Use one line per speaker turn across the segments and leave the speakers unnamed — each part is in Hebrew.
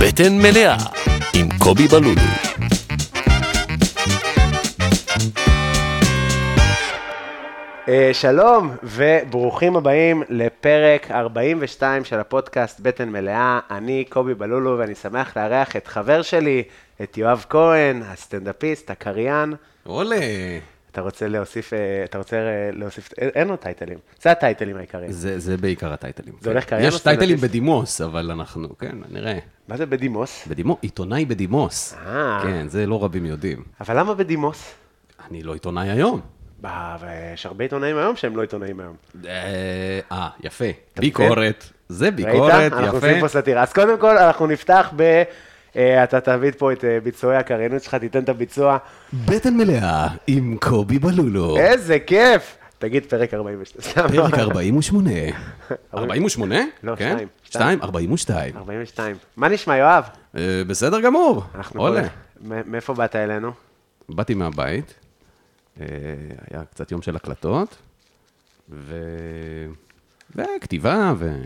בטן מלאה עם קובי בלולו.
אה, שלום וברוכים הבאים לפרק 42 של הפודקאסט בטן מלאה. אני קובי בלולו ואני שמח לארח את חבר שלי, את יואב כהן, הסטנדאפיסט, הקריין.
וואלה.
אתה רוצה להוסיף, אה, אתה רוצה אה, להוסיף, אין- אין לו טייטלים, זה הטייטלים העיקריים.
זה, זה בעיקר הטייטלים. כן.
זה הולך קריירה
יש טייטלים
סטנדאפיסט?
בדימוס, אבל אנחנו, כן, נראה.
מה זה בדימוס?
בדימוס, עיתונאי בדימוס.
אה.
כן, זה לא רבים יודעים.
אבל למה בדימוס?
אני לא עיתונאי היום.
אה, ויש הרבה עיתונאים היום שהם לא עיתונאים היום.
אה, אה, יפה.
מבין?
ביקורת. זה ביקורת,
ראית? אנחנו עושים פה
יפה.
סאטירה. אז קודם כל, אנחנו נפתח ב... אה, אתה תביא פה את אה, ביצועי הקריינות שלך, תיתן את הביצוע.
בטן מלאה עם קובי בלולו.
איזה כיף! תגיד פרק 42.
פרק 48. 48?
לא,
כן?
שתיים.
שתיים, 42.
42. לא. מה נשמע, יואב?
אה, בסדר גמור.
אנחנו
עולה.
פה- מ- מאיפה באת אלינו?
באתי מהבית, אה, היה קצת יום של הקלטות, ו... וכתיבה ו...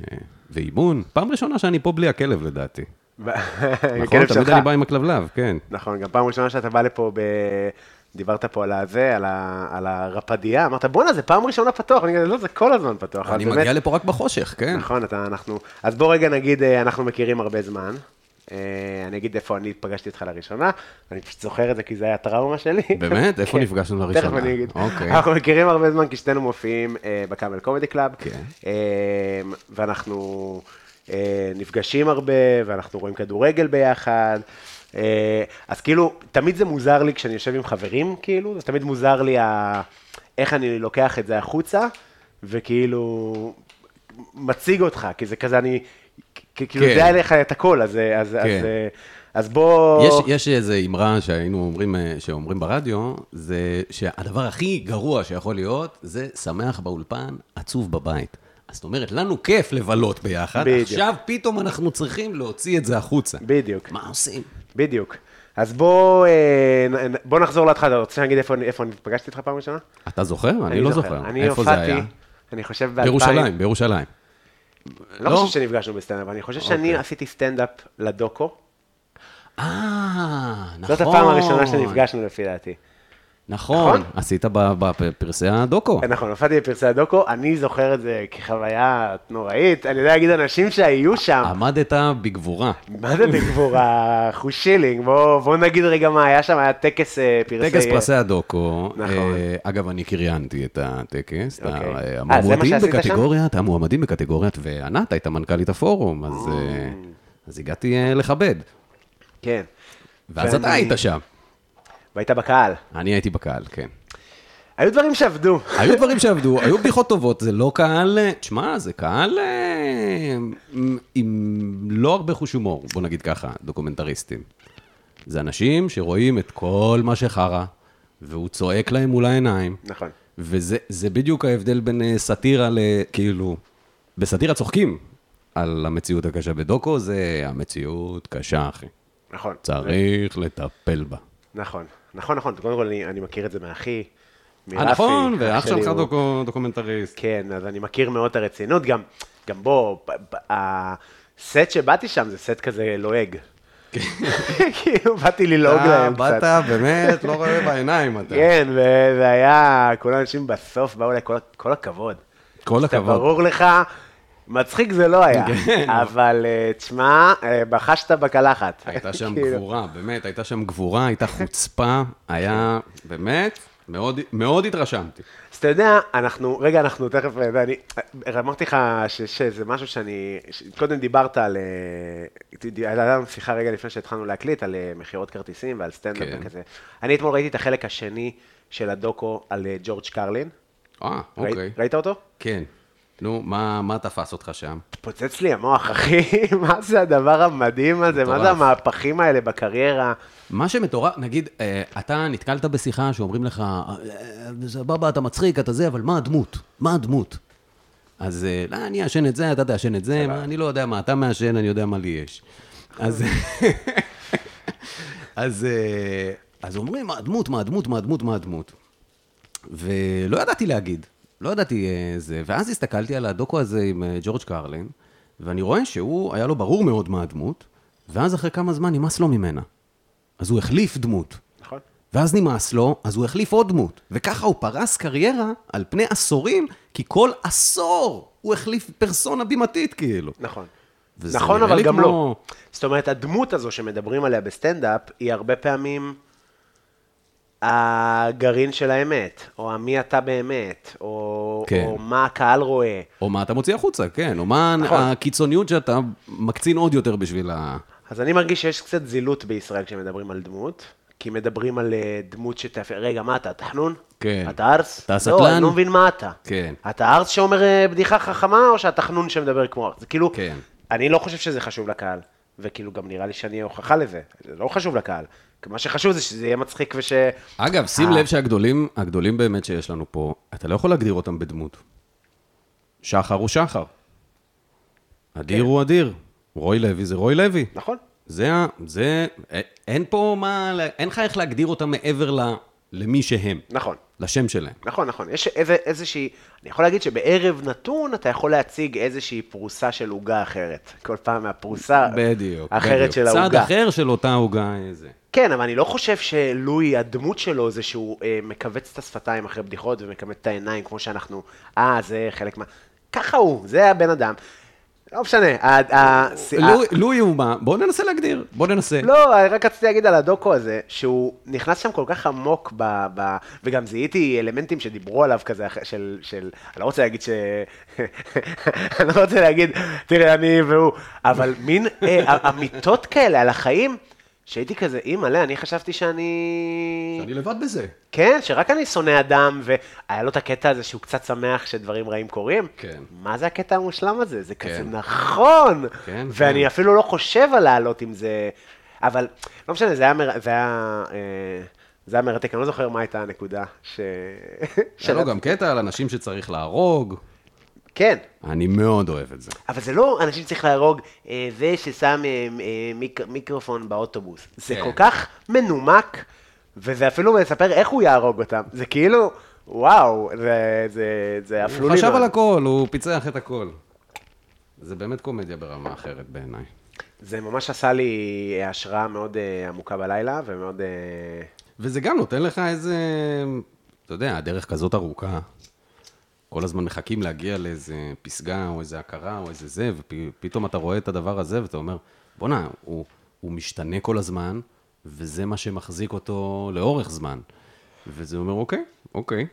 ואימון. פעם ראשונה שאני פה בלי הכלב לדעתי. נכון,
הכלב
תמיד
אה, כן, שלך.
אני בא עם הכלבלב, כן.
נכון, גם פעם ראשונה שאתה בא לפה, ב... דיברת פה על הזה, על, ה... על הרפדייה, אמרת, בואנה, זה פעם ראשונה פתוח. אני כזה, לא, זה כל הזמן פתוח.
אני
אז
מגיע
באמת-
לפה רק בחושך, כן.
נכון, אתה, אנחנו... אז בוא רגע נגיד, אה, אנחנו מכירים הרבה זמן. אה, אני אגיד איפה אני פגשתי אותך לראשונה, אני פשוט זוכר את זה כי זה היה טראומה שלי.
באמת? איפה
כן.
נפגשנו לראשונה?
תכף אני אגיד.
אוקיי.
אנחנו מכירים הרבה זמן כי שנינו מופיעים אה, בקאמל קומדי קלאב.
כן.
אה, ואנחנו אה, נפגשים הרבה, ואנחנו רואים כדורגל ביחד. אה, אז כאילו, תמיד זה מוזר לי כשאני יושב עם חברים, כאילו, זה תמיד מוזר לי ה... איך אני לוקח את זה החוצה, וכאילו, מציג אותך, כי זה כזה, אני, כ- כאילו,
כן.
יודע עליך את הכל, אז, אה, אז, אז,
כן.
אה, אז בוא...
יש, יש איזו אמרה שהיינו אומרים, אה, שאומרים ברדיו, זה שהדבר הכי גרוע שיכול להיות, זה שמח באולפן, עצוב בבית. אז זאת אומרת, לנו כיף לבלות ביחד,
בדיוק.
עכשיו פתאום אנחנו צריכים להוציא את זה החוצה.
בדיוק.
מה עושים?
בדיוק. אז בוא, אה, נ- נ- בוא נחזור להתחלה, אתה רוצה להגיד איפה, אני- איפה אני פגשתי אותך פעם ראשונה?
אתה זוכר? אני לא זוכר.
אני
איפה זה
הופעתי,
היה?
אני חושב ב-2000.
בירושלים, בירושלים.
לא
לא?
חושב שנפגשנו בסטנדאפ, אני חושב שאני
אוקיי. נכון.
עשיתי סטנדאפ לדוקו.
אה, נכון.
זאת הפעם הראשונה שנפגשנו לפי דעתי.
נכון,
נכון?
עשית בפרסי הדוקו.
נכון, הופעתי בפרסי הדוקו, אני זוכר את זה כחוויה נוראית, אני יודע להגיד אנשים שהיו שם.
עמדת בגבורה.
מה זה בגבורה? חושילינג, בואו בוא נגיד רגע מה היה שם, היה טקס אה, פרסי...
טקס פרסי הדוקו,
נכון.
אה, אגב, אני קריינתי את הטקס, את ה-
אוקיי. אה, זה מה
המועמדים
שעשית שם?
בקטגוריית, המועמדים בקטגוריית, וענת הייתה מנכ"לית הפורום, אז, אה, אז הגעתי אה, לכבד,
כן,
ואז אתה
ואני-
היית שם,
והיית בקהל.
אני הייתי בקהל, כן.
היו דברים שעבדו.
היו דברים שעבדו, היו בדיחות טובות, זה לא קהל, אה, תשמע, זה קהל אה, עם- עם לא הרבה חוש הומור, בוא נגיד ככה, דוקומנטריסטים. זה אנשים שרואים את כל מה שחרא, והוא צועק להם מול העיניים.
נכון.
וזה זה בדיוק ההבדל בין אה, סאטירה ל... כאילו, בסאטירה צוחקים על המציאות הקשה בדוקו, זה המציאות קשה, אחי.
נכון.
צריך לטפל בה.
נכון, נכון, נכון. קודם כל, אני, אני מכיר את זה מאחי, מרפי.
אה, נכון,
אח
ואח
שלי
שלך
הוא-
דוקו- דוקומנטריסט.
כן, אז אני מכיר מאוד את הרצינות. גם, גם בוא, ב- ב- הסט שבאתי שם זה סט כזה לועג. כאילו, באתי ללעוג
אתה
להם קצת.
כן. אה, באת, באמת, לא רואה בעיניים אתה.
כן, וזה היה, כל האנשים בסוף באו אליי, כל, כל הכבוד.
כל
שאתה
הכבוד. כן.
ברור לך, מצחיק זה לא היה, אבל אה, תשמע, אה, בחשת בקלחת.
הייתה שם
כאילו,
גבורה, באמת, הייתה שם גבורה, הייתה חוצפה, היה, באמת, מאוד- מאוד התרשמתי.
אז אתה יודע, אנחנו, רגע, אנחנו תכף, אה, ואני, אמרתי לך ש- שזה משהו שאני, ש- קודם דיברת על, אה, ד- ד- הייתה לנו שיחה רגע לפני שהתחלנו להקליט, על אה, מכירות כרטיסים ועל סטנדאפ
כן.
וכזה. אני אתמול ראיתי את החלק השני של הדוקו על אה, ג'ורג' קרלין.
אה,
ראי-
אוקיי.
ראית אותו?
כן. נו, מה מה תפס אותך שם?
התפוצץ לי המוח, אחי, מה זה הדבר המדהים הזה? מה זה
מטורף.
המהפכים האלה בקריירה?
מה שמטורף, נגיד, אה, אתה נתקלת בשיחה שאומרים לך, אה, אה, סבבה, אתה מצחיק, אתה זה, אבל מה הדמות? מה הדמות? אז אה, לא, אני אעשן את זה, אתה תעשן את זה, מה, אני לא יודע מה אתה מעשן, אני יודע מה לי יש. אז... אז, אה, אז אומרים, מה הדמות, מה הדמות, מה הדמות, מה הדמות. ולא ידעתי להגיד, לא ידעתי אה, זה. ואז הסתכלתי על הדוקו הזה עם אה, ג'ורג' קרלין, ואני רואה שהוא, היה לו ברור מאוד מה הדמות, ואז אחרי כמה זמן נמאס לו ממנה. אז הוא החליף דמות.
נכון?
ואז נמאס לו, אז הוא החליף עוד דמות. וככה הוא פרס קריירה על פני עשורים, כי כל עשור הוא החליף פרסונה בימתית, כאילו.
נכון.
וזה
נכון,
נראה
אבל
לי
גם
כמו-
לא. זאת אומרת, הדמות הזו שמדברים עליה בסטנדאפ, היא הרבה פעמים הגרעין של האמת, או המי אתה באמת, או,
כן.
או מה הקהל רואה.
או מה אתה מוציא החוצה, כן, או מה
נכון.
הקיצוניות שאתה מקצין עוד יותר בשביל ה...
אז אני מרגיש שיש קצת זילות בישראל כשמדברים על דמות, כי מדברים על אה, דמות שתאפיין, רגע, מה אתה, תחנון?
כן.
אתה ארס?
אתה
לא,
הסטלן?
אני לא מבין מה אתה.
כן.
אתה ארס שאומר אה, בדיחה חכמה, או שהתחנון שמדבר כמו ארס? זה כאילו,
כן.
אני לא חושב שזה חשוב לקהל, וכאילו גם נראה לי שאני הוכחה לזה, זה לא חשוב לקהל. כי מה שחשוב זה שזה יהיה מצחיק וש...
אגב, שים
אה.
לב שהגדולים, הגדולים באמת שיש לנו פה, אתה לא יכול להגדיר אותם בדמות. שחר הוא שחר. אדיר
כן.
הוא אדיר. רוי לוי זה רוי לוי.
נכון?
זה, ה- זה, א- אין פה מה, ל- אין לך איך להגדיר אותם מעבר ל, למי שהם,
נכון.
לשם שלהם.
נכון, נכון. יש איזה, איזושהי, אני יכול להגיד שבערב נתון אתה יכול להציג איזושהי פרוסה של עוגה אחרת. כל פעם מהפרוסה
בדיוק,
האחרת
בדיוק.
של העוגה.
צד אחר של אותה עוגה אה, זה.
כן, אבל אני לא חושב שלואי, הדמות שלו זה שהוא אה, מכווץ את השפתיים אחרי בדיחות ומכמת את העיניים, כמו שאנחנו, אה, זה חלק מה... ככה הוא, זה הבן אדם. לא משנה. ה- ה- ה-
לואי- לואי הוא מה? בואו ננסה להגדיר, בואו ננסה.
אה. לא, אני רק רציתי להגיד על הדוקו הזה, שהוא נכנס שם כל כך עמוק ב... ב וגם זיהיתי אלמנטים שדיברו עליו כזה, אח- של... של אני לא רוצה להגיד ש... אני לא רוצה להגיד, תראה, אני והוא, אבל מין אה, אמיתות כאלה על החיים, שהייתי כזה, אימא'לה, אני חשבתי שאני...
אני לבד בזה.
כן, שרק אני שונא אדם, והיה לו את הקטע הזה שהוא קצת שמח שדברים רעים קורים.
כן.
מה זה הקטע המושלם הזה? זה כזה
כן.
נכון!
כן,
ואני
כן.
אפילו לא חושב על לעלות עם זה, אבל לא משנה, זה היה, מר... זה היה, אה, זה היה מרתק, אני לא זוכר מה הייתה הנקודה ש...
יש לו גם קטע על אנשים שצריך להרוג.
כן.
אני מאוד אוהב את זה.
אבל זה לא אנשים שצריך להרוג, אה, זה ששם אה, אה, מיק, מיקרופון באוטובוס. זה
כן.
כל כך מנומק, וזה אפילו מספר איך הוא יהרוג אותם. זה כאילו, וואו, זה, זה, זה אפלולי.
הוא חשב
מאוד.
על הכל, הוא פיצח את הכל. זה באמת קומדיה ברמה אחרת בעיניי.
זה ממש עשה לי השראה מאוד אה, עמוקה בלילה, ומאוד... אה,
וזה גם נותן לך איזה, אתה יודע, הדרך כזאת ארוכה. כל הזמן מחכים להגיע לאיזה פסגה או איזה הכרה או איזה זה, ופתאום אתה רואה את הדבר הזה ואתה אומר, בואנה, הוא, הוא משתנה כל הזמן, וזה מה שמחזיק אותו לאורך זמן. וזה אומר, אוקיי, אוקיי,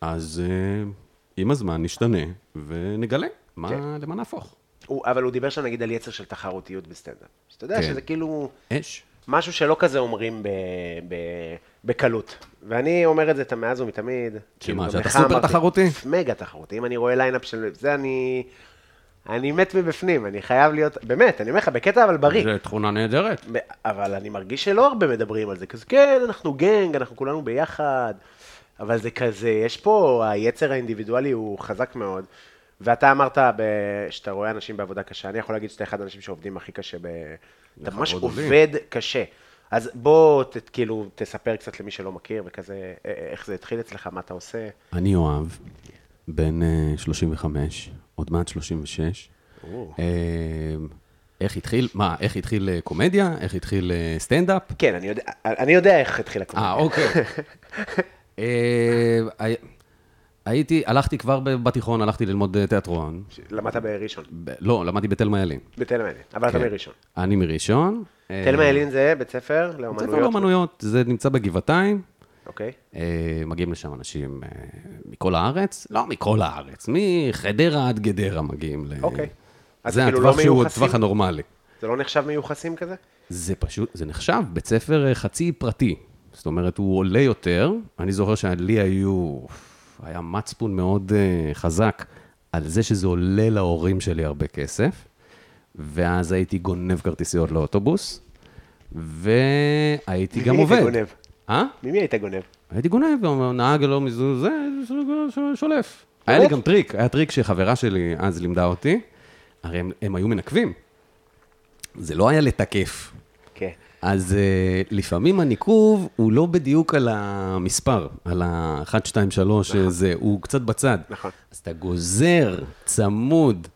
אז אה, עם הזמן נשתנה ונגלה מה,
כן.
למה נהפוך.
הוא, אבל הוא דיבר שם נגיד על יצר של תחרותיות בסטנדאפ. שאתה יודע
כן.
שזה כאילו...
אש.
משהו שלא כזה אומרים ב, ב, בקלות. ואני אומר את זה את מאז ומתמיד. כאילו, גם
שאתה
לך
סופר
אמרתי,
תחרותי?
מגה תחרותי. אם אני רואה ליינאפ של זה, אני... אני מת מבפנים, אני חייב להיות... באמת, אני אומר לך, בקטע אבל בריא.
זו תכונה נהדרת.
ב- אבל אני מרגיש שלא הרבה מדברים על זה, כזה, כן, אנחנו גנג, אנחנו כולנו ביחד, אבל זה כזה, יש פה, היצר האינדיבידואלי הוא חזק מאוד, ואתה אמרת ב- שאתה רואה אנשים בעבודה קשה, אני יכול להגיד שאתה אחד האנשים שעובדים הכי קשה, ב... אתה ממש
לכבוד לי.
עובד קשה. אז בוא, ת, כאילו, תספר קצת למי שלא מכיר, וכזה, א- א- איך זה התחיל אצלך, מה אתה עושה.
אני יואב, בן אה, 35, עוד מעט 36.
או.
אה, איך התחיל, מה, איך התחיל אה, קומדיה? איך התחיל אה, סטנדאפ?
כן, אני יודע, אני יודע איך התחיל כן. הקומדיה.
אה, אוקיי. אה, הי- הייתי, הלכתי כבר ב- בתיכון, הלכתי ללמוד אה, תיאטרון.
למדת בראשון,
ב- לא, למדתי בתלמה ילין.
בתלמה ילין, אבל אתה
כן.
מראשון.
אני מראשון. אה,
תלמה ילין זה בית ספר
בית
לאומנויות.
ספר לאומנויות, זה נמצא בגבעתיים.
אוקיי.
אה, מגיעים לשם אנשים אה, מכל הארץ, לא מכל הארץ, מחדרה עד גדרה מגיעים. ל-
אוקיי. אז
זה
כאילו
הטווח
לא
שהוא
מיוחסים?
הטווח הנורמלי.
זה לא נחשב מיוחסים כזה?
זה פשוט, זה נחשב בית ספר אה, חצי פרטי. זאת אומרת, הוא עולה יותר. אני זוכר שלי היו, היה מצפון מאוד אה, חזק על זה שזה עולה להורים שלי הרבה כסף, ואז הייתי גונב כרטיסיות לאוטובוס, והייתי
ממי
גם
היית
עובד.
גונב?
אה?
ממי היית גונב?
הייתי גונב, הנהג לא מזו... זה, שולף. היה לי גם טריק, היה טריק שחברה שלי אז לימדה אותי, הרי הם, הם היו מנקבים. זה לא היה לתקף.
כן.
אז uh, לפעמים הניקוב הוא לא בדיוק על המספר, על ה-1, 2, 3, נכון. זה, הוא קצת בצד.
נכון.
אז אתה גוזר צמוד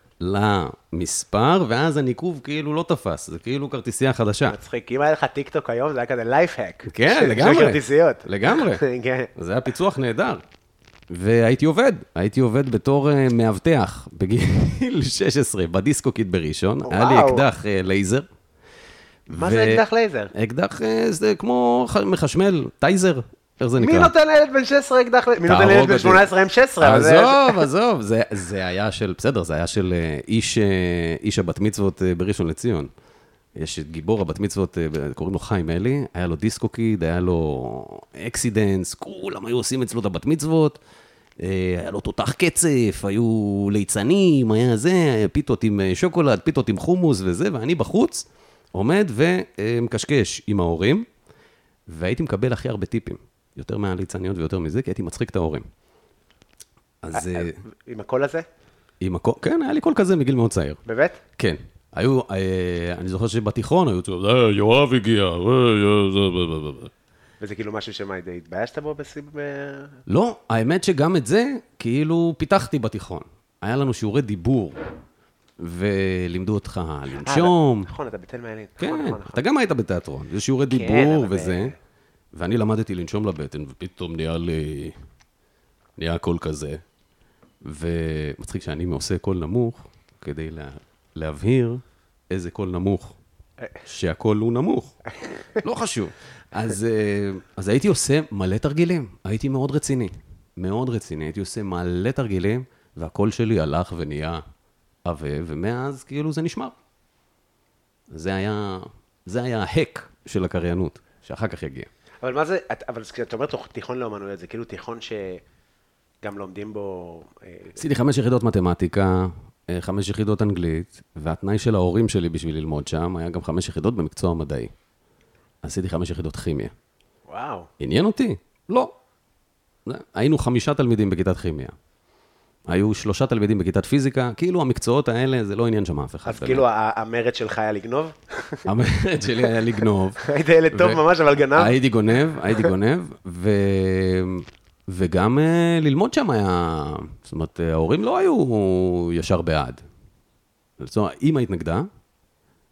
למספר, ואז הניקוב כאילו לא תפס, זה כאילו כרטיסייה חדשה.
מצחיק, אם היה לך טיקטוק היום, זה היה כזה לייפהק.
כן,
של-
לגמרי.
של כרטיסיות.
לגמרי.
כן.
זה היה פיצוח נהדר. והייתי עובד, הייתי עובד בתור אה, מאבטח בגיל 16, בדיסקו קיט בראשון. היה לי
וואו.
אקדח אה, לייזר.
מה
ו-
זה אקדח לייזר?
אקדח אה, זה כמו ח- מחשמל, טייזר, איך זה נקרא?
מי לא נותן לילד בן 16 אקדח לייזר? מי נותן
תהרוג
לילד בן
אותי.
18 M16? אבל זה-
עזוב, עזוב, זה- זה היה של, בסדר, זה היה של אה, איש, אה, איש הבת מצוות אה, בראשון לציון. יש את גיבור הבת מצוות, אה, ב- קוראים לו חיים אלי, היה לו דיסקו קיד, היה לו אקסידנס, כולם היו עושים אצלו את הבת מצוות. אה, היה לו תותח קצף, היו ליצנים, היה זה, היה פיתות עם אה, שוקולד, פיתות עם חומוס וזה, ואני בחוץ עומד ומקשקש עם ההורים, והייתי מקבל הכי הרבה טיפים, יותר מהליצניות ויותר מזה, כי הייתי מצחיק את ההורים. אז אה,
עם הקול הזה?
עם הכל, כן, היה לי קול כזה מגיל מאוד צעיר.
באמת?
כן. היו, אה, אני זוכר שבתיכון היו צועקים, "אה, יואב הגיע, אה, אה, זה, זה, זה, זה."
וזה כאילו משהו שמה, התביישת בו בסיב... ב-
לא, האמת שגם את זה, כאילו, פיתחתי בתיכון. היה לנו שיעורי דיבור, ולימדו אותך
אה,
לנשום.
אתה- נכון, אתה בתל מעלית. נכון,
כן,
נכון, נכון.
אתה גם היית בתיאטרון, זה שיעורי דיבור
אבל זה-
וזה. ואני למדתי לנשום לבטן, ופתאום נהיה לי... נהיה קול כזה. ומצחיק שאני עושה קול נמוך, כדי לה... להבהיר איזה קול נמוך, שהקול הוא נמוך. לא חשוב. אז, אה, אז הייתי עושה מלא תרגילים, הייתי מאוד רציני. מאוד רציני, הייתי עושה מלא תרגילים, והקול שלי הלך ונהיה עבה, ומאז כאילו זה נשמר. זה היה, זה היה ההק של הקריינות, שאחר כך יגיע.
אבל מה זה, את- אבל כשאתה אומר תוך- תיכון לאומנויות, זה כאילו תיכון שגם לומדים בו... אה,
עשיתי חמש יחידות מתמטיקה, אה, חמש יחידות אנגלית, והתנאי של ההורים שלי בשביל ללמוד שם היה גם חמש יחידות במקצוע מדעי. עשיתי חמש יחידות כימיה.
וואו.
עניין אותי? לא. זה- היינו חמישה תלמידים בכיתת כימיה. היו שלושה תלמידים בכיתת פיזיקה, כאילו המקצועות האלה, זה לא עניין שם אף אחד.
אז כאילו ה- המרד שלך היה לגנוב?
המרד שלי היה לגנוב.
היית ילד טוב
ו-
ממש, אבל גנב?
הייתי גונב, הייתי גונב, ו... וגם אה, ללמוד שם היה... זאת אומרת, אה, ההורים לא היו ישר בעד. זאת אומרת, אימא התנגדה,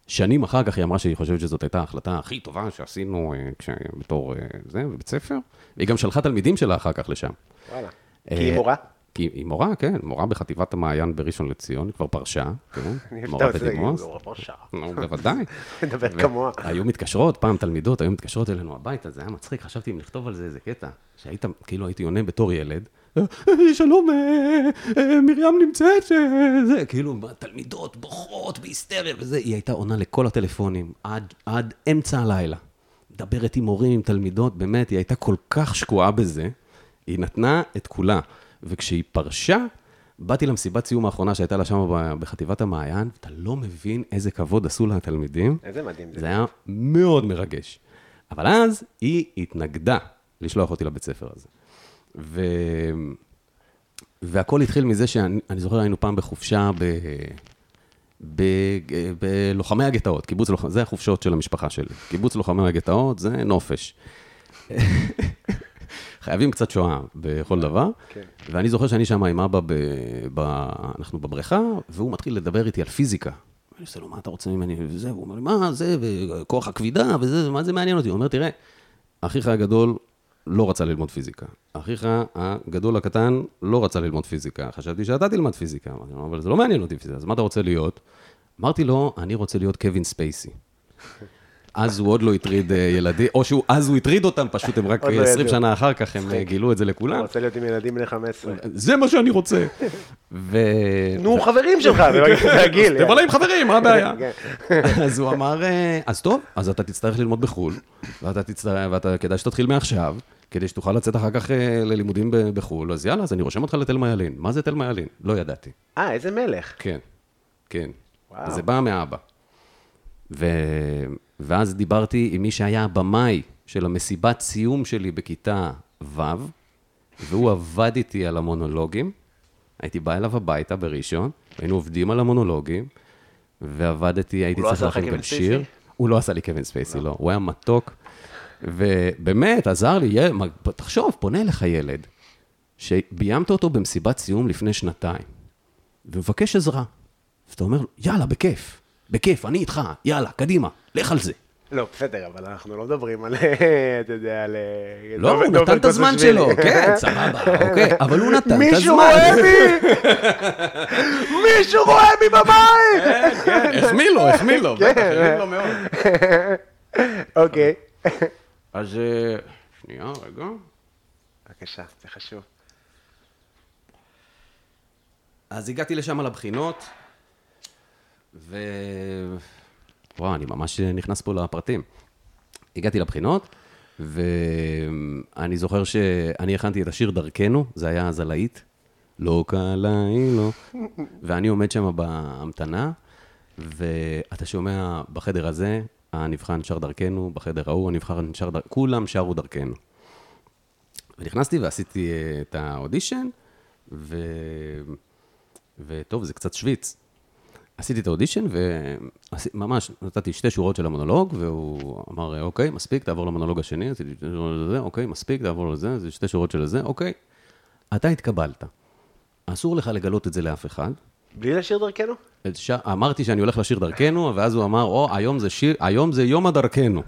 שנים אחר כך היא אמרה שהיא חושבת שזאת הייתה ההחלטה הכי טובה שעשינו אה, כש... בתור אה, זה, בבית ספר. והיא גם שלחה תלמידים שלה אחר כך לשם.
וואלה. כי היא
אה,
מורה?
כי היא מורה, כן, מורה בחטיבת המעיין בראשון לציון, היא כבר פרשה, כן,
אני
מורה
יודע, זה-
בדימוס.
מורה פרשה.
נו, בוודאי.
מדבר
ו-
כמוה.
היו מתקשרות, פעם תלמידות, היו מתקשרות אלינו הביתה, זה היה מצחיק, חשבתי אם לכתוב על זה איזה קטע, שהיית, כאילו הייתי עונה בתור ילד, "אה, אה, שלום, אה, אה, מרים נמצאת, אה, זה, כאילו, מה, תלמידות בוכות בהיסטריה וזה, היא הייתה עונה לכל הטלפונים, עד, עד אמצע הלילה. מדברת עם הורים, עם תלמידות, באמת, היא הייתה כל כך שקועה בזה, היא נתנה את כולה. וכשהיא פרשה, באתי למסיבת סיום האחרונה שהייתה לה שם ב- בחטיבת המעיין, אתה לא מבין איזה כבוד עשו לה התלמידים.
איזה מדהים זה.
זה היה מאוד מרגש. אבל אז היא התנגדה לשלוח אותי לבית ספר הזה. ו... והכל התחיל מזה שאני אני זוכר, היינו פעם בחופשה ב... ב... בלוחמי הגטאות, קיבוץ לוחמי, זה החופשות של המשפחה שלי. קיבוץ לוחמי הגטאות זה נופש. חייבים קצת שואה בכל דבר.
כן.
ואני זוכר שאני שם עם אבא, ב... ב... אנחנו בבריכה, והוא מתחיל לדבר איתי על פיזיקה. אני עושה לו, מה אתה רוצה ממני? וזה, והוא אומר לי, מה זה, וכוח הכבידה, וזה, מה זה מעניין אותי? הוא אומר, תראה, אחיך הגדול לא רצה ללמוד פיזיקה. אחיך הגדול הקטן לא רצה ללמוד פיזיקה. חשבתי שאתה תלמד פיזיקה. אמרתי לו, אבל זה לא מעניין אותי פיזיקה, אז מה אתה רוצה להיות? אמרתי לו, אני רוצה להיות קווין ספייסי. אז הוא עוד לא הטריד אה, ילדים, או שהוא, אז הוא הטריד אותם, פשוט הם רק
עוד לא ידעו.
20 שנה אחר כך, הם אה, גילו את זה
אתה
לכולם.
רוצה להיות עם ילדים בני 15.
זה מה שאני רוצה. ו... כן,
נו, חברים שלך, זה הגיל.
אז תבלה עם חברים, מה הבעיה?
כן.
אז הוא אמר, אה, אז טוב, אז אתה תצטרך ללמוד בחו"ל, ואתה תצטרך, ואתה, כדאי שתתחיל מעכשיו, כדי שתוכל לצאת אחר כך אה, ללימודים ב- בחו"ל, אז יאללה, אז אני רושם אותך לתלמה ילין. מה זה תלמה ילין? לא ידעתי.
אה, איזה מלך.
כן, כן.
וואו.
זה בא מאבא. ו... ואז דיברתי עם מי שהיה הבמאי של המסיבת סיום שלי בכיתה ו', והוא עבד איתי על המונולוגים. הייתי בא אליו הביתה בראשון, היינו עובדים על המונולוגים, ועבדתי, הייתי
לא
צריך
עשה לך
להכין
קווין
גם שיר.
ספייסי?
הוא לא עשה לי קווין ספייסי, לא. הוא היה מתוק, ובאמת, עזר לי, ילד- מה, תחשוב, פונה אליך ילד, שביימת אותו במסיבת סיום לפני שנתיים, ומבקש עזרה. אז אתה אומר, לו, יאללה, בכיף, בכיף, אני איתך, יאללה, קדימה, לך על זה.
לא, בסדר, אבל אנחנו לא מדברים על, אתה יודע, על... אה,
לא,
דוב-
הוא
דוב
נתן את הזמן
אלקוזשווילי.
שלו, כן, סבבה, אוקיי, אבל הוא נתן את
מישהו
הזמן.
רואה בי! מישהו רואה בי
אה.
בבית!
החמיא לו, החמיא לו, כן, בטח, החמיא לו מאוד.
אוקיי.
אז אה, שנייה, רגע.
בבקשה, זה חשוב.
אז הגעתי לשם על הבחינות, ו... וואו, אני ממש נכנס פה לפרטים. הגעתי לבחינות, ואני זוכר שאני הכנתי את השיר דרכנו, זה היה אז הלהיט, לא קלעי לא, ואני עומד שם בהמתנה, ואתה שומע בחדר הזה, הנבחן שר דרכנו, בחדר ההוא, הנבחן שר דרכנו, כולם שרו דרכנו. ונכנסתי ועשיתי אה, את האודישן, ו... וטוב, זה קצת שוויץ. עשיתי את האודישן, וממש נתתי שתי שורות של המונולוג, והוא אמר, אוקיי, מספיק, תעבור למונולוג השני, עשיתי שתי שורות של זה, אוקיי, מספיק, תעבור לזה, זה שתי שורות של זה, אוקיי. אתה התקבלת. אסור לך לגלות את זה לאף אחד.
בלי לשיר דרכנו?
את ש... אמרתי שאני הולך לשיר דרכנו, ואז הוא אמר, או, היום זה, שיר... היום זה יום הדרכנו.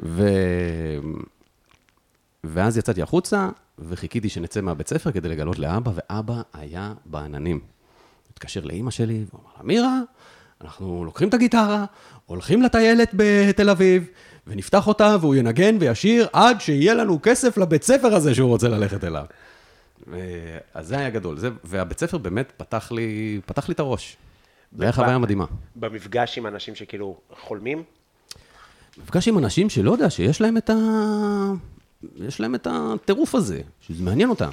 ו... ואז יצאתי החוצה, וחיכיתי שנצא מהבית ספר כדי לגלות לאבא, ואבא היה בעננים. התקשר לאימא שלי, והוא אמר לה, מירה, אנחנו לוקחים את הגיטרה, הולכים לטיילת בתל אביב, ונפתח אותה, והוא ינגן וישיר עד שיהיה לנו כסף לבית ספר הזה שהוא רוצה ללכת אליו. ו- אה, אז זה היה גדול, זה, והבית ספר באמת פתח לי, פתח לי את הראש. זה היה חוויה מדהימה.
במפגש עם אנשים שכאילו חולמים?
מפגש עם אנשים שלא יודע, שיש להם את ה... יש להם את הטירוף הזה, שזה מעניין אותם.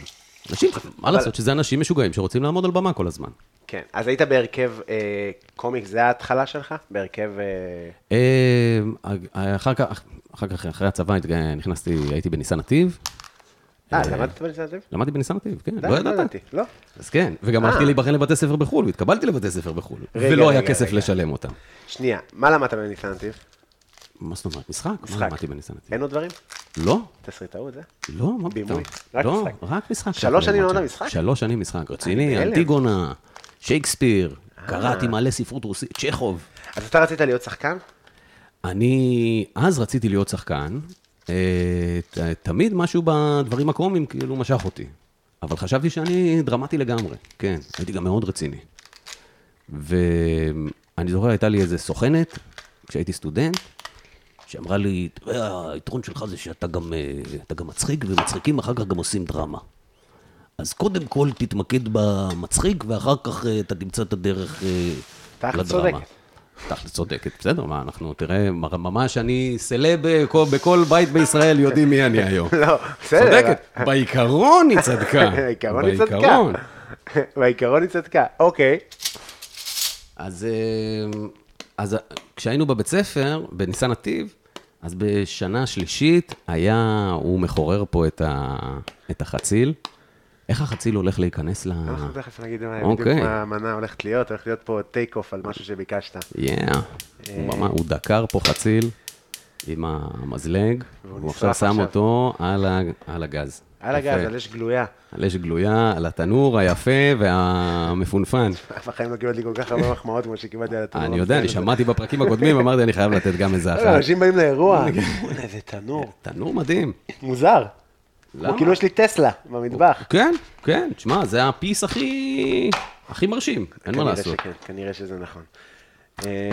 אנשים, מה לעשות שזה אנשים משוגעים שרוצים לעמוד על במה כל הזמן.
כן. אז היית בהרכב אה, קומיקס, זה ההתחלה שלך? בהרכב... אה,
אה, אחר כך, אחר כך, אחרי הצבא התג- נכנסתי, הייתי בניסן נתיב.
אה, למדת בניסיון הזה?
למדתי בניסן נתיב, כן,
די,
לא ידעת.
ידעתי, לא.
אז כן, וגם הלכתי להיבחן לבתי ספר בחו"ל, והתקבלתי לבתי ספר בחו"ל,
רגע,
ולא היה
רגע,
כסף
רגע.
לשלם אותם.
שנייה, מה למדת בניסיון הזה?
מה זאת אומרת? משחק?
משחק. אה.
מה למדתי בניסן נתיב?
אין עוד דברים?
לא,
תסריטאות, זה?
לא, מה פתאום.
בימוי, רק
לא,
משחק.
רק משחק.
שלוש
שאנחנו
שנים לא
למדנו.
עונה משחק? אה,
שלוש שנים משחק, רציני,
בהלם.
אנטיגונה, שייקספיר,
אה.
קראתי מלא ספרות רוסית, צ'כוב.
אז אתה רצית להיות שחקן?
אני אז רציתי להיות שחקן, אה, ת- תמיד משהו בדברים הקומיים כאילו משך אותי. אבל חשבתי שאני דרמטי לגמרי, כן, הייתי גם מאוד רציני. ואני זוכר, הייתה לי איזה סוכנת, כשהייתי סטודנט, שאמרה לי, "אתה יודע, היתרון שלך זה שאתה גם, אה, אתה גם מצחיק, ומצחיקים אחר כך גם עושים דרמה. אז קודם כל תתמקד במצחיק, ואחר כך אה, אתה תמצא את הדרך אה,
תכל'ס
לדרמה.
צודקת.
תכל'ס צודקת, בסדר, מה, אנחנו, תראה, מ- ממש אני סלב בכל, בכל בית בישראל, יודעים מי אני היום.
לא, בסדר.
צודקת, בעיקרון היא צדקה.
בעיקרון היא צדקה.
בעיקרון. אה.
בעיקרון היא צדקה, אוקיי.
אז, אה, אז אה, כשהיינו בבית ספר, בניסן נתיב, אז בשנה שלישית היה, הוא מחורר פה את, ה, את החציל. איך החציל הולך להיכנס ל...
אנחנו תכף נגיד מה בדיוק
אוקיי.
מה המנה הולכת להיות, הולך להיות פה טייק אוף על משהו שביקשת.
יאה,
אה.
הוא ממש- הוא דקר פה חציל עם המזלג,
והוא
הוא עכשיו
נשרף
שם
עכשיו.
אותו על ה- על הגז.
על
יפה.
הגז, על אש גלויה.
על אש גלויה, על התנור היפה והמפונפן.
בחיים לא קיבלתי כל כך הרבה מחמאות כמו שקיבלתי על התנור.
אני יודע, אני
הזה.
שמעתי בפרקים הקודמים, אמרתי, אני חייב לתת גם איזה
לא,
אחת.
אנשים באים לאירוע, בוא'נה, זה תנור.
תנור מדהים.
מוזר.
למה?
הוא כאילו יש לי טסלה במטבח.
כן, כן, תשמע, זה הפיס הכי... הכי מרשים, אין מה
כנראה
לעשות.
שכן, כנראה שזה נכון. אה,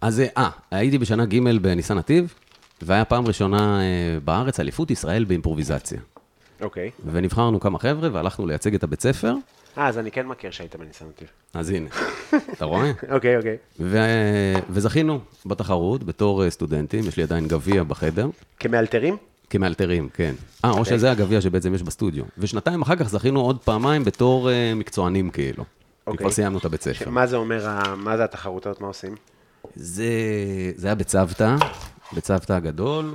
אז אה, אה, הייתי בשנה ג' בניסן נתיב, והיה פעם ראשונה אה, בארץ אליפות ישראל באימפרוביזציה.
אוקיי.
ונבחרנו כמה חבר'ה והלכנו לייצג את הבית ספר,
אה, אז אני כן מכיר שהיית בניסיון נתיב.
אז הנה, אתה רואה?
אוקיי, אוקיי.
ו... וזכינו בתחרות בתור אה, סטודנטים, יש לי עדיין גביע בחדר,
כמאלתרים?
כמאלתרים, כן. אה, או
אוקיי.
שזה הגביע שבעצם יש בסטודיו. ושנתיים אחר כך זכינו עוד פעמיים בתור אה, מקצוענים כאילו. כי
אוקיי.
כבר סיימנו את הבית ספר.
מה זה אומר, ה- מה זה התחרות הזאת, מה עושים?
אה. זה, זה היה בצוותא, בצוותא הגדול,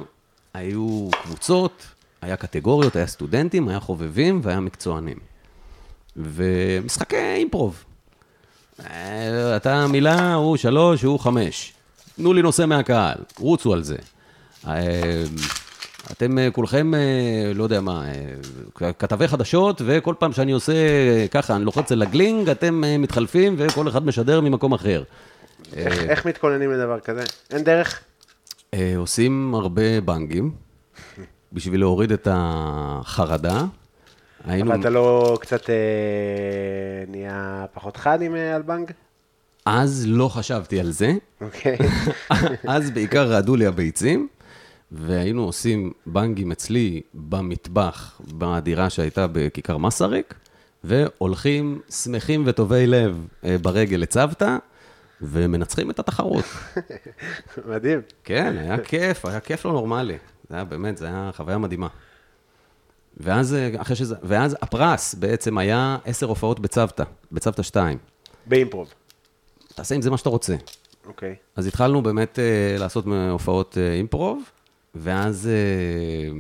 היו קבוצות, היה קטגוריות, היה סטודנטים, היה חובבים והיה מקצוענים. ומשחקי אimprov. אה, אתה מילה, הוא שלוש, הוא חמש. תנו לי נושא מהקהל, רוצו על זה. אה, אתם אה, כולכם, אה, לא יודע מה, אה, כתבי חדשות, וכל פעם שאני עושה אה, ככה, אני לוחץ על הגלינג, אתם אה, מתחלפים, וכל אחד משדר ממקום אחר.
איך- איך מתכוננים לדבר כזה? אין דרך?
אה, עושים הרבה בנגים בשביל להוריד את החרדה. היינו...
אבל אתה לא קצת אה, נהיה פחות חד עם אה, אלבנג?
אז לא חשבתי על זה.
אוקיי.
אז בעיקר רעדו לי הביצים, והיינו עושים בנגים אצלי במטבח, בדירה שהייתה בכיכר מסריק, והולכים שמחים וטובי לב אה, ברגל לצוותא, ומנצחים את התחרות.
מדהים.
כן, היה כיף, היה כיף לא נורמלי. זה היה באמת, זה היה חוויה מדהימה. ואז, אה, אחרי שזה, ואז הפרס בעצם היה עשר הופעות בצוותא, בצוותא 2.
באימפרוב.
תעשה עם זה מה שאתה רוצה.
אוקיי.
אז התחלנו באמת אה, לעשות הופעות אה, אימפרוב, ואז, אה,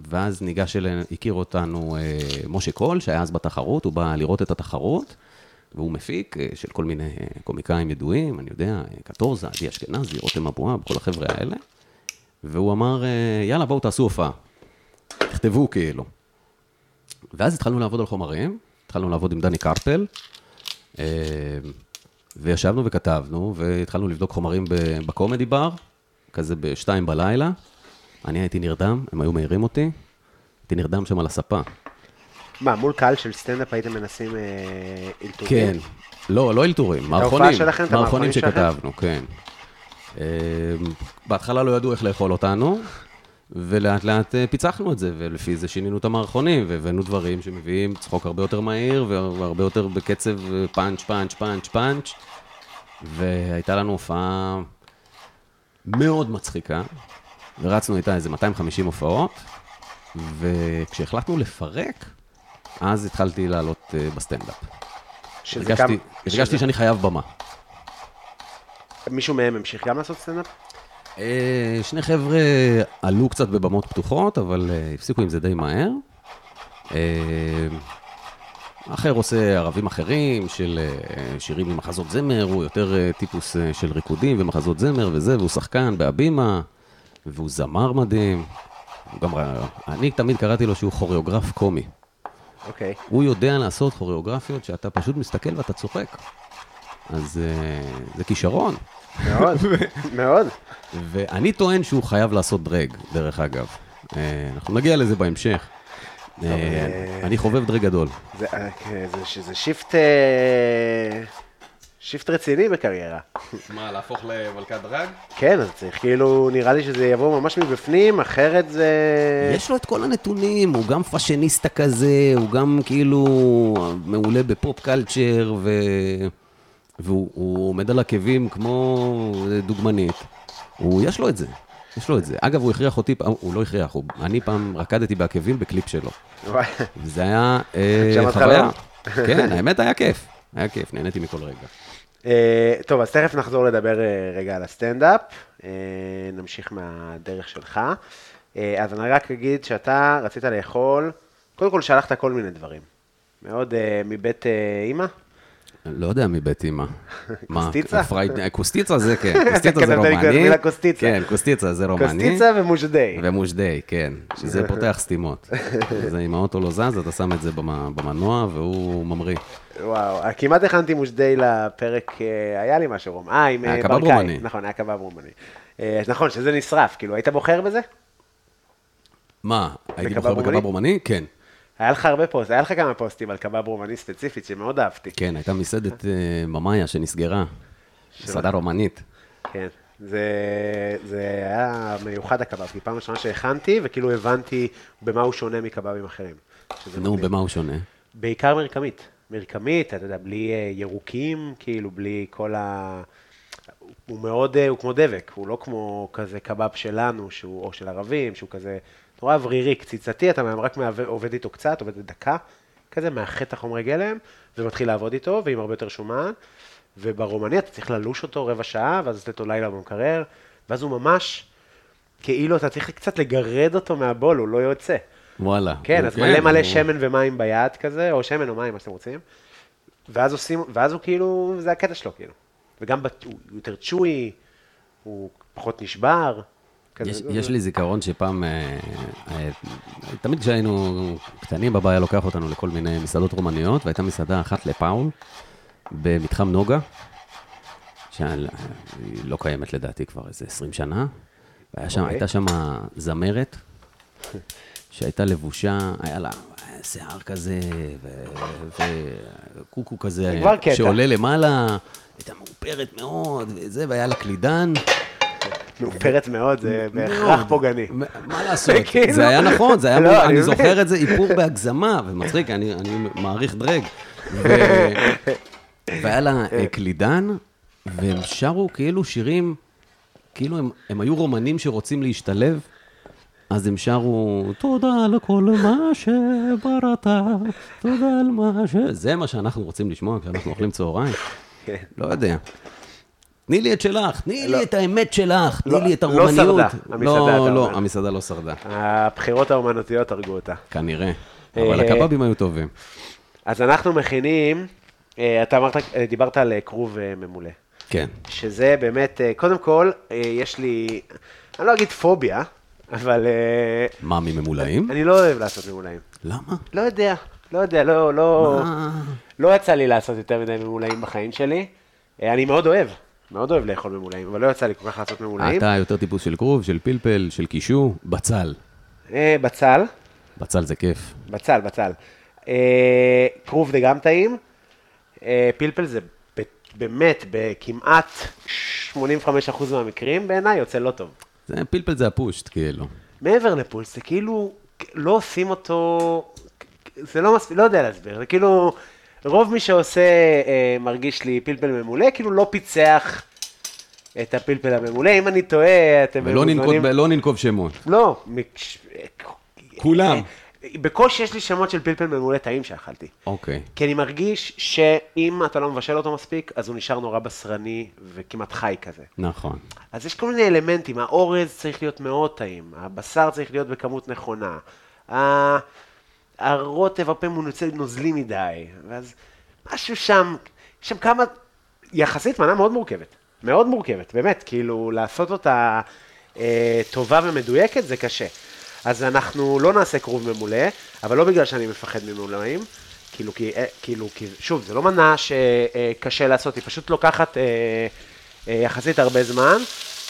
ואז ניגש אלינו, הכיר אותנו אה, משה קול, שהיה אז בתחרות, הוא בא לראות את התחרות, והוא מפיק אה, של כל מיני אה, קומיקאים ידועים, אני יודע, אה, קטורזה, עדי אשכנזי, רותם אבואב, כל החבר'ה האלה, והוא אמר, אה, יאללה, בואו תעשו הופעה. תכתבו כאילו. ואז התחלנו לעבוד על חומרים, התחלנו לעבוד עם דני קרפל, אה, וישבנו וכתבנו, והתחלנו לבדוק חומרים ב- בקומדי בר, כזה בשתיים בלילה. אני הייתי נרדם, הם היו מעירים אותי, הייתי נרדם שם על הספה.
מה, מול קהל של סטנדאפ הייתם מנסים אה, אלתורים?
כן. לא, לא אלתורים, מערכונים.
שלכם, את המערכונים
מערכונים
שלכם?
שכתבנו, כן. אה, בהתחלה לא ידעו איך לאכול אותנו, ולאט לאט אה, פיצחנו את זה, ולפי זה שינינו את המערכונים, והבאנו דברים שמביאים צחוק הרבה יותר מהיר, והרבה יותר בקצב אה, פאנץ', פאנץ', פאנץ', פאנץ', והייתה לנו הופעה מאוד מצחיקה, ורצנו איתה איזה 250 הופעות, וכשהחלטנו לפרק, אז התחלתי לעלות אה, בסטנדאפ.
שזה
הרגשתי,
גם-
הרגשתי שאני חייב במה.
מישהו מהם המשיך גם לעשות סטנדאפ?
אה, שני חבר'ה עלו קצת בבמות פתוחות, אבל אה, הפסיקו עם זה די מהר. אה, אחר עושה ערבים אחרים של אה, שירים למחזות זמר, הוא יותר אה, טיפוס אה, של ריקודים ומחזות זמר וזה, והוא שחקן בהבימה, והוא זמר מדהים. הוא גם, ר- אני תמיד קראתי לו שהוא כוריאוגרף קומי.
אוקיי.
הוא יודע לעשות כוריאוגרפיות שאתה פשוט מסתכל ואתה צוחק. אז אה, זה כישרון.
מאוד, מאוד.
ואני טוען שהוא חייב לעשות דרג, דרך אגב. אה, אנחנו נגיע לזה בהמשך. אה, אני חובב דרג גדול.
זה, אה, כן, זה- שזה שיפט... אה, שיפט רציני בקריירה.
מה, להפוך למלכת דרג?
כן, אז צריך כאילו, נראה לי שזה יבוא ממש מבפנים, אחרת זה... אה,
יש לו את כל הנתונים, הוא גם פאשיניסטה כזה, הוא גם כאילו מעולה בפופ קלצ'ר, ו... והוא הוא עומד על עקבים כמו אה, דוגמנית. הוא, יש לו את זה, יש לו את זה. אגב, הוא הכריח אותי, פעם- הוא לא הכריח, הוא, אני פעם רקדתי בעקבים בקליפ שלו.
וואי,
זה היה אה,
שמעת
חוויה.
חוויה?
כן, האמת היה כיף. היה כיף, נהניתי מכל רגע.
אה, טוב, אז תכף נחזור לדבר אה, רגע על הסטנדאפ. אה, נמשיך מהדרך שלך. אה, אז אני רק אגיד שאתה רצית לאכול, קודם כל שלחת כל מיני דברים. מאוד אה, מבית אה, אימא.
לא יודע מבית אימא. מה,
קוסטיצה?
פרייד- אה, קוסטיצה זה כן, קוסטיצה זה
כתבת לי כבר
רומני.
מילה קוסטיצה.
כן, קוסטיצה זה רומני.
קוסטיצה ומוז'די.
ומושדי, כן, שזה פותח סתימות. זה אם האוטו לא זז, אתה שם את זה במ- במנוע והוא ממריא.
וואו, אה, כמעט הכנתי מושדי לפרק, אה, היה לי משהו רום. אה, עם
היה
אה,
קבב
ברקאי.
רומני.
נכון, היה קבב רומני. אה, אז נכון, שזה נשרף, כאילו, היית בוחר בזה?
מה, הייתי
בקבב
בוחר
רומני?
בקבב רומני? כן.
היה לך הרבה פוסט, היה לך כמה פוסטים על קבב רומני ספציפית, שמאוד אהבתי.
כן, הייתה מסעדת אה, ממאיה שנסגרה. מסעדה רומנית.
כן, זה, זה היה מיוחד הקבב, כי פעם ראשונה שהכנתי, וכאילו הבנתי במה הוא שונה מקבבים אחרים. שזה
נו,
מדהים.
במה הוא שונה?
בעיקר מרקמית. מרקמית, אתה יודע, בלי אה, ירוקים, כאילו, בלי כל ה... הוא מאוד, אה, הוא כמו דבק, הוא לא כמו כזה קבב שלנו, שהוא, או של ערבים, שהוא כזה נורא אוורירי, קציצתי, אתה רק מעבד, עובד איתו קצת, עובד דקה, כזה, מאחד את החומרי גלם, ומתחיל לעבוד איתו, ועם הרבה יותר שומן, וברומני אתה צריך ללוש אותו רבע שעה, ואז לתת אותו לילה במקרר, ואז הוא ממש, כאילו, אתה צריך קצת לגרד אותו מהבול, הוא לא יוצא.
וואלה.
כן,
הוא-
אז מלא מלא
הוא-
שמן ומים ביד כזה, או שמן או מים, מה שאתם רוצים. ואז עושים, ואז הוא כאילו, זה הקטע שלו, כאילו. וגם בת- הוא יותר צ'וי, הוא פחות נשבר, כזה,
יש,
זה-
יש לי זיכרון שפעם, אה, אה, תמיד כשהיינו קטנים, בבא היה לוקח אותנו לכל מיני מסעדות רומניות, והייתה מסעדה אחת לפאול, במתחם נוגה, שהיא לא קיימת לדעתי כבר איזה 20 שנה, והיה שם,
אוקיי.
הייתה שם זמרת, שהייתה לבושה, היה לה שיער כזה, וקוקו כזה,
זה כבר קטע.
שעולה למעלה, הייתה מאופרת מאוד, וזה, והיה לה קלידן.
מאופרת מאוד, זה בהכרח
מאוד.
פוגעני.
מ- מה לעשות?
כאילו-
זה היה נכון, זה היה,
לא,
מ-
אני
אני
מבין.
זוכר את זה איפור בהגזמה, ומצחיק, אני אני מעריך דרג. ו- והיה לה אה, קלידן, והם שרו כאילו שירים, כאילו הם- הם היו רומנים שרוצים להשתלב. אז הם שרו, תודה על כל מה שבראת, תודה על מה ש... זה מה שאנחנו רוצים לשמוע כשאנחנו אוכלים צהריים?
כן.
לא יודע. תני לי את שלך, תני לי את האמת שלך, תני
לא-
לי את
לא
הרומניות.
שרדה, המסעדה, אתה
לא, לא,
אומר.
המסעדה לא שרדה,
הבחירות האומנותיות הרגו אותה.
כנראה.
אה,
אבל הקבבים היו טובים.
אז אנחנו מכינים, אה, אתה אמרת, אה, דיברת על אה, כרוב אה, ממולא.
כן.
שזה באמת, אה, קודם כל, אה, יש לי, אני לא אגיד פוביה, אבל אה,
מה, מממולאים?
אני לא אוהב לעשות ממולאים.
למה? אה.
לא יודע, לא יודע, לא, לא,
מה?
לא יצא לי לעשות יותר מדי ממולאים בחיים שלי. אה, אני מאוד אוהב, מאוד אוהב לאכול ממולאים, אבל לא יצא לי כל כך לעשות ממולאים.
אתה יותר טיפוס של כרוב, של פלפל, של קישור, בצל.
אה, בצל,
בצל זה כיף.
בצל, בצל. אה, כרוב זה גם טעים. אה, פלפל זה ב- באמת, בכמעט 85% מהמקרים, בעיניי יוצא לא טוב.
זה- פלפל זה הפושט, כאילו.
מעבר לפולס, זה כאילו, לא עושים אותו, זה לא מספיק, לא יודע להסביר, זה כאילו, רוב מי שעושה אה, מרגיש לי פלפל ממולא, כאילו לא פיצח את הפלפל הממולא, אם אני טועה, אתם
ולא ננקוב-
מוזמנים-
לא ננקוב שמות.
לא, מקש-
כולם.
אה, בקושי יש לי שמות של פלפל ממולא טעים שאכלתי.
אוקיי.
כי אני מרגיש שאם אתה לא מבשל אותו מספיק, אז הוא נשאר נורא בשרני וכמעט חי כזה.
נכון.
אז יש כל מיני אלמנטים, האורז צריך להיות מאוד טעים, הבשר צריך להיות בכמות נכונה, ה- הרוטב הרבה פעמים הוא יוצא נוזלי מדי, ואז משהו שם, יש שם כמה, יחסית מנה מאוד מורכבת, מאוד מורכבת, באמת, כאילו לעשות אותה אה, טובה ומדויקת זה קשה. אז אנחנו לא נעשה כרוב ממולא, אבל לא בגלל שאני מפחד ממולאים, כאילו, כי, אה, כאילו, כי, שוב, זו לא מנה שקשה לעשות, היא פשוט לוקחת... אה, אה, יחסית הרבה זמן,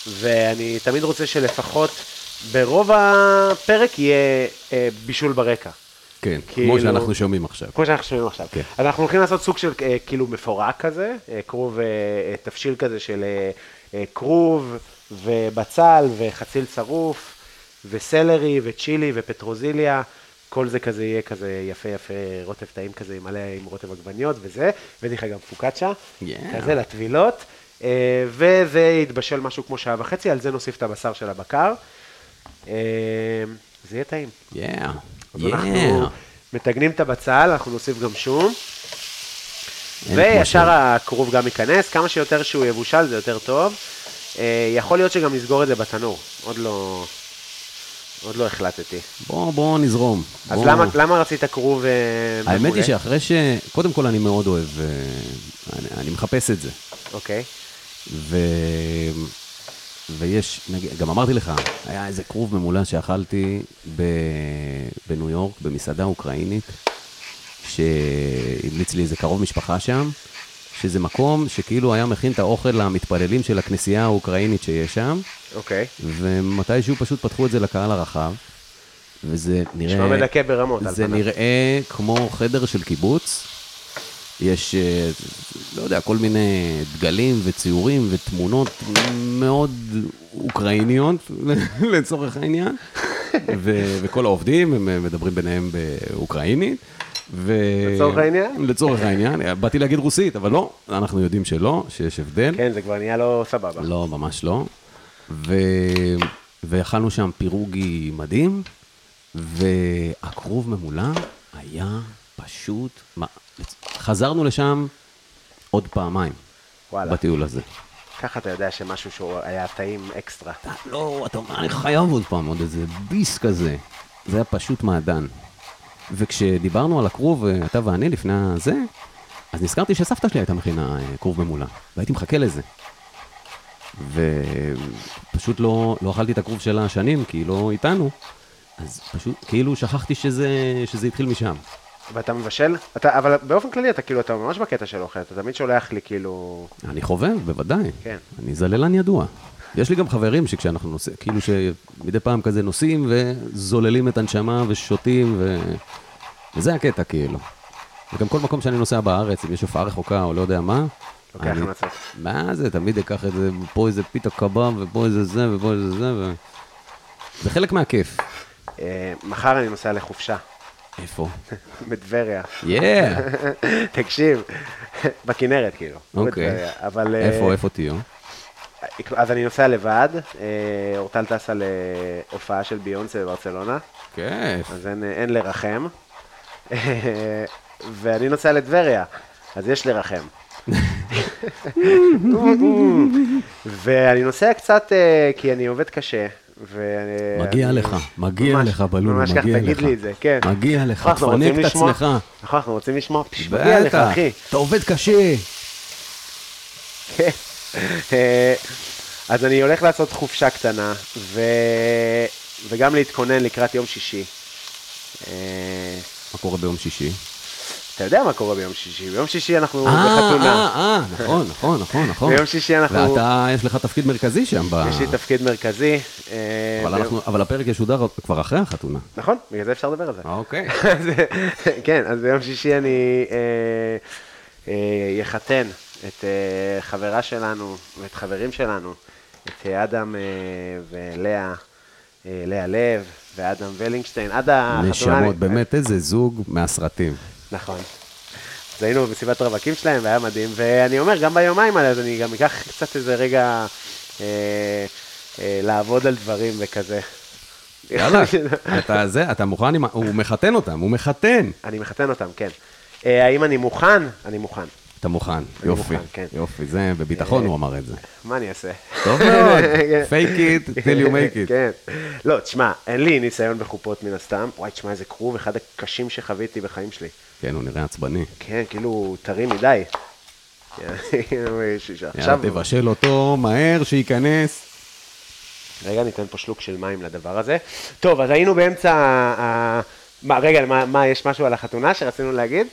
ואני תמיד רוצה שלפחות ברוב הפרק יהיה אה, בישול ברקע.
כן,
כאילו-
כמו שאנחנו שומעים עכשיו.
כמו שאנחנו שומעים עכשיו.
כן.
אז אנחנו הולכים לעשות סוג של אה, כאילו מפורק כזה, אה, כרוב, אה, אה, תבשיל כזה של אה, אה, כרוב ובצל וחציל שרוף וסלרי וצ'ילי ופטרוזיליה, כל זה כזה יהיה כזה יפה יפה, רוטב טעים כזה מלא עם רוטב עגבניות וזה, הבאתי לך גם פוקאצ'ה,
Yeah.
כזה לטבילות, אה, וזה יתבשל משהו כמו שעה וחצי, על זה נוסיף את הבשר של הבקר. אה, זה יהיה טעים.
יאה.
אז אנחנו
יאה.
מתגנים את הבצל, אנחנו נוסיף גם שום,
אין כמו
וישר
שם.
הכרוב גם ייכנס, כמה שיותר שהוא יבושל זה יותר טוב. אה, יכול להיות שגם נסגור את זה בתנור, עוד לא, עוד לא החלטתי.
בוא, בוא נזרום.
אז
בוא.
למה, למה רצית כרוב אה, ממולא?
האמת היא שאחרי ש... קודם כל, אני מאוד אוהב... אה, אני, אני מחפש את זה.
אוקיי,
ו... ויש, נגיד, גם אמרתי לך, היה איזה כרוב ממולא שאכלתי ב... בניו יורק, במסעדה אוקראינית, שהמליץ לי איזה קרוב משפחה שם, שזה מקום שכאילו היה מכין את האוכל למתפללים של הכנסייה האוקראינית שיש שם,
אוקיי.
ומתישהו פשוט פתחו את זה לקהל הרחב, וזה נראה...
נשמע מדכא ברמות, על
זה
פניו.
נראה כמו חדר של קיבוץ. יש, אה, לא יודע, כל מיני דגלים וציורים ותמונות מאוד אוקראיניות, לצורך העניין. ו- וכל העובדים, הם מדברים ביניהם באוקראינית. ו...
לצורך העניין?
לצורך העניין. באתי להגיד רוסית, אבל לא, אנחנו יודעים שלא, שיש הבדל.
כן, זה כבר נהיה לא סבבה.
לא, ממש לא. ו... ואכלנו שם פירוגי מדהים, והכרוב ממולא היה פשוט... מה- חזרנו לשם עוד פעמיים
וואלה.
בטיול הזה.
ככה אתה יודע שמשהו שהוא היה טעים אקסטרה.
אתה לא, אתה אומר, אני חייב עוד פעם עוד איזה ביס כזה. זה היה פשוט מעדן. וכשדיברנו על הכרוב, אה, אתה ואני, לפני הזה, אז נזכרתי שסבתא שלי הייתה מכינה אה, כרוב ממולא, והייתי מחכה לזה. ופשוט לא, לא אכלתי את הכרוב שלה שנים, כי היא לא איתנו, אז פשוט כאילו שכחתי שזה, שזה התחיל משם.
ואתה מבשל? אתה, אבל באופן כללי אתה כאילו, אתה ממש בקטע של אוכל, אתה תמיד שולח לי כאילו...
אני חובב, בוודאי.
כן.
אני זללן ידוע. יש לי גם חברים שכשאנחנו נוסעים, כאילו שמדי פעם כזה נוסעים וזוללים את הנשמה ושותים, ו... וזה הקטע כאילו. וגם כל מקום שאני נוסע בארץ, אם יש הופעה רחוקה או לא יודע מה,
לוקח
אני-
המלצות.
מה זה, תמיד אקח את זה, פה איזה פיתה קבב, ופה איזה זה, ופה איזה זה, ו... זה חלק מהכיף.
אה, מחר אני נוסע לחופשה,
איפה?
בטבריה.
יאה!
תקשיב, בכנרת כאילו. לא
אוקיי.
בטבריה, אבל... אה,
איפה, איפה תהיו?
אז אני נוסע לבד, אה, אורטל טסה להופעה של ביונסה בברצלונה,
כיף.
אז אין, אה, אין לרחם. אה, ואני נוסע לטבריה, אז יש לרחם. ואני נוסע קצת, אה, כי אני עובד קשה. ואני-
מגיע
אני-
לך, מגיע
ממש-
לך, בלול,
ממש
מגיע
ככה, תגיד
לך.
לי את זה, כן.
מגיע לך,
נכון, אנחנו
תפנק
רוצים
את
לשמוע-
עצמך.
נכון, אנחנו רוצים לשמוע, פש, מגיע לך,
בטח,
אחי.
אתה עובד קשה.
כן. אה, אז אני הולך לעשות חופשה קטנה, ו... וגם להתכונן לקראת יום שישי. אה,
מה קורה ביום שישי?
אתה יודע מה קורה ביום שישי, ביום שישי אנחנו
אה,
בחתונה.
אה, נכון, נכון, נכון, נכון.
ביום שישי אנחנו-
ואתה, יש לך תפקיד מרכזי שם ב...
יש לי תפקיד מרכזי. אה,
אה. אבל
ביום-
אנחנו- אבל הפרק ישודר כבר אחרי החתונה.
נכון, בגלל זה אפשר לדבר על זה.
אוקיי.
אז, כן, אז ביום שישי אני אה, אה, יחתן את אה, חברה שלנו ואת חברים שלנו, את אה, אדם אה, ולאה, אה, לאה לב ואדם ולינגשטיין, עד החתונה.
נשמות, באמת, איזה זוג מהסרטים.
נכון. אז היינו במסיבת רווקים שלהם, והיה מדהים, ואני אומר, גם ביומיים האלה, אז אני גם אקח קצת איזה רגע אה, אה, לעבוד על דברים וכזה.
יאללה, אתה זה, אתה מוכן עם ה... הוא מחתן אותם, הוא מחתן.
אני מחתן אותם, כן. אה, האם אני מוכן? אני מוכן.
אתה מוכן, יופי,
מוכן, כן. אה,
יופי, זה, בביטחון הוא אמר את זה.
מה אני אעשה?
טוב מאוד,
כן.
fake it till you make it.
כן. לא, תשמע, אין לי ניסיון בחופות מן הסתם. וואי, תשמע, איזה כרוב, אחד הקשים שחוויתי בחיים שלי.
כן, הוא נראה עצבני.
כן, כאילו, טרי מדי. ש-
יאללה,
עכשיו,
תבשל אותו מהר, שייכנס.
רגע, ניתן פה שלוק של מים לדבר הזה. טוב, אז היינו באמצע ה... ה- מה, רגע, מה, מה, יש משהו על החתונה שרצינו להגיד?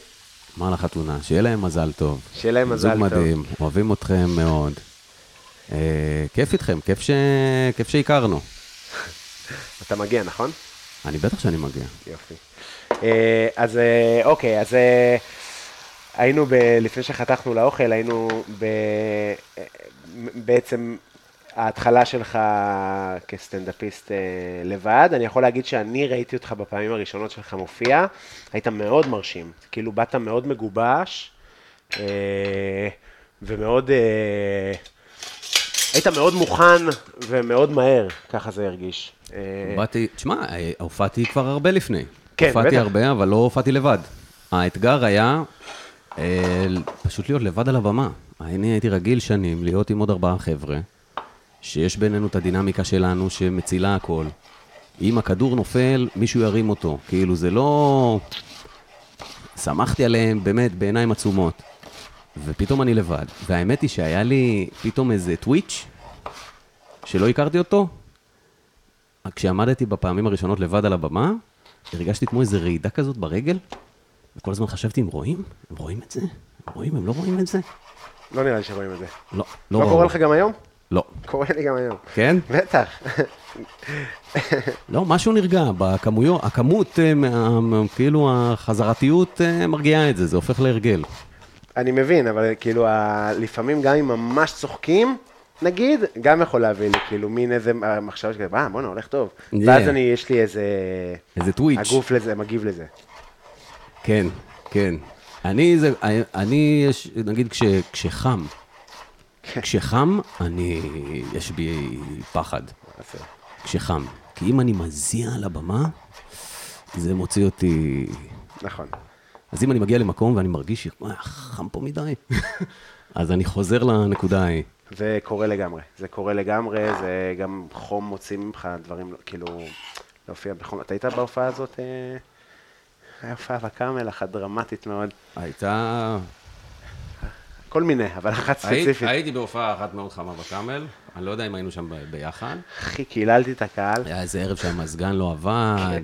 מה על החתונה? שיהיה להם מזל טוב.
שיהיה להם מזל טוב.
זוג מדהים, אוהבים אתכם מאוד. אה, כיף איתכם, כיף ש- כיף שהכרנו.
אתה מגיע, נכון?
אני בטח שאני מגיע.
יופי. אה, אז אה, אוקיי, אז אה, היינו, ב, לפני שחתכנו לאוכל, היינו ב, אה, בעצם ההתחלה שלך כסטנדאפיסט אה, לבד. אני יכול להגיד שאני ראיתי אותך בפעמים הראשונות שלך מופיע, היית מאוד מרשים. כאילו, באת מאוד מגובש, אה, ומאוד... אה, היית מאוד מוכן ומאוד מהר, ככה זה הרגיש. אה,
באתי, תשמע, אה, הופעתי כבר הרבה לפני.
כן,
הופעתי
בטח.
הרבה, אבל לא הופעתי לבד. האתגר היה אה, פשוט להיות לבד על הבמה. אני הייתי רגיל שנים להיות עם עוד ארבעה חבר'ה, שיש בינינו את הדינמיקה שלנו שמצילה הכל. אם הכדור נופל, מישהו ירים אותו. כאילו, זה לא... שמחתי עליהם באמת בעיניים עצומות. ופתאום אני לבד. והאמת היא שהיה לי פתאום איזה טוויץ' שלא הכרתי אותו, כשעמדתי בפעמים הראשונות לבד על הבמה, הרגשתי כמו איזו רעידה כזאת ברגל, וכל הזמן חשבתי, הם רואים? הם רואים את זה? הם רואים? הם לא רואים את זה?
לא נראה לי שרואים את זה.
לא, לא
לא
ראו.
קורה לך גם היום?
לא.
קורה לי גם היום.
כן?
בטח.
לא, משהו נרגע, בכמויות, הכמות, אה, מה- מה- כאילו החזרתיות אה, מרגיעה את זה, זה הופך להרגל.
אני מבין, אבל כאילו, ה- לפעמים גם אם ממש צוחקים, נגיד, גם יכול להביא לי, כאילו, מין איזה אה, מחשבה שכזה, אה, בואנה, הולך טוב.
Yeah.
ואז אני, יש לי איזה...
איזה טוויץ'.
הגוף לזה, מגיב לזה.
כן, כן. אני, זה, אני יש, נגיד, כש, כשחם,
כן.
כשחם, אני, יש בי פחד.
אז, אה,
כשחם. כי אם אני מזיע על הבמה, זה מוציא אותי...
נכון.
אז אם אני מגיע למקום ואני מרגיש ש"וואה, חם פה מדי, אז אני חוזר לנקודה ההיא.
זה קורה לגמרי. זה קורה לגמרי, זה גם חום מוציא ממך דברים, לא- כאילו, להופיע בחום. אתה היית בהופעה הזאת? אה, היה הופעה בקאמל, אחת דרמטית מאוד.
הייתה...
כל מיני, אבל אחת
היית-
ספציפית.
הייתי בהופעה אחת מאוד חמה בקאמל, אני לא יודע אם היינו שם ב- ביחד.
אחי, קיללתי את הקהל.
היה איזה ערב שהמזגן לא עבד.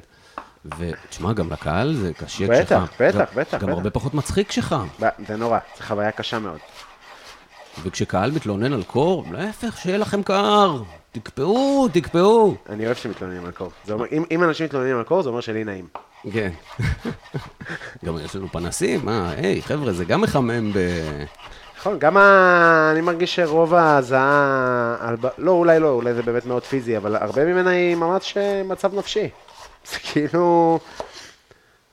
ותשמע, גם לקהל זה קשה
בטח,
כשחם.
בטח,
גם-
בטח,
גם
בטח.
הרבה פחות מצחיק כשחם.
ב- זה נורא, זו חוויה קשה מאוד.
וכשקהל מתלונן על קור, להפך, שיהיה לכם קר. תקפאו, תקפאו.
אני אוהב שמתלוננים על קור. זה אומר- אם אם אנשים מתלוננים על קור, זה אומר שלי נעים.
כן. גם יש לנו פנסים, אה, היי, חבר'ה, זה גם מחמם ב...
נכון, גם ה... אני מרגיש שרוב ההזעה, על... ב- לא, אולי לא, אולי זה באמת מאוד פיזי, אבל הרבה ממנה היא ממש אה, מצב נפשי. זה כאילו,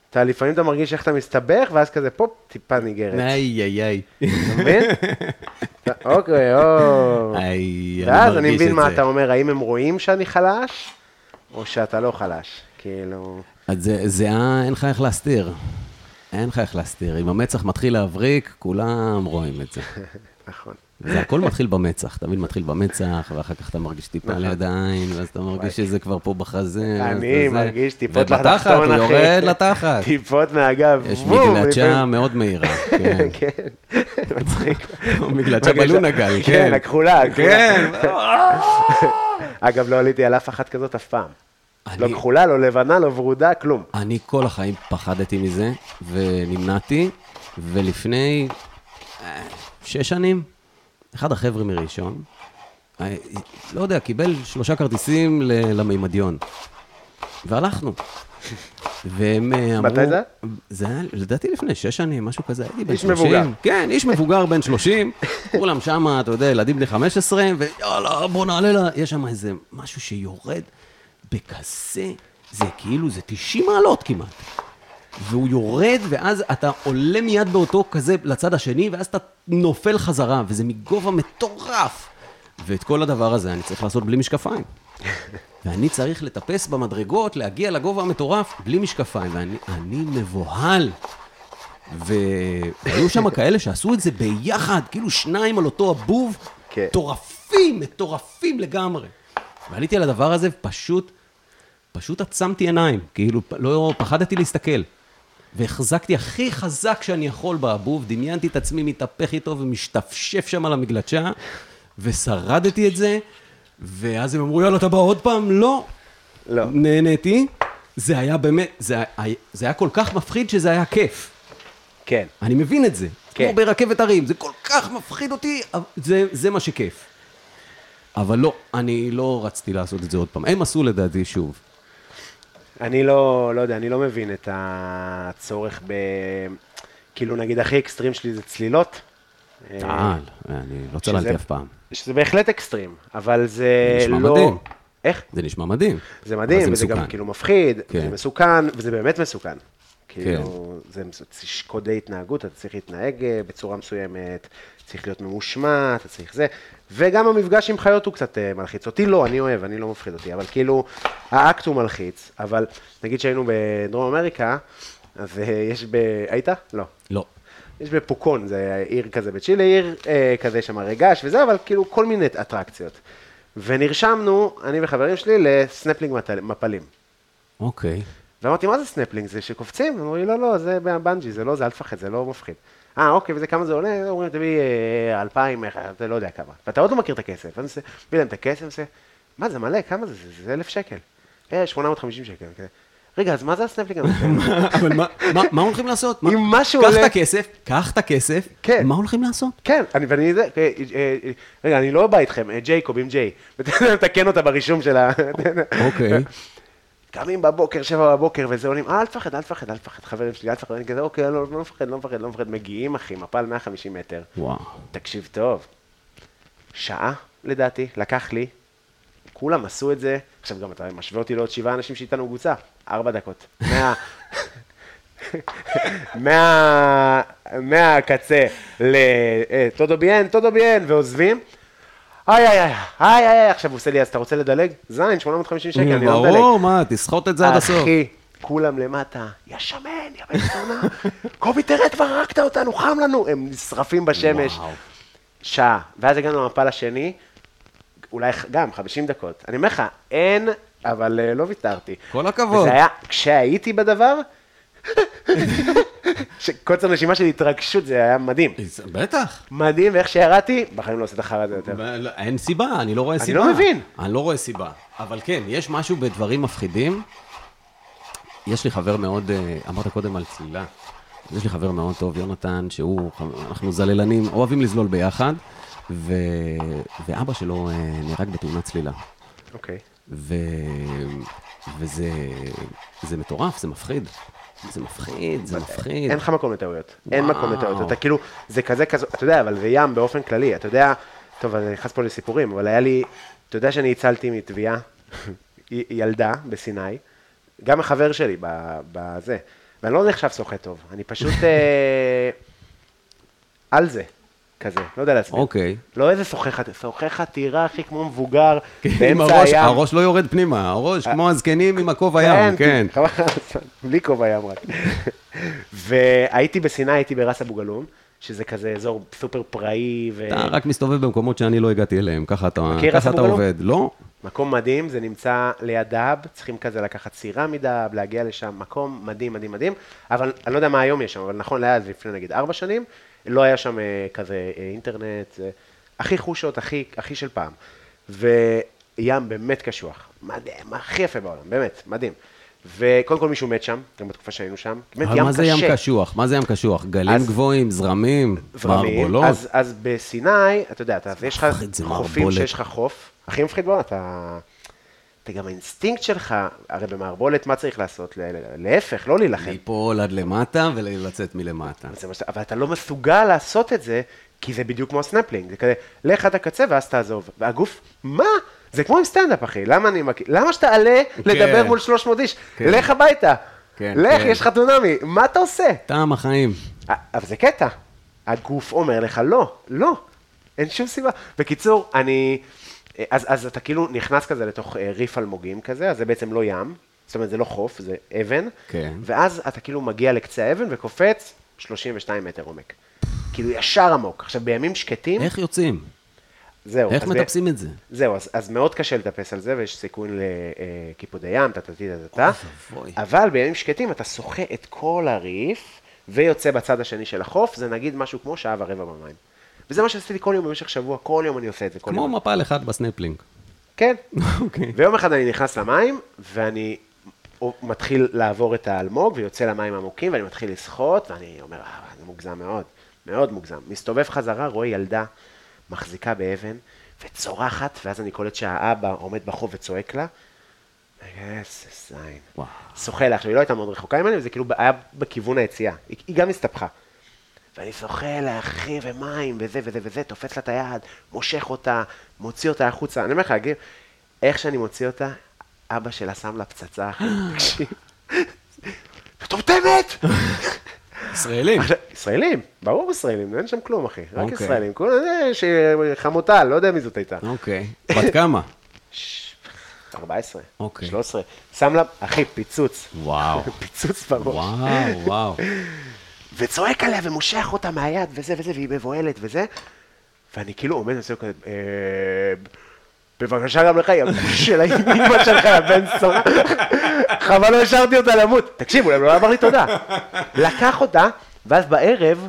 אתה לפעמים אתה מרגיש איך אתה מסתבך, ואז כזה פופ, טיפה ניגרת.
איי, איי, איי.
אתה מבין? אתה-
אה.
אוקיי, או...
איי,
ואז אני
אה, לא מרגיש
מבין
את
מה
זה.
אתה אומר, האם הם רואים שאני חלש, או שאתה לא חלש. כאילו,
אז זה, זה אה, אין לך איך להסתיר. אין לך איך להסתיר. אם המצח מתחיל להבריק, כולם רואים את זה.
נכון.
זה הכל מתחיל במצח, אתה מבין? מתחיל במצח, ואחר כך אתה מרגיש
נכון.
טיפה ליד העין, ואז אתה מרגיש שזה כבר פה בחזה. ואז אתה
אני
זה.
מרגיש טיפות לתחתון, אחי.
ובתחת, הוא יורד לתחת.
טיפות מהגב.
יש
בום,
מגלצ'ה
לפעמים-
מאוד מהירה, כן.
כן, מצחיק.
מגלצ'ה בלונה גל, כן.
כן, הכחולה, הכחולה.
כן.
אגב, לא עליתי על אף אחת כזאת אף פעם. לא
אני-
כחולה, לא לבנה, לא ורודה, כלום.
אני כל החיים פחדתי מזה, ונמנעתי, ולפני אה, שש שנים, אחד החבר'ה מראשון, אה, לא יודע, קיבל שלושה כרטיסים ל- למימדיון, והלכנו. והם אה, אמרו...
מתי זה
זה היה, לדעתי לפני שש שנים, משהו כזה, הייתי בן
איש
30.
מבוגר.
כן, איש מבוגר בן 30, כולם שמה, אתה יודע, ילדים בני 15, ויאללה, בוא נעלה לה. יש שם איזה משהו שיורד בכזה, זה כאילו, זה 90 מעלות כמעט. והוא יורד, ואז אתה עולה מיד באותו כזה לצד השני, ואז אתה נופל חזרה, וזה מגובה מטורף. ואת כל הדבר הזה אני צריך לעשות בלי משקפיים. ואני צריך לטפס במדרגות, להגיע לגובה המטורף, בלי משקפיים, ואני אני מבוהל. והיו שם כאלה שעשו את זה ביחד, כאילו שניים על אותו הבוב,
כן.
מטורפים, מטורפים לגמרי. ועליתי על הדבר הזה, ופשוט, פשוט עצמתי עיניים, כאילו, פ- לא, פחדתי להסתכל. והחזקתי הכי חזק שאני יכול באבוב, דמיינתי את עצמי מתהפך איתו ומשתפשף שם על המגלשה, ושרדתי את זה, ואז הם אמרו, יאללה, אתה בא עוד פעם? לא.
לא.
נהניתי. זה היה באמת, זה, היה- זה היה כל כך מפחיד שזה היה כיף.
כן.
אני מבין את זה.
כן.
כן. כמו ברכבת הרים, זה כל כך מפחיד אותי, אבל זה, זה מה שכיף. אבל לא, אני לא רציתי לעשות את זה עוד פעם. הם עשו לדעתי שוב.
אני לא, לא יודע, אני לא מבין את הצורך ב... כאילו, נגיד, הכי אקסטרים שלי זה צלילות.
טעל, אני לא צללתי
אה. שזה-
אף פעם.
שזה בהחלט אקסטרים, אבל זה
זה
לא...
נשמע מדהים.
איך?
זה נשמע מדהים.
זה
אבל
מדהים, וזה
מסוכן.
גם כאילו מפחיד,
כן.
זה מסוכן, וזה באמת מסוכן. כאילו, זה מס- יש קודי התנהגות, אתה צריך להתנהג אה, בצורה מסוימת, צריך להיות ממושמע, אתה צריך זה, וגם המפגש עם חיות הוא קצת אה, מלחיץ. אותי לא, אני אוהב, אני לא מפחיד אותי, אבל כאילו, האקט הוא מלחיץ, אבל נגיד שהיינו בדרום אמריקה, אז אה, יש ב... היית? לא.
לא.
יש בפוקון, זה עיר כזה בצ'ילה, עיר אה, כזה שם הרי געש וזה, אבל כאילו כל מיני אטרקציות. ונרשמנו, אני וחברים שלי, לסנפלינג מטל- מפלים.
אוקיי.
ואמרתי, מה זה סנפלינג? זה שקופצים? אמרו לי, לא, לא, זה בנג'י, זה לא, זה אל תפחד, זה לא מפחיד. אה, אוקיי, וזה כמה זה עולה? אומרים, תביא אה, 2,000, אה, אתה לא יודע כמה. ואתה עוד לא מכיר את הכסף. אז אני מביא להם את הכסף, זה, מה זה מלא, כמה זה? זה- זה 1,000 שקל. אה, 850 שקל. כזה. רגע, אז מה זה הסנפלינג הזה?
אבל מה- מה- מה הולכים לעשות? מה-
אם משהו
קח
עולה-
את הכסף, קח את הכסף,
כן.
מה הולכים לעשות?
כן, אני, ואני, זה, אה, אה, אה, רגע, אני לא בא איתכם, אה, ג'ייקוב עם ג'יי. מתקן אותה ברישום של ה...
אוקיי.
קמים בבוקר, שבע בבוקר, וזה עונים, אה, אל תפחד, אל תפחד, אל תפחד, חברים שלי, אל תפחד, אני כזה, אוקיי, לא, לא מפחד, לא מפחד, לא מפחד, מגיעים, אחי, מפל 150 מטר.
וואו.
תקשיב טוב, שעה, לדעתי, לקח לי, כולם עשו את זה, עכשיו גם אתה משווה אותי לעוד שבעה אנשים שאיתנו קבוצה, ארבע דקות. מה... מה... מהקצה לטודו ביאן, אה, טודו ביאן, ועוזבים. איי איי איי, איי איי, איי, עכשיו הוא עושה לי, אז אתה רוצה לדלג? זין, 850 שקל, אני לא מדלג.
ברור, מה, תסחוט את זה עד הסוף.
אחי, כולם למטה, יא שמן, יא בן זונה, קובי תראה כבר הרגת אותנו, חם לנו, הם נשרפים בשמש.
וואו.
שעה, ואז הגענו למפל השני, אולי גם 50 דקות. אני אומר לך, אין, אבל אה, לא ויתרתי.
כל הכבוד.
וזה היה, כשהייתי בדבר, שקוצר נשימה של התרגשות, זה היה מדהים.
בטח.
מדהים, ואיך שירדתי, בחיים לא עושה את החרא הזה יותר.
אבל אין סיבה, אני לא רואה סיבה.
לא מבין.
אני לא רואה סיבה. אבל כן, יש משהו בדברים מפחידים. יש לי חבר מאוד, אה, אמרת קודם על צלילה. אז יש לי חבר מאוד טוב, יונתן, שהוא, אנחנו זללנים, אוהבים לזלול ביחד, ו... ואבא שלו אה, נהרג בתאונת צלילה.
אוקיי.
ו... וזה זה מטורף, זה מפחיד. זה מפחיד, זה מפחיד.
אין לך מקום לטעויות. אין
וואו.
מקום לטעויות. אתה כאילו, זה כזה כזה, אתה יודע, אבל זה ים באופן כללי. אתה יודע, טוב, אני נכנס פה לסיפורים, אבל היה לי, אתה יודע שאני הצלתי מתביעה, י- ילדה בסיני, גם החבר שלי ב- בזה. ואני לא נחשב שוחה טוב, אני פשוט אה, על זה, כזה, לא יודע להסביר.
אוקיי.
לא איזה שוחה חתירה, שוחה חתירה, אחי, כמו מבוגר,
כן, עם
באמצע
הראש,
הים. אה,
הראש לא יורד פנימה, הראש כמו הזקנים עם הכובע ים, כן.
חבל על הזמן, בלי כובע ים רק. והייתי בסיני, הייתי בראס אבו גלום, שזה כזה אזור סופר פראי,
אתה רק מסתובב במקומות שאני לא הגעתי אליהם, ככה אתה,
מכיר
ככה
אסבו
אתה
גלום?
עובד. לא?
ומקום מדהים, זה נמצא ליד דהב, צריכים כזה לקחת סירה מדהב, להגיע לשם, מקום מדהים, מדהים, מדהים, אבל אני לא יודע מה היום יש שם, אבל נכון, היה זה לפני נגיד ארבע שנים, לא היה שם אה, כזה אה, אינטרנט, אה, הכי חושות, הכי, הכי של פעם. וים באמת קשוח, מדהים, הכי יפה בעולם, באמת, מדהים. וקודם כל מישהו מת שם, גם בתקופה שהיינו שם, באמת
אבל
ים קשה.
מה זה ים קשוח? מה זה ים קשוח? גלים
אז-
גבוהים, זרמים,
זרמים.
מערבולות?
אז, אז בסיני, אתה יודע, אתה, יש לך
מפחיד, זה
חופים
מערבולת.
שיש לך חוף, הכי מפחיד בעולם, אתה... אתה גם האינסטינקט שלך, הרי במערבולת מה צריך לעשות? ל- ל- להפך, לא להילחם.
ליפול עד למטה ולצאת מלמטה.
זה מה שאתה- אבל אתה לא מסוגל לעשות את זה, כי זה בדיוק כמו הסנפלינג, זה כזה, לך עד הקצה ואז תעזוב. והגוף, מה? זה כמו עם סטנדאפ, אחי, למה אני מכיר? למה שתעלה לדבר
כן.
מול 300 איש?
כן.
לך הביתה.
כן,
לך,
כן.
יש לך דונמי, מה אתה עושה?
טעם החיים.
אה, אבל זה קטע. הגוף אומר לך, לא, לא, אין שום סיבה. בקיצור, אני... אה, אז, אז אתה כאילו נכנס כזה לתוך אה, ריף אלמוגים כזה, אז זה בעצם לא ים, זאת אומרת, זה לא חוף, זה אבן,
כן.
ואז אתה כאילו מגיע לקצה האבן וקופץ 32 מטר עומק. כאילו ישר עמוק. עכשיו, בימים שקטים,
איך יוצאים?
זהו.
איך
אז
מטפסים את זה?
זהו, אז, אז מאוד קשה לטפס על זה, ויש סיכון אה, לקיפודי ים, טה-טה-טה-טה-טה.
אוי ואבוי.
אבל בימים שקטים אתה שוחה את כל הריף, ויוצא בצד השני של החוף, זה נגיד משהו כמו שעה ורבע במים. וזה מה שעשיתי כל יום במשך שבוע, כל יום אני עושה את זה. כל
כמו
יום.
מפל אחד בסנפלינג.
כן.
אוקיי.
ויום אחד אני נכנס למים, ואני מתחיל לעבור את האלמוג, ויוצא למים עמוקים, ואני מתחיל לשחות, ואני אומר, אה, זה מוגזם מאוד, מאוד מוגזם. מסתובב חזרה, רואה ילדה מחזיקה באבן, וצורחת, ואז אני קולט שהאבא עומד בחוף וצועק לה, איזה זין.
וואו.
שוחה לה, עכשיו היא לא הייתה מאוד רחוקה ממני, וזה כאילו היה בכיוון היציאה, היא, היא גם הסתבכה. ואני שוחה לה, אחי, ומים, וזה וזה וזה, תופס לה את היד, מושך אותה, מוציא אותה החוצה. אני אומר לך, להגיד, איך שאני מוציא אותה, אבא שלה שם לה פצצה, אחי, תקשיב. מטומטמת!
ישראלים.
עכשיו, ישראלים, ברור ישראלים, אין שם כלום, אחי. רק
אוקיי.
ישראלים. כולם, אה, ש- חמוטל, לא יודע מי זאת הייתה.
אוקיי. בת כמה?
ש- 14,
אוקיי.
13. שם לה, אחי, פיצוץ.
וואו.
פיצוץ בראש.
וואו, וואו.
וצועק עליה ומושך אותה מהיד, וזה וזה, והיא מבוהלת וזה. ואני כאילו עומד ועושה כזה, אה, בבקשה גם לך, יא של האימא שלך, יא בן סורה. חבל לא השארתי אותה למות. תקשיב, אולי הוא לא אמר לי תודה. לקח אותה, ואז בערב,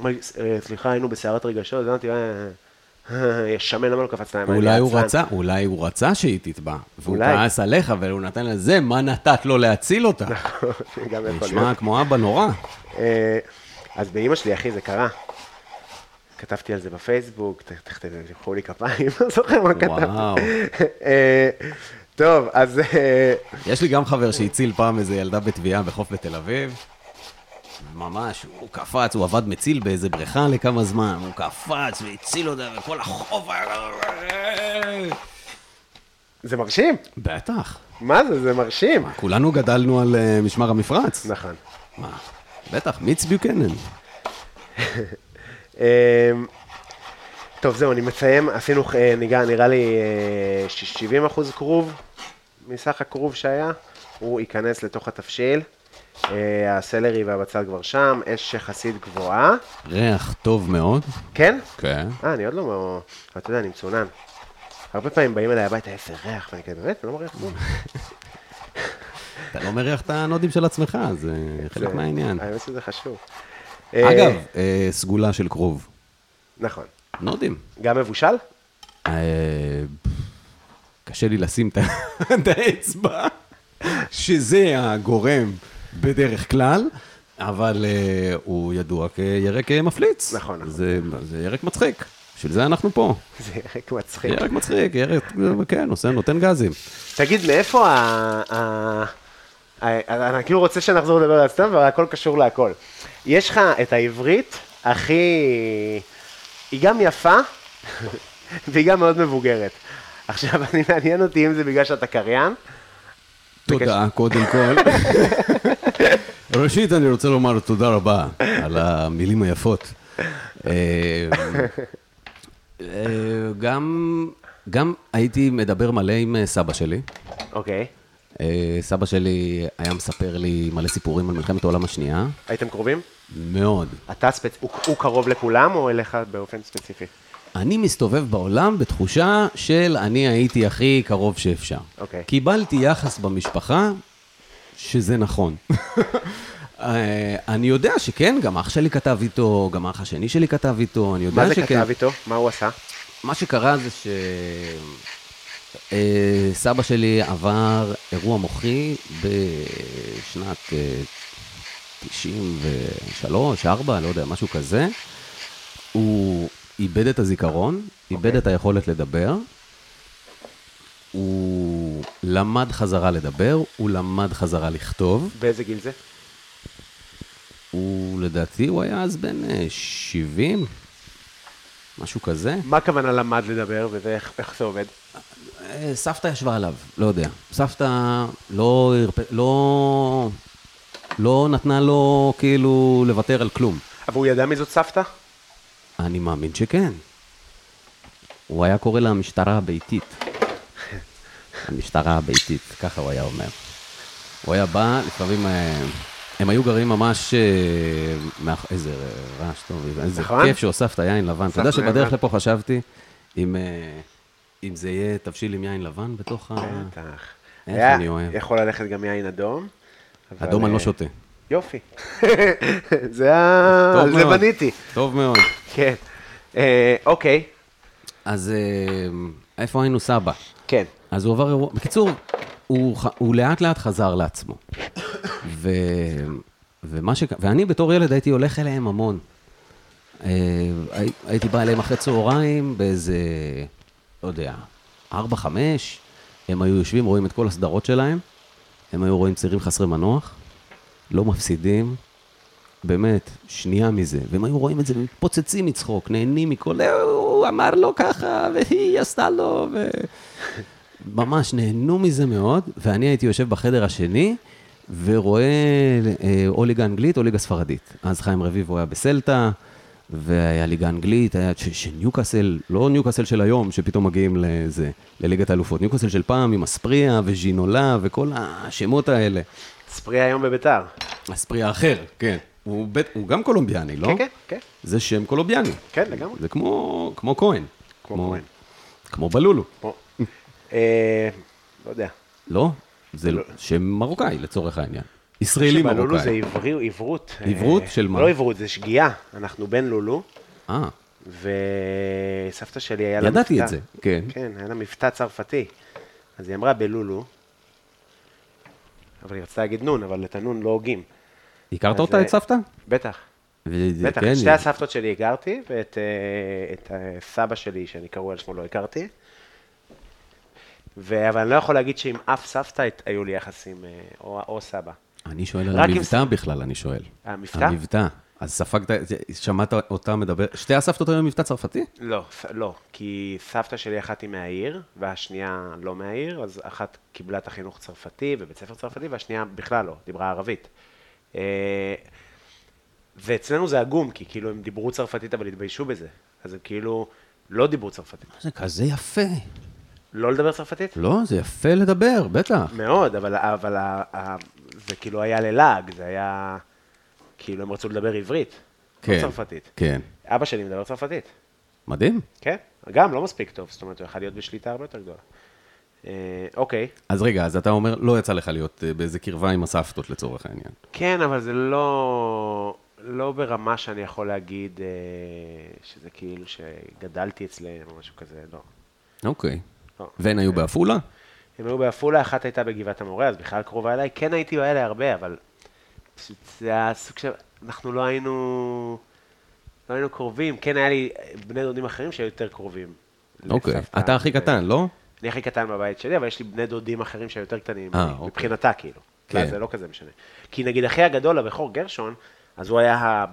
אמר לי, "ס- אה, סליחה, היינו בסערת רגשות, אז אמרתי, "אה, אה, אה, שמן, למה לא קפצת להם?
אולי הוא
עצלן."
רצה, אולי הוא רצה שהיא תטבע. והוא
אולי.
כעס עליך, אבל הוא נתן לזה, מה נתת לו להציל אותה?
נכון. גם יכול להיות.
נשמע כמו אבא נורא.
אה, אז באימא שלי, אחי, זה קרה. כתבתי על זה בפייסבוק, ת- ת- ת- תמחאו לי כפיים, לא זוכר מה כתבתי.
וואו.
אה, טוב, אז אה,
יש לי גם חבר שהציל פעם איזה ילדה בתביעה בחוף בתל אביב. ממש, הוא קפץ, הוא עבד מציל באיזה בריכה לכמה זמן, הוא קפץ והציל אותה, וכל החוף היה...
זה מרשים.
בטח.
מה זה, זה מרשים.
כולנו גדלנו על אה, משמר המפרץ.
נכון.
מה? בטח, מיץ ביוקנן.
אה, טוב, זהו, אני מסיים. עשינו, אה, ניגע, נראה לי, אה, ש- 70% כרוב מסך הכרוב שהיה, הוא ייכנס לתוך התבשיל. אה, הסלרי והבצל כבר שם, אש יחסית גבוהה.
ריח טוב מאוד.
כן?
כן.
אה, אני עוד לא... אבל אתה יודע, אני מצונן. "אה, הרבה פעמים באים אליי הביתה, איזה ריח, ואני כזה, באמת, אני לא מריח כלום.
אתה לא מריח את הנודים של עצמך, זה חלק מהעניין.
האמת שזה חשוב.
אגב,
אה,
אה, סגולה של כרוב.
נכון.
נודים.
גם מבושל?
אה, קשה לי לשים את ה- את האצבע, שזה הגורם בדרך כלל, אבל אה, הוא ידוע כירק אה, מפליץ.
נכון, נכון.
זה, זה ירק מצחיק, בשביל זה אנחנו פה.
זה ירק מצחיק.
ירק מצחיק, ירק, כן, עושה, נותן גזים.
תגיד, מאיפה ה... ה- ה- אני כאילו רוצה שנחזור לדבר על סתם, אבל הכל קשור להכל. יש לך את העברית הכי... היא גם יפה, והיא גם מאוד מבוגרת. עכשיו, אני מעניין אותי אם זה בגלל שאתה קריין,
תודה, קודם כל. ראשית, אני רוצה לומר תודה רבה על המילים היפות. אה, אה, גם, גם הייתי מדבר מלא עם אה, סבא שלי.
אוקיי.
אה, סבא שלי היה מספר לי מלא סיפורים על מלחמת העולם השנייה.
הייתם קרובים?
מאוד.
אתה ספצ... הוא, הוא קרוב לכולם או אליך באופן ספציפי?
אני מסתובב בעולם בתחושה של אני הייתי הכי קרוב שאפשר.
אוקיי.
קיבלתי יחס במשפחה שזה נכון. אה, אני יודע שכן, גם אח שלי כתב איתו, גם האח השני שלי כתב איתו, אני יודע
מה זה
שכן.
כתב איתו? מה הוא עשה?
מה שקרה זה ש... אה, סבא שלי עבר אירוע מוחי בשנת אה, 93, 4, לא יודע, משהו כזה. הוא איבד את הזיכרון, איבד את היכולת לדבר. הוא למד חזרה לדבר, הוא למד חזרה לכתוב.
באיזה גיל זה?
הוא, לדעתי, הוא היה אז בן אה, 70, משהו כזה.
מה הכוונה למד לדבר ואיך זה עובד?
אה, סבתא ישבה עליו, לא יודע. סבתא לא, הרפ- לא, לא נתנה לו כאילו לוותר על כלום.
אבל הוא ידע מי זאת סבתא?
אני מאמין שכן. הוא היה קורא לה המשטרה הביתית. המשטרה הביתית, ככה הוא היה אומר. הוא היה בא, לפעמים אה, הם היו גרים ממש... אה, מאח- איזה רעש טוב, איזה
נכון?
כיף שהוספת יין לבן. אתה יודע
הוספנו
שבדרך
יין.
לפה חשבתי אם, אה, אם זה יהיה תבשיל עם יין לבן בתוך ה...
בטח.
איך
היה-
אני אוהב.
יכול ללכת גם יין אדום. אבל,
אדום אני לא
אה,
שותה.
יופי. זה ה...
טוב
על זה
מאוד.
בניתי.
טוב מאוד.
כן. אה, אוקיי.
אז אה, איפה היינו סבא?
כן.
אז הוא עבר אירוע... בקיצור, הוא, ח- הוא לאט לאט חזר לעצמו. ו, ומה ש... ואני בתור ילד הייתי הולך אליהם המון. אה, הי- הייתי בא אליהם אחרי צהריים באיזה, לא יודע, ארבע, חמש. הם היו יושבים, רואים את כל הסדרות שלהם. הם היו רואים צעירים חסרי מנוח. לא מפסידים. באמת, שנייה מזה. והם היו רואים את זה, מתפוצצים מצחוק, נהנים מכל... "אה, הוא אמר לו ככה, והיא עשתה לו, ו... ממש נהנו מזה מאוד, ואני הייתי יושב בחדר השני ורואה אה, או ליגה אנגלית או ליגה ספרדית. אז חיים רביבו היה בסלטה, והיה ליגה אנגלית, היה ש- שניוקאסל, לא ניוקאסל של היום, שפתאום מגיעים לזה, לליגת האלופות, ניוקאסל של פעם עם אספריה וז'ינולה וכל השמות האלה.
ספרי היום בביתר.
אספריה אחר, כן. הוא, בית, הוא גם קולומביאני, לא?
כן, כן, כן.
זה שם קולומביאני.
כן, לגמרי.
זה כמו, כמו כהן.
כמו כהן.
כמו בלולו.
פה. אה, לא יודע.
לא, זה לא. שם מרוקאי לצורך העניין. ישראלי
שבלולו זה
מרוקאי.
עברי- עברות.
עברות?
אה,
של מה?
לא עברות, זה שגיאה. אנחנו בן לולו,
אה,
וסבתא שלי היה לה מבטא.
ידעתי את זה, כן.
כן, היה לה מבטא צרפתי. אז היא אמרה בלולו, אבל היא רצתה להגיד נון, אבל את הנון לא הוגים.
הכרת
אז,
אותה, את
אה,
סבתא?
בטח.
ו-
בטח,
כן,
את שתי
היא-
הסבתות שלי הכרתי, ואת אה, את, אה, סבא שלי, שאני קרוי על שמו, לא הכרתי. ו- אבל אני לא יכול להגיד שעם אף סבתא הת- היו לי יחסים, אה, או, או סבא.
אני שואל על
רק אם
המבטא בכלל, אני שואל.
המבטא?
המבטא. אז ספגת, שמעת אותה מדבר, שתי הסבתות היו מבטא צרפתי?
לא, ס- לא, כי סבתא שלי אחת היא מהעיר, והשנייה לא מהעיר, אז אחת קיבלה את החינוך צרפתי בבית ספר צרפתי, והשנייה בכלל לא, דיברה ערבית. אה, ואצלנו זה עגום, כי כאילו הם דיברו צרפתית אבל התביישו בזה. אז הם כאילו לא דיברו צרפתית.
זה כזה יפה.
לא לדבר צרפתית?
לא, זה יפה לדבר, בטח.
מאוד, אבל, אבל ה, ה, זה כאילו היה ללעג, זה היה... כאילו הם רצו לדבר עברית, לא
כן,
צרפתית.
כן.
אבא שלי מדבר צרפתית,
מדהים.
כן? גם לא מספיק טוב, זאת אומרת, הוא יכול להיות בשליטה הרבה יותר גדולה. אה, אוקיי.
אז רגע, אז אתה אומר, לא יצא לך להיות אה, באיזה קרבה עם הסבתות לצורך העניין.
כן, אבל זה לא, לא ברמה שאני יכול להגיד אה, שזה כאילו שגדלתי אצלם או משהו כזה, לא.
אוקיי.
לא.
והן היו בעפולה?
הם היו בעפולה, אחת הייתה בגבעת המורה, אז בכלל קרובה אליי. כן הייתי באלה הרבה, אבל פשוט זה היה סוג של... אנחנו לא היינו... לא היינו קרובים. כן היה לי בני דודים אחרים שהיו יותר קרובים.
אוקיי.
לסבתא.
אתה הכי קטן, לא?
אני הכי קטן בבית שלי, אבל יש לי בני דודים אחרים שהיו יותר קטנים,
אה,
ממני,
אוקיי.
מבחינתה כאילו.
כן.
כן. זה לא כזה משנה. כי נגיד אחי הגדול, הבכור גרשון, אז הוא היה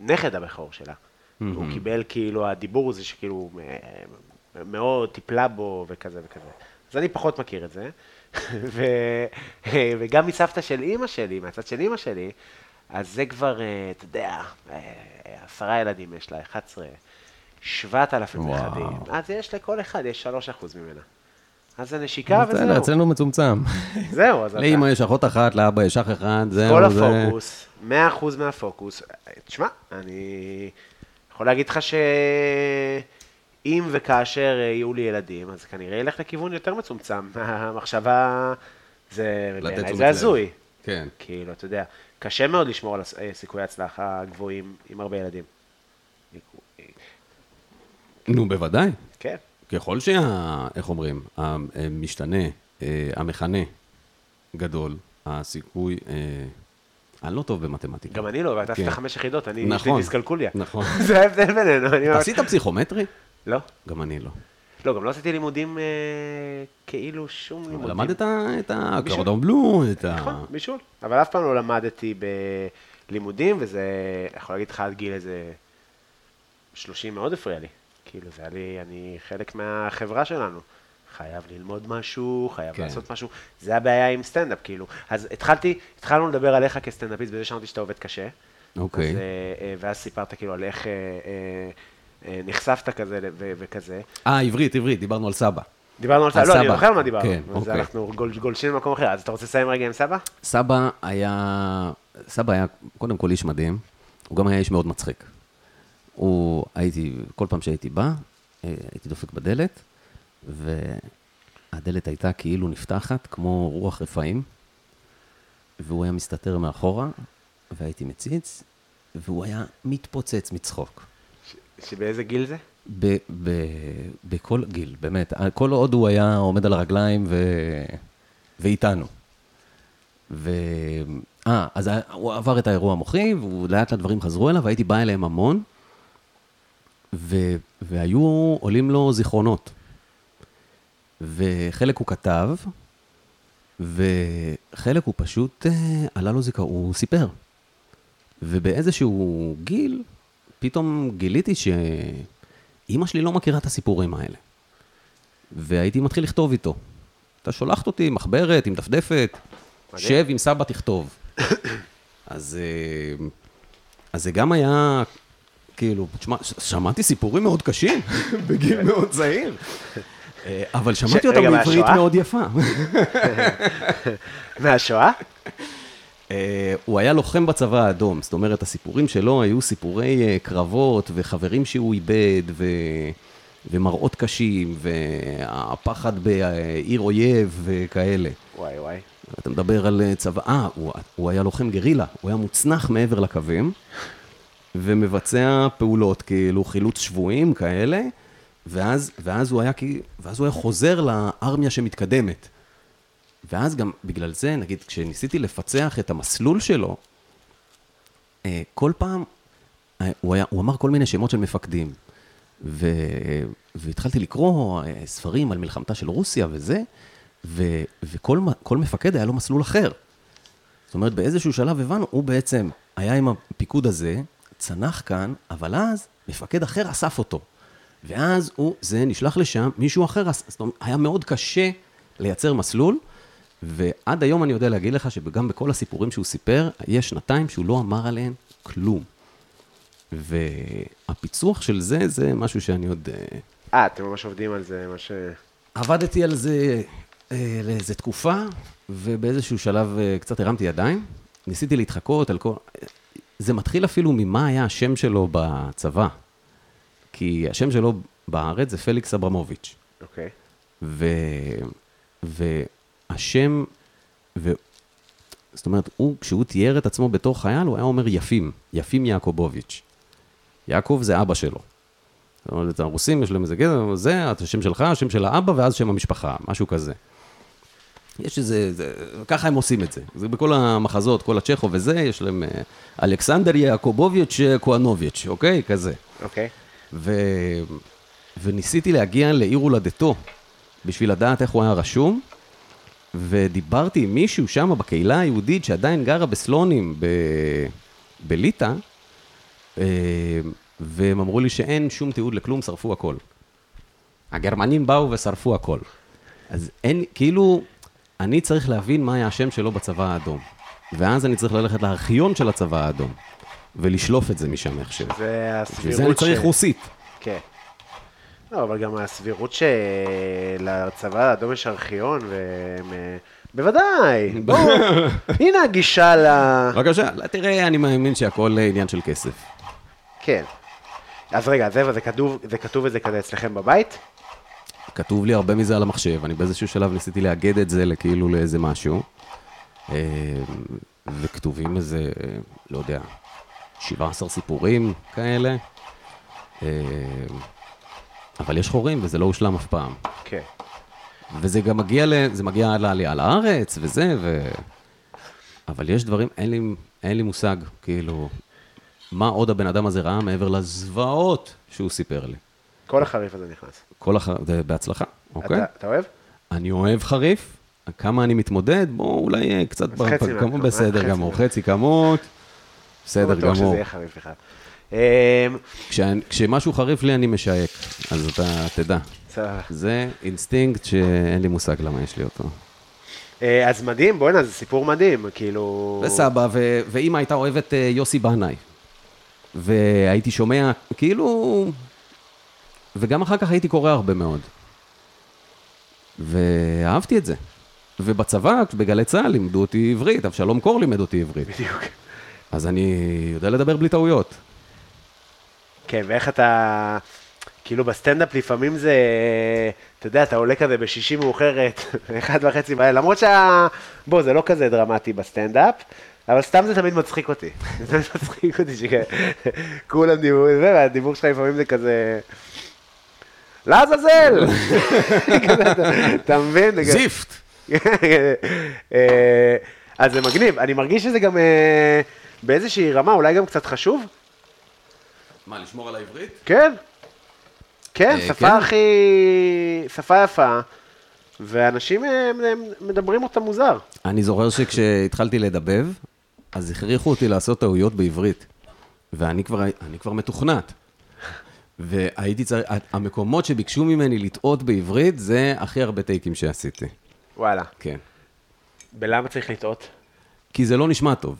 הנכד הבכור שלה. הוא קיבל כאילו, הדיבור הזה שכאילו אה, מאוד טיפלה בו וכזה וכזה. אז אני פחות מכיר את זה. ו... אה, וגם מסבתא של אימא שלי, מהצד של אימא שלי, אז זה כבר, אה, אתה יודע, אה, עשרה ילדים יש לה, 11, 7,000
וואו.
נכדים. אז יש לכל אחד, יש 3% ממנה. אז זה נשיקה
בסדר,
וזהו.
אצלנו מצומצם.
זהו, אז אתה...
לאמא יש אחות אחת, לאבא יש אח אחד, זהו, זה...
כל הפוקוס, 100% מהפוקוס. תשמע, אני יכול להגיד לך שאם וכאשר יהיו לי ילדים, אז כנראה ילך לכיוון יותר מצומצם. המחשבה, זה
לתת
בעיניי
תשומת
זה
לב.
הזוי.
כן.
כאילו, אתה יודע, קשה מאוד לשמור על הס- אה, סיכויי הצלחה גבוהים עם הרבה ילדים.
נו, בוודאי.
כן.
ככל שה... איך אומרים? המשתנה, אה, המכנה גדול, הסיכוי... אה, אני לא טוב במתמטיקה.
גם אני לא, ואתה עשית
כן.
חמש יחידות, אני יש לי
נכון.
דיסקלקוליה.
נכון.
זה ההבדל בינינו. אני
אתה
ממש-
עשית פסיכומטרי?
לא.
גם אני לא.
לא, גם לא עשיתי לימודים אה, כאילו שום לימודים.
למדת את הקורדון בלו, את ה...
נכון, בישול. אבל אף פעם לא למדתי בלימודים, וזה, אני יכול להגיד לך, עד גיל איזה 30 מאוד הפריע לי. כאילו, זה היה לי, אני חלק מהחברה שלנו. חייב ללמוד משהו, חייב
כן.
כן. לעשות משהו. זה הבעיה עם סטנדאפ, כאילו. אז התחלתי, התחלנו לדבר עליך כסטנדאפיסט, בזה שאמרתי שאתה עובד קשה.
אוקיי.
אז, אה, אה, ואז סיפרת כאילו על איך אה, אה, אה, נחשפת כזה ו- וכזה.
אה, עברית, עברית, דיברנו על סבא.
דיברנו על
על
סבא, לא, אני
סבא.
זוכר על מה דיברנו.
כן,
אז
אוקיי.
אנחנו גול- גולשים למקום אחר, אז אתה רוצה לסיים רגע עם סבא?
סבא היה, סבא היה קודם כל איש מדהים, הוא גם היה איש מאוד מצחיק. הוא, הייתי, כל פעם שהייתי בא, אה, הייתי דופק בדלת, והדלת הייתה כאילו נפתחת, כמו רוח רפאים, והוא היה מסתתר מאחורה, והייתי מציץ, והוא היה מתפוצץ מצחוק.
שבאיזה גיל זה?
ב- ב- בכל גיל, באמת. כל עוד הוא היה עומד על הרגליים ו... ואיתנו. ו... אה, אז ה- הוא עבר את האירוע המוחי, ולאט לאט דברים חזרו אליו, והייתי בא אליהם המון, ו... והיו עולים לו זיכרונות. וחלק הוא כתב, וחלק הוא פשוט, אה, עלה לו זיכרון, הוא סיפר.
ובאיזשהו גיל, פתאום גיליתי שאימא שלי לא מכירה את הסיפורים האלה. והייתי מתחיל לכתוב איתו. אתה שולחת אותי עם מחברת, עם דפדפת,
מדהים.
שב עם סבא, תכתוב. אז, אה, אז זה גם היה, כאילו, תשמע, ש- שמעתי סיפורים מאוד קשים בגיל מאוד צעיר. אה, אבל שמעתי אותם
כן. רגע,
בעברית
מהשואה?
מאוד יפה.
מהשואה?
אה, הוא היה לוחם בצבא האדום, זאת אומרת, הסיפורים שלו היו סיפורי אה, קרבות וחברים שהוא איבד ו... ומראות קשים והפחד בעיר אויב וכאלה.
וואי וואי.
אתה מדבר על אה, צבא, אה, הוא, הוא היה לוחם גרילה, הוא היה מוצנח מעבר לקווים ומבצע פעולות כאילו חילוץ שבויים כאלה, ואז, ואז, הוא, היה, כי- ואז הוא היה חוזר לארמיה שמתקדמת. ואז גם בגלל זה, נגיד, כשניסיתי לפצח את המסלול שלו, אה, כל פעם, אה, הוא, היה, הוא אמר כל מיני שמות של מפקדים. ו, והתחלתי לקרוא אה, ספרים על מלחמתה של רוסיה וזה, ו, וכל מ- כל מפקד היה לו מסלול אחר. זאת אומרת, באיזשהו שלב הבנו, הוא בעצם היה עם הפיקוד הזה, צנח כאן, אבל אז מפקד אחר אסף אותו. ואז הוא, זה נשלח לשם, מישהו אחר, אס- זאת אומרת, היה מאוד קשה לייצר מסלול, ועד היום אני יודע להגיד לך שגם בכל הסיפורים שהוא סיפר, יש שנתיים שהוא לא אמר עליהן כלום. והפיצוח של זה, זה משהו שאני עוד... אה,
אה, אתם ממש עובדים על זה, ממש... אה,
עבדתי על זה אה, לאיזה תקופה, ובאיזשהו שלב אה, קצת הרמתי ידיים. ניסיתי להתחקות על כל... זה מתחיל אפילו ממה היה השם שלו בצבא. כי השם שלו בארץ זה פליקס אברמוביץ'.
אוקיי.
ו... והשם, ו... זאת אומרת, הוא, כשהוא תיאר את עצמו בתור חייל, הוא היה אומר יפים, יפים יעקובוביץ'. יעקב זה אבא שלו. זאת אומרת, הרוסים יש להם איזה גזע, זה השם שלך, השם של האבא, ואז שם המשפחה, משהו כזה. יש איזה, זה, ככה הם עושים את זה. זה בכל המחזות, כל הצ'כו וזה, יש להם אה, אלכסנדר יעקובוביץ' אה, כהנוביץ', אוקיי? כזה.
אוקיי.
ו... וניסיתי להגיע לעיר הולדתו, בשביל לדעת איך הוא היה רשום, ודיברתי עם מישהו שם בקהילה היהודית שעדיין גרה בסלונים ב... בליטא, אה, והם אמרו לי שאין שום תיעוד לכלום, שרפו הכל. הגרמנים באו ושרפו הכל. אז אין, כאילו, אני צריך להבין מה היה השם שלו בצבא האדום. ואז אני צריך ללכת לארכיון של הצבא האדום, ולשלוף את זה משם איכשהו.
זה
בשביל
הסבירות
זה אני צריך
ש-
רוסית.
כן. לא, אבל גם הסבירות שלצבא האדום יש ארכיון, והם... אה, בוודאי, בואו, הנה הגישה ל...
בבקשה, לא, תראה, אני מאמין שהכל אה, עניין של כסף.
כן. אז רגע, זאב, זה כתוב, זה כתוב וזה כזה אצלכם בבית?
כתוב לי הרבה מזה על המחשב, אני באיזשהו שלב ניסיתי לאגד את זה כאילו לאיזה משהו. אה, וכתובים איזה, אה, לא יודע, 17 סיפורים כאלה. אה, אבל יש חורים וזה לא הושלם אף פעם.
כן.
וזה גם מגיע, ל... זה מגיע עד לעלייה לארץ וזה, ו... אבל יש דברים, אין לי, אין לי מושג, כאילו, מה עוד הבן אדם הזה ראה מעבר לזוועות שהוא סיפר לי.
כל החריף הזה נכנס.
כל הח... זה בהצלחה, אוקיי?
אתה, אתה אוהב?
אני אוהב חריף, כמה אני מתמודד, בוא אולי אה, קצת...
אז חצי
בפ- כמו,
מהכמות,
בסדר
חצי
גמור,
מהכמות.
חצי כמות,
לא
בסדר
בטוח שזה
גמור.
יהיה חריף בכלל. אמ,
כשאני- כשמשהו חריף לי, אני משייק, אז אתה תדע.
בסדר.
זה אינסטינקט שאין לי מושג למה יש לי אותו.
אה, אז מדהים, בוא'נה, זה סיפור מדהים, כאילו...
וסבא, ו- ואימא הייתה אוהבת אה, יוסי בנאי. והייתי שומע, כאילו... וגם אחר כך הייתי קורא הרבה מאוד. ואהבתי את זה. ובצבא, בגלי צה"ל, לימדו אותי עברית, אבשלום קור לימד אותי עברית.
בדיוק.
אז אני יודע לדבר בלי טעויות.
כן, ואיך אתה... כאילו בסטנדאפ לפעמים זה, אתה יודע, אתה עולה כזה בשישי מאוחרת, אחד וחצי בערב, למרות שה... בוא, זה לא כזה דרמטי בסטנדאפ, אבל סתם זה תמיד מצחיק אותי. זה תמיד מצחיק אותי שכולם דיברו, זה, והדיבור שלך לפעמים זה כזה... לעזאזל! כזה, אתה- אתה מבין? זה כזה-
זיפט!
אה, אז זה מגניב, אני מרגיש שזה גם אה, באיזושהי רמה, אולי גם קצת חשוב,
מה, לשמור על העברית?
כן. כן,
אה,
שפה
כן.
הכי... שפה יפה, ואנשים אה, הם, הם מדברים אותה מוזר.
אני זוכר שכשהתחלתי לדבב, אז הכריחו אותי לעשות טעויות בעברית. ואני כבר, אני כבר מתוכנת. והייתי צריך, המקומות שביקשו ממני לטעות בעברית, זה הכי הרבה טייקים שעשיתי.
וואלה.
כן.
בלמה צריך לטעות?
כי זה לא נשמע טוב.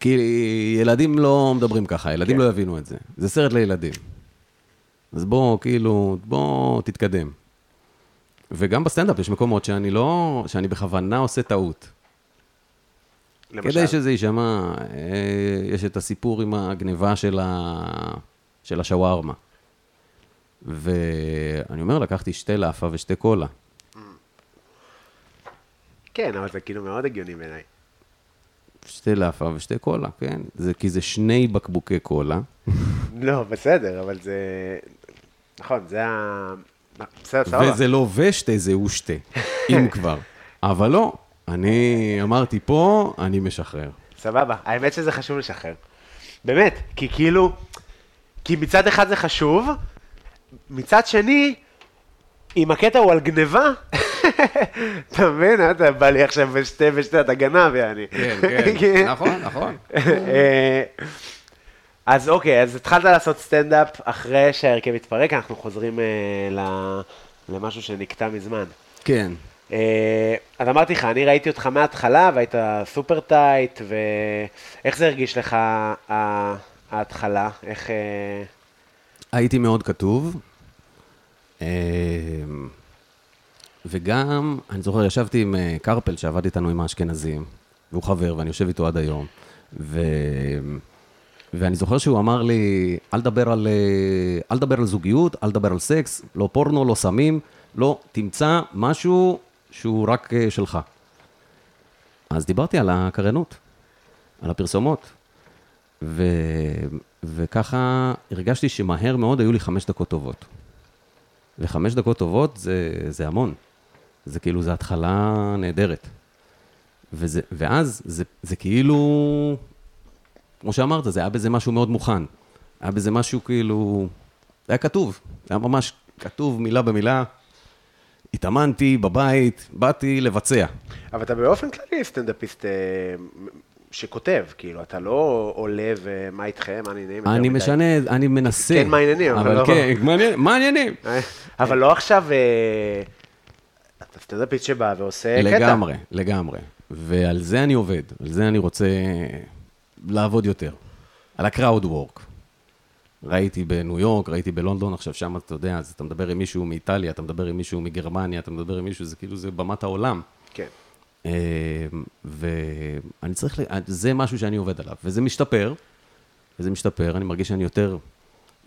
כי ילדים לא מדברים ככה, ילדים
כן.
לא יבינו את זה. זה סרט לילדים. אז בוא, כאילו, בוא, תתקדם. וגם בסטנדאפ יש מקומות שאני לא, שאני בכוונה עושה טעות.
למשל.
כדי שזה יישמע, אה, יש את הסיפור עם הגניבה של, ה... של השווארמה. ואני אומר, לקחתי שתי לאפה ושתי קולה.
כן, אבל זה כאילו מאוד הגיוני בעיניי.
שתי לאפה ושתי קולה, כן? זה כי זה שני בקבוקי קולה.
לא, בסדר, אבל זה... נכון, זה ה... בסדר, סבבה.
וזה לא ושתי, זה הוא שתי, אם כבר. אבל לא, אני אמרתי פה, אני משחרר.
סבבה, האמת שזה חשוב לשחרר. באמת, כי כאילו, כי מצד אחד זה חשוב, מצד שני, אם הקטע הוא על גניבה, אתה מבין? אתה בא לי עכשיו בשתי ושתי, אתה גנב, יעני.
כן,
כן.
נכון.
אה, אז אוקיי, אז התחלת לעשות סטנדאפ אחרי שההרכב התפרק, אנחנו חוזרים אה, ל- למשהו שנקטע מזמן.
כן.
אה, אז אמרתי לך, אני ראיתי אותך מההתחלה, והיית סופר טייט, ואיך זה הרגיש לך ה- ההתחלה? איך... אה,
הייתי מאוד כתוב. אמ, וגם, אני זוכר, ישבתי עם אה, קרפל, שעבד איתנו עם האשכנזים, והוא חבר, ואני יושב איתו עד היום. ו... ואני זוכר שהוא אמר לי, אל תדבר על, אה, אל תדבר על זוגיות, אל תדבר על סקס, לא פורנו, לא סמים, לא, תמצא משהו שהוא רק אה, שלך. אז דיברתי על הקריינות, על הפרסומות, ו... וככה הרגשתי שמהר מאוד היו לי חמש דקות טובות. וחמש דקות טובות זה, זה המון. זה כאילו, זו התחלה נהדרת. וזה, ואז זה, זה כאילו, כמו שאמרת, זה היה בזה משהו מאוד מוכן. היה בזה משהו כאילו, זה היה כתוב, זה היה ממש כתוב מילה במילה. התאמנתי בבית, באתי לבצע.
אבל אתה באופן כללי סטנדאפיסט אה, שכותב, כאילו, אתה לא עולה ומה איתכם, מה העניינים? יותר
אני
מדי.
משנה, אני מנסה.
כן, מה העניינים, אבל
אבל
לא-
כן, מה העניינים? מה העניינים?
אה, אבל לא עכשיו, אה, אתה סטנדאפיסט שבא ועושה קטע.
לגמרי, לגמרי. ועל זה אני עובד, על זה אני רוצה לעבוד יותר. על ה-crowd work. ראיתי בניו יורק, ראיתי בלונדון, עכשיו שם אתה יודע, אז אתה מדבר עם מישהו מאיטליה, אתה מדבר עם מישהו מגרמניה, אתה מדבר עם מישהו, זה כאילו, זה במת העולם.
כן.
אמ, ואני צריך, ל- אה, זה משהו שאני עובד עליו, וזה משתפר, וזה משתפר, אני מרגיש שאני יותר,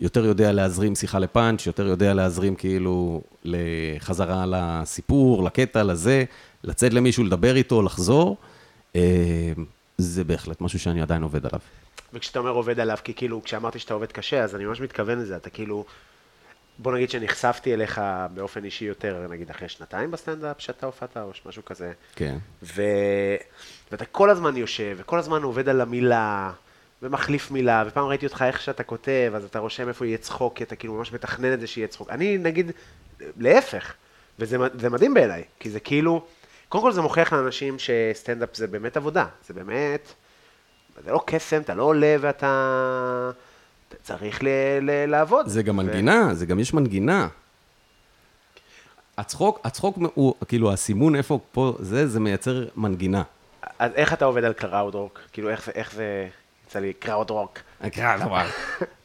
יותר יודע להזרים שיחה לפאנץ', יותר יודע להזרים כאילו לחזרה לסיפור, לקטע, לזה, לצאת למישהו, לדבר איתו, לחזור, אמ, זה בהחלט משהו שאני עדיין עובד עליו.
וכשאתה אומר עובד עליו, כי כאילו, כשאמרתי שאתה עובד קשה, אז אני ממש מתכוון לזה, אתה כאילו, בוא נגיד שנחשפתי אליך באופן אישי יותר, נגיד אחרי שנתיים בסטנדאפ שאתה הופעת, או משהו כזה.
כן.
ו... ואתה כל הזמן יושב, וכל הזמן עובד על המילה, ומחליף מילה, ופעם ראיתי אותך איך שאתה כותב, אז אתה רושם איפה יהיה צחוק, כי אתה כאילו ממש מתכנן את זה שיהיה צחוק. אני, נגיד, להפך, וזה מ- זה מדהים בעיניי, כי זה כאילו, קודם כל זה מוכיח לאנשים שסטנדאפ זה באמת עבודה, זה באמת, זה לא קסם, אתה לא עולה ואתה... אתה צריך ל... ל... לעבוד.
זה גם
ו-
מנגינה, זה גם יש מנגינה. הצחוק, הצחוק הוא, כאילו, הסימון איפה פה, זה, זה מייצר מנגינה.
אז איך אתה עובד על קראודרוק? כאילו, איך זה, איך זה, יצא לי קראודרוק.
אקרא דבר.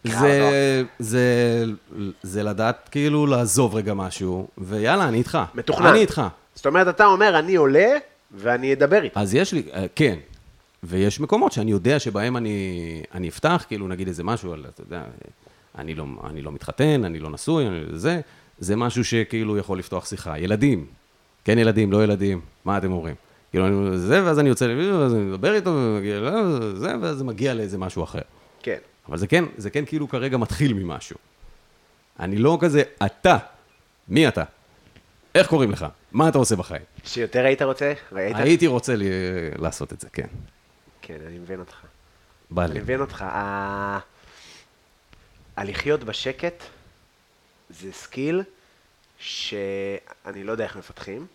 אוקיי, זה, זה, זה לדעת כאילו לעזוב רגע משהו, ויאללה, אני איתך.
מתוכנן.
אני איתך.
זאת אומרת, אתה אומר, אני עולה ואני אדבר איתך.
אז יש לי, אה, כן. ויש מקומות שאני יודע שבהם אני, אני אפתח, כאילו נגיד איזה משהו על, אתה יודע, אה, אני לא, אני לא מתחתן, אני לא נשוי, אני לא זה, זה משהו שכאילו יכול לפתוח שיחה. ילדים, כן ילדים, לא ילדים, מה אתם אומרים? כאילו, אני אומר, זה, ואז אני יוצא, לבידור, ואז אני מדבר איתו, ומגיע, לא, זה, ואז זה מגיע לאיזה משהו אחר.
כן.
אבל זה כן, זה כן כאילו כרגע מתחיל ממשהו. אני לא כזה, אתה, מי אתה? איך קוראים לך? מה אתה עושה בחיים?
שיותר היית רוצה? ראית?
הייתי רוצה לי, לעשות את זה, כן.
כן, אני מבין אותך.
בא
אני
לי.
מבין אותך. ה- הלחיות בשקט זה סקיל שאני לא יודע איך מפתחים,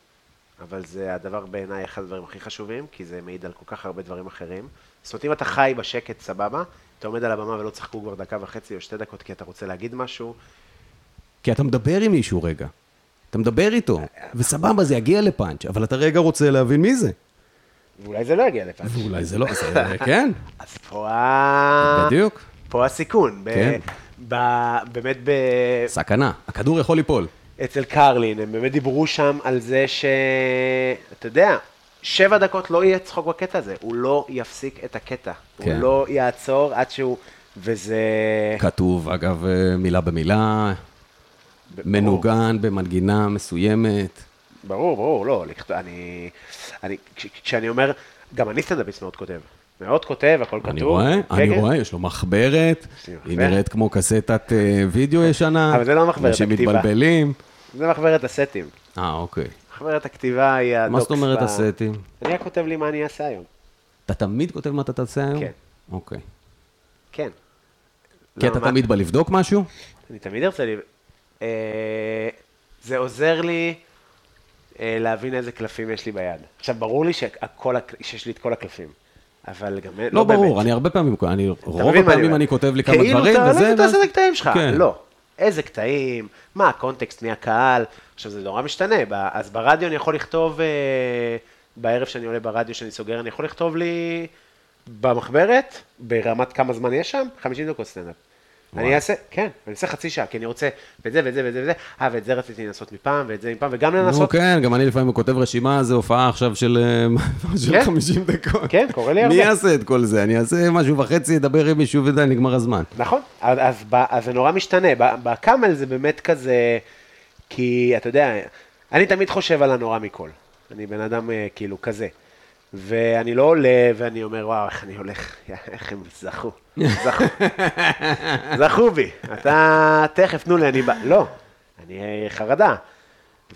אבל זה הדבר בעיניי אחד הדברים הכי חשובים, כי זה מעיד על כל כך הרבה דברים אחרים. זאת אומרת, אם אתה חי בשקט, סבבה, אתה עומד על הבמה ולא צחקו כבר דקה וחצי או שתי דקות כי אתה רוצה להגיד משהו,
כי אתה מדבר עם מישהו רגע. אתה מדבר איתו, וסבבה, זה יגיע לפאנץ', אבל אתה רגע רוצה להבין מי זה.
ואולי זה לא יגיע לפעם.
ואולי זה לא, זה- כן,
אז פה ה...
בדיוק.
פה הסיכון. ב-
כן.
ב- באמת ב...
סכנה, הכדור יכול ליפול.
אצל קרלין, הם באמת דיברו שם על זה ש... אתה יודע, שבע דקות לא יהיה צחוק בקטע הזה, הוא לא יפסיק את הקטע. הוא
כן.
לא יעצור עד שהוא... וזה...
כתוב, אגב, אה, מילה במילה, מנוגן במנגינה מסוימת.
ברור, ברור, לא, לכת- אני... אני... כש- כשאני אומר, גם אני סטנדאפיסט מאוד כותב. מאוד כותב, הכל כתוב.
אני רואה, אני
כן,
רואה, יש לו מחברת,
לי מחברת.
היא נראית כמו קסטת אה, וידאו ישנה.
אבל זה לא מחברת,
אנשים
הכתיבה.
מתבלבלים.
זה מחברת הסטים.
אה, אוקיי.
מחברת הכתיבה היא הדוקס.
מה זאת אומרת
ב-
הסטים?
אני רק כותב לי מה אני אעשה היום.
אתה תמיד כותב מה אתה תעשה היום?
כן.
אוקיי.
כן.
כי
למה?
אתה תמיד בא לבדוק
לא
משהו?
אני תמיד ארצה לי... אה, זה עוזר לי אה, להבין איזה קלפים יש לי ביד. עכשיו, ברור לי שהכל, הק- שיש לי את כל הקלפים, אבל גם
לא ברור, אני הרבה פעמים, אני, רוב
מבין מה
הפעמים
אומר?
אני כותב לי כמה דברים,
כאילו, אתה-
וזה...
לא, אתה
ואז-
עושה את הקטעים שלך.
כן.
לא. איזה קטעים, מה הקונטקסט, מי הקהל, עכשיו זה נורא משתנה, ב- אז ברדיו אני יכול לכתוב, אה, בערב שאני עולה ברדיו שאני סוגר, אני יכול לכתוב לי במחברת, ברמת כמה זמן יש שם, 50 דקות סטנדאפ. אני אעשה, כן, אני אעשה חצי שעה, כי אני רוצה ואת זה ואת זה ואת זה ואת זה, אה, ואת זה רציתי לנסות מפעם, ואת זה מפעם, וגם
נו
לנסות,
כן, גם אני לפעמים כותב רשימה, זה הופעה עכשיו של אה, של
כן.
50 דקות.
כן, קורה לי
מי
הרבה.
יעשה את כל זה? אני אעשה משהו וחצי, אדבר עם מישהו ודי, נגמר הזמן.
נכון, אז, אז, ב- אז זה נורא משתנה, ב- בקאמל זה באמת כזה, כי אתה יודע, אני תמיד חושב על הנורא מכל. אני בן אדם אה, כאילו כזה. ואני לא עולה, ואני אומר, וואו, איך אני הולך, יא, איך הם זכו, זכו, זכו בי, אתה תכף, תנו לי, אני בא, לא, אני אה, חרדה.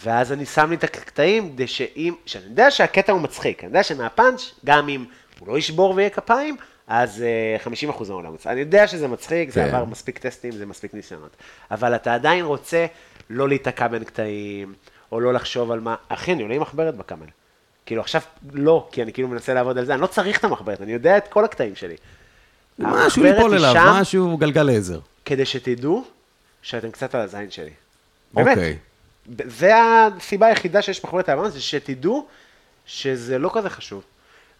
ואז אני שם לי את הקטעים, כדי שאם, שאני יודע שהקטע הוא מצחיק, אני יודע שמהפאנץ', גם אם הוא לא ישבור ויהיה כפיים, אז אה, 50% מהעולם מצחיק. אני יודע שזה מצחיק, זה
כן.
עבר מספיק טסטים, זה מספיק ניסיונות. אבל אתה עדיין רוצה לא להיתקע בין קטעים, או לא לחשוב על מה, אחי, אני עולה עם מחברת בקאמל. כאילו, עכשיו לא, כי אני כאילו מנסה לעבוד על זה, אני לא צריך את המחברת, אני יודע את כל הקטעים שלי.
משהו
המחברת
ליפול
היא
אליו,
שם
משהו גלגל עזר.
כדי שתדעו שאתם קצת על הזין שלי. באמת.
אוקיי.
ב- זה הסיבה היחידה שיש מחברת העברה, זה שתדעו שזה לא כזה חשוב.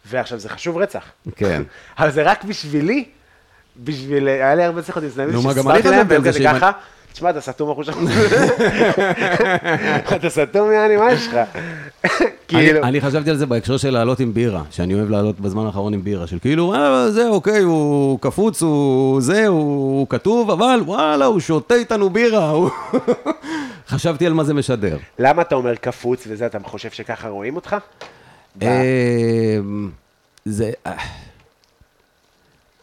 ועכשיו, זה חשוב רצח.
כן.
אבל זה רק בשבילי, בשביל, היה לי הרבה שיחות עם סנאביס,
נו, מה, גם אני חשבתי על זה
כזה
שאם
ככה, תשמע, אתה סתום אחוז שלך. אתה סתום, יעני, מה יש לך? כאילו,
אני, אני חשבתי על זה בהקשר של לעלות עם בירה, שאני אוהב לעלות בזמן האחרון עם בירה, של כאילו, אה, זה אוקיי, הוא קפוץ, הוא זה, הוא, הוא כתוב, אבל וואלה, הוא שותה איתנו בירה. הוא... חשבתי על מה זה משדר.
למה אתה אומר קפוץ וזה, אתה חושב שככה רואים אותך?
אמ, זה... אה,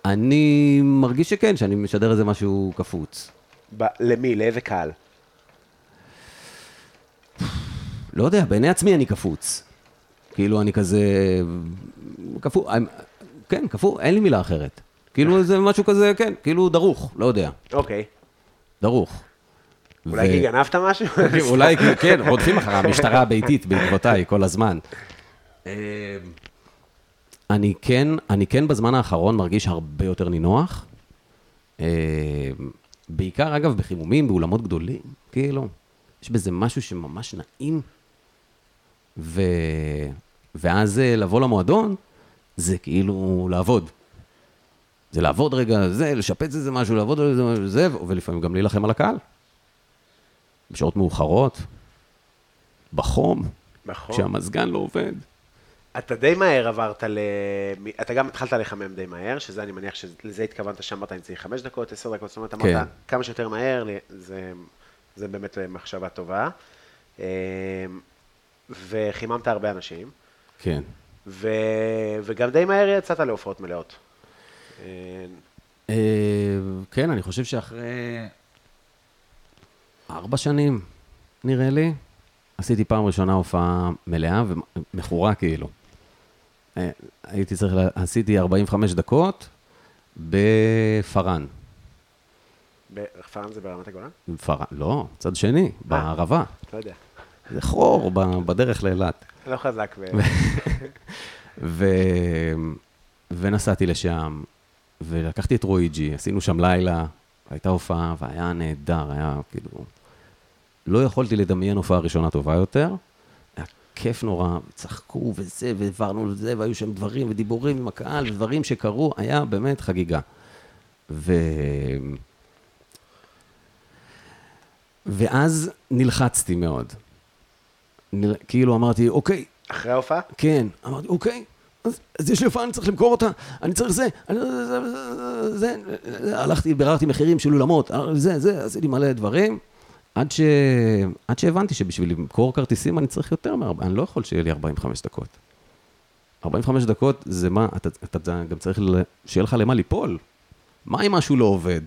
אני מרגיש שכן, שאני משדר איזה משהו קפוץ.
ב- למי? לאיזה קהל?
לא יודע, בעיני עצמי אני קפוץ. כאילו, אני כזה... קפוץ, כן, קפוץ, אין לי מילה אחרת. כאילו, זה משהו כזה, כן, כאילו דרוך, לא יודע,
אוקיי.
דרוך.
אולי
ו-
כי גנבת משהו?
אולי, כי- כן, רודפים אחרי המשטרה הביתית בעקבותיי כל הזמן. אמ, אני כן, אני כן בזמן האחרון מרגיש הרבה יותר נינוח. אמ, בעיקר, אגב, בחימומים, באולמות גדולים, כאילו. יש בזה משהו שממש נעים. ו... ואז אה, לבוא למועדון, זה כאילו לעבוד. זה לעבוד רגע, זה, לשפץ איזה משהו, לעבוד על איזה משהו, זה, ולפעמים גם להילחם על הקהל. בשעות מאוחרות, בחום,
נכון.
כשהמזגן לא עובד.
אתה די מהר עברת ל... מ- אתה גם התחלת לחמם די מהר, שזה אני מניח שלזה התכוונת שאמרת אני צריך חמש דקות, עשר דקות, זאת אומרת אמרת
כן.
כמה שיותר מהר, ל- זה, זה באמת אה, מחשבה טובה. אמ, וחיממת הרבה אנשים,
כן.
ו, וגם די מהר יצאת להופעות מלאות. אמ,
כן, אני חושב שאחרי ארבע שנים, נראה לי, עשיתי פעם ראשונה הופעה מלאה ומכורה כאילו. אה, הייתי צריך, לה- עשיתי 45 דקות בפארן.
בפארם זה ברמת הגולן?
פארן, לא, צד שני, בערבה.
לא יודע.
זה חור ב- בדרך לאילת.
לא חזק. ב...
ו... ונסעתי לשם, ולקחתי את רואיג'י, עשינו שם לילה, הייתה הופעה, והיה נהדר, היה כאילו... לא יכולתי לדמיין הופעה ראשונה טובה יותר. היה כיף נורא, צחקו וזה, והעברנו לזה, והיו שם דברים ודיבורים עם הקהל, ודברים שקרו, היה באמת חגיגה. ו... ואז נלחצתי מאוד. נל... כאילו אמרתי, אוקיי,
אחרי ההופעה?
כן. אמרתי, אוקיי, אז, אז יש לי הופעה, אני צריך למכור אותה, אני צריך זה, אני, לא זה, זה, זה, זה, הלכתי, ביררתי מחירים של אולמות, אה, זה, זה, עשיתי מלא דברים, עד, ש, עד שהבנתי שבשביל למכור כרטיסים אני צריך יותר מארבע, אני לא יכול שיהיה לי 45 דקות. 45 דקות זה מה, אתה, אתה, אתה גם צריך ל- שיהיה לך למה ליפול. מה אם משהו לא עובד?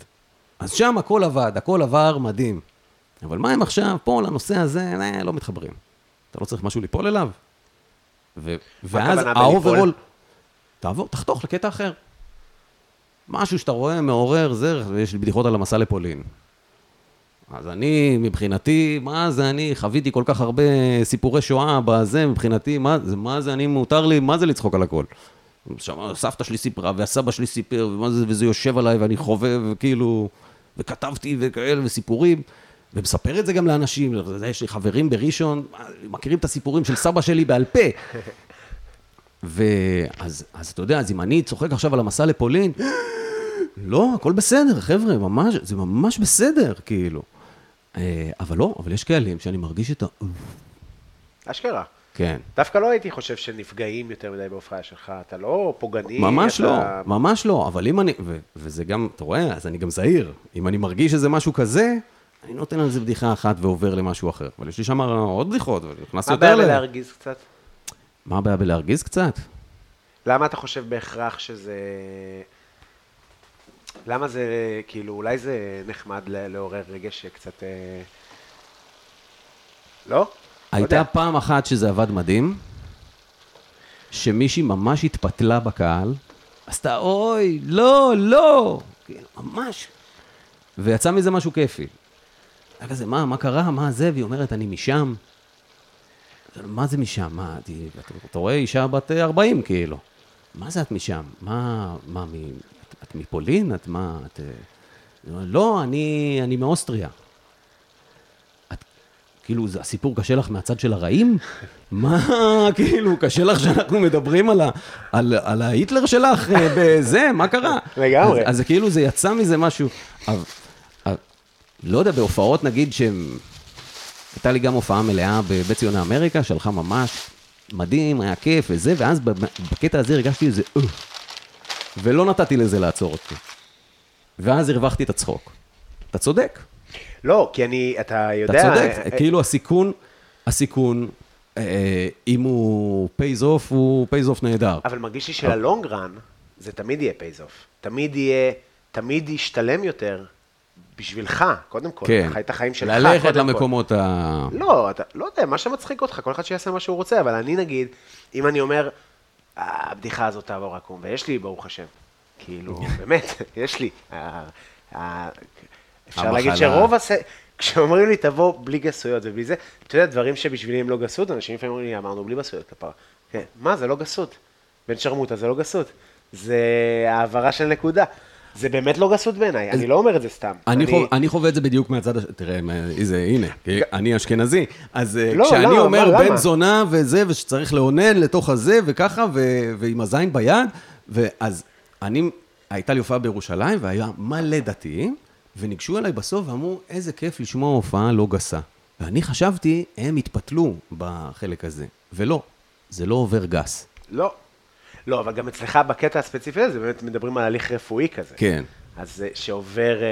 אז שם הכל עבד, הכל עבר מדהים. אבל מה אם עכשיו, פה, לנושא הזה, אה, לא מתחברים. אתה לא צריך משהו ליפול אליו? ו- ואז
הכוונה בליפול?
האוברול... תעבור, תחתוך לקטע אחר. משהו שאתה רואה מעורר, זה, יש לי בדיחות על המסע לפולין. אז אני, מבחינתי, מה זה אני, חוויתי כל כך הרבה סיפורי שואה בזה, מבחינתי, מה זה, מה זה אני, מותר לי, מה זה לצחוק על הכל? שם סבתא שלי סיפרה, והסבא שלי סיפר, ומה זה, וזה יושב עליי, ואני חובב, וכאילו, וכתבתי וכאלה, וסיפורים, ומספר את זה גם לאנשים, אתה יודע, יש לי חברים בראשון, מכירים את הסיפורים של סבא שלי בעל פה. ואז, אז אתה יודע, אז אם אני צוחק עכשיו על המסע לפולין, לא, הכל בסדר, חבר'ה, ממש, זה ממש בסדר, כאילו. אה, אבל לא, אבל יש קהלים שאני מרגיש את ה...
אשכרה.
כן.
דווקא לא הייתי חושב שנפגעים יותר מדי בהופעה שלך, אתה לא פוגעני.
ממש
אתה...
לא, ממש לא, אבל אם אני, ו, וזה גם, אתה רואה, אז אני גם זהיר. אם אני מרגיש שזה משהו כזה, אני נותן על זה בדיחה אחת ועובר למשהו אחר. אבל יש לי שם עוד בדיחות, ונכנס
מה
יותר
הבעיה
ל...
להרגיז קצת?
מה הבעיה בלהרגיז קצת?
למה אתה חושב בהכרח שזה... למה זה, כאילו, אולי זה נחמד ל- לעורר רגש שקצת... אה, לא? לא
הייתה
יודע.
פעם אחת שזה עבד מדהים, שמישהי ממש התפתלה בקהל, עשתה אוי, לא, לא, כאילו, ממש, ויצא מזה משהו כיפי. היה כזה, מה, מה קרה, מה זה, והיא אומרת, אני משם. מה זה משם? מה, ת- אתה, אתה רואה אישה בת אה, 40 כאילו. מה זה את משם? מה, מה, מ, את, את מפולין? את מה, את... אה, לא, אני, אני מאוסטריה. את, כאילו, זה, הסיפור קשה לך מהצד של הרעים? מה, כאילו, קשה לך שאנחנו מדברים על, ה, על, על ההיטלר שלך אה, בזה? מה קרה?
לגמרי.
אז, אז זה כאילו, זה יצא מזה משהו. אבל, אבל, לא יודע, בהופעות נגיד שהם... הייתה לי גם הופעה מלאה בבית ציוני אמריקה, שלחה ממש מדהים, היה כיף וזה, ואז ב- בקטע הזה הרגשתי איזה אה, ולא נתתי לזה לעצור אותי. ואז הרווחתי את הצחוק. אתה צודק,
לא, כי אני, אתה
אתה
יודע... אה,
צודק.
אה,
כאילו הסיכון, הסיכון, אה, אם הוא פייז אוף, הוא פייז אוף נהדר.
אבל מרגיש לי שללונג רן, זה תמיד יהיה פייזוף. תמיד יהיה, תמיד ישתלם יותר בשבילך, קודם כל.
כן.
חי את החיים שלך, קודם
ללכת
כל.
למקומות ה...
לא, אתה לא יודע, מה שמצחיק אותך, כל אחד שיעשה מה שהוא רוצה, אבל אני נגיד, אם אני אומר, "אה, הבדיחה הזאת תעבור עקום, ויש לי, ברוך השם. כאילו, באמת, יש לי. ה- ה- אפשר
המחלה.
להגיד שרוב הס... כשאומרים לי, תבוא בלי גסויות ובלי זה, אתה יודע, דברים שבשבילי הם לא גסות, אנשים לפעמים אומרים לי, אמרנו בלי גסויות כפרה. כן, מה, זה לא גסות. בן שרמוטה זה לא גסות. זה העברה של נקודה. זה באמת לא גסות בעיניי, אני לא אומר את זה סתם.
אני, חו... אני חווה את זה בדיוק מהצד הש... תראה, מה- איזה, הנה, כי אני אשכנזי. אז אה,
לא,
כשאני
למה?
אומר
מה,
בן
למה?
זונה וזה, ושצריך לאונן לתוך הזה, וככה, ו... ועם הזין ביד, ואז אני, הייתה לי הופעה בירושלים, והיה מלא דתיים, וניגשו אליי בסוף ואמרו, איזה כיף לשמוע הופעה לא גסה. ואני חשבתי, הם התפתלו בחלק הזה, ולא, זה לא עובר גס.
לא. לא, אבל גם אצלך בקטע הספציפי הזה, באמת מדברים על הליך רפואי כזה.
כן.
אז זה שעובר, אה,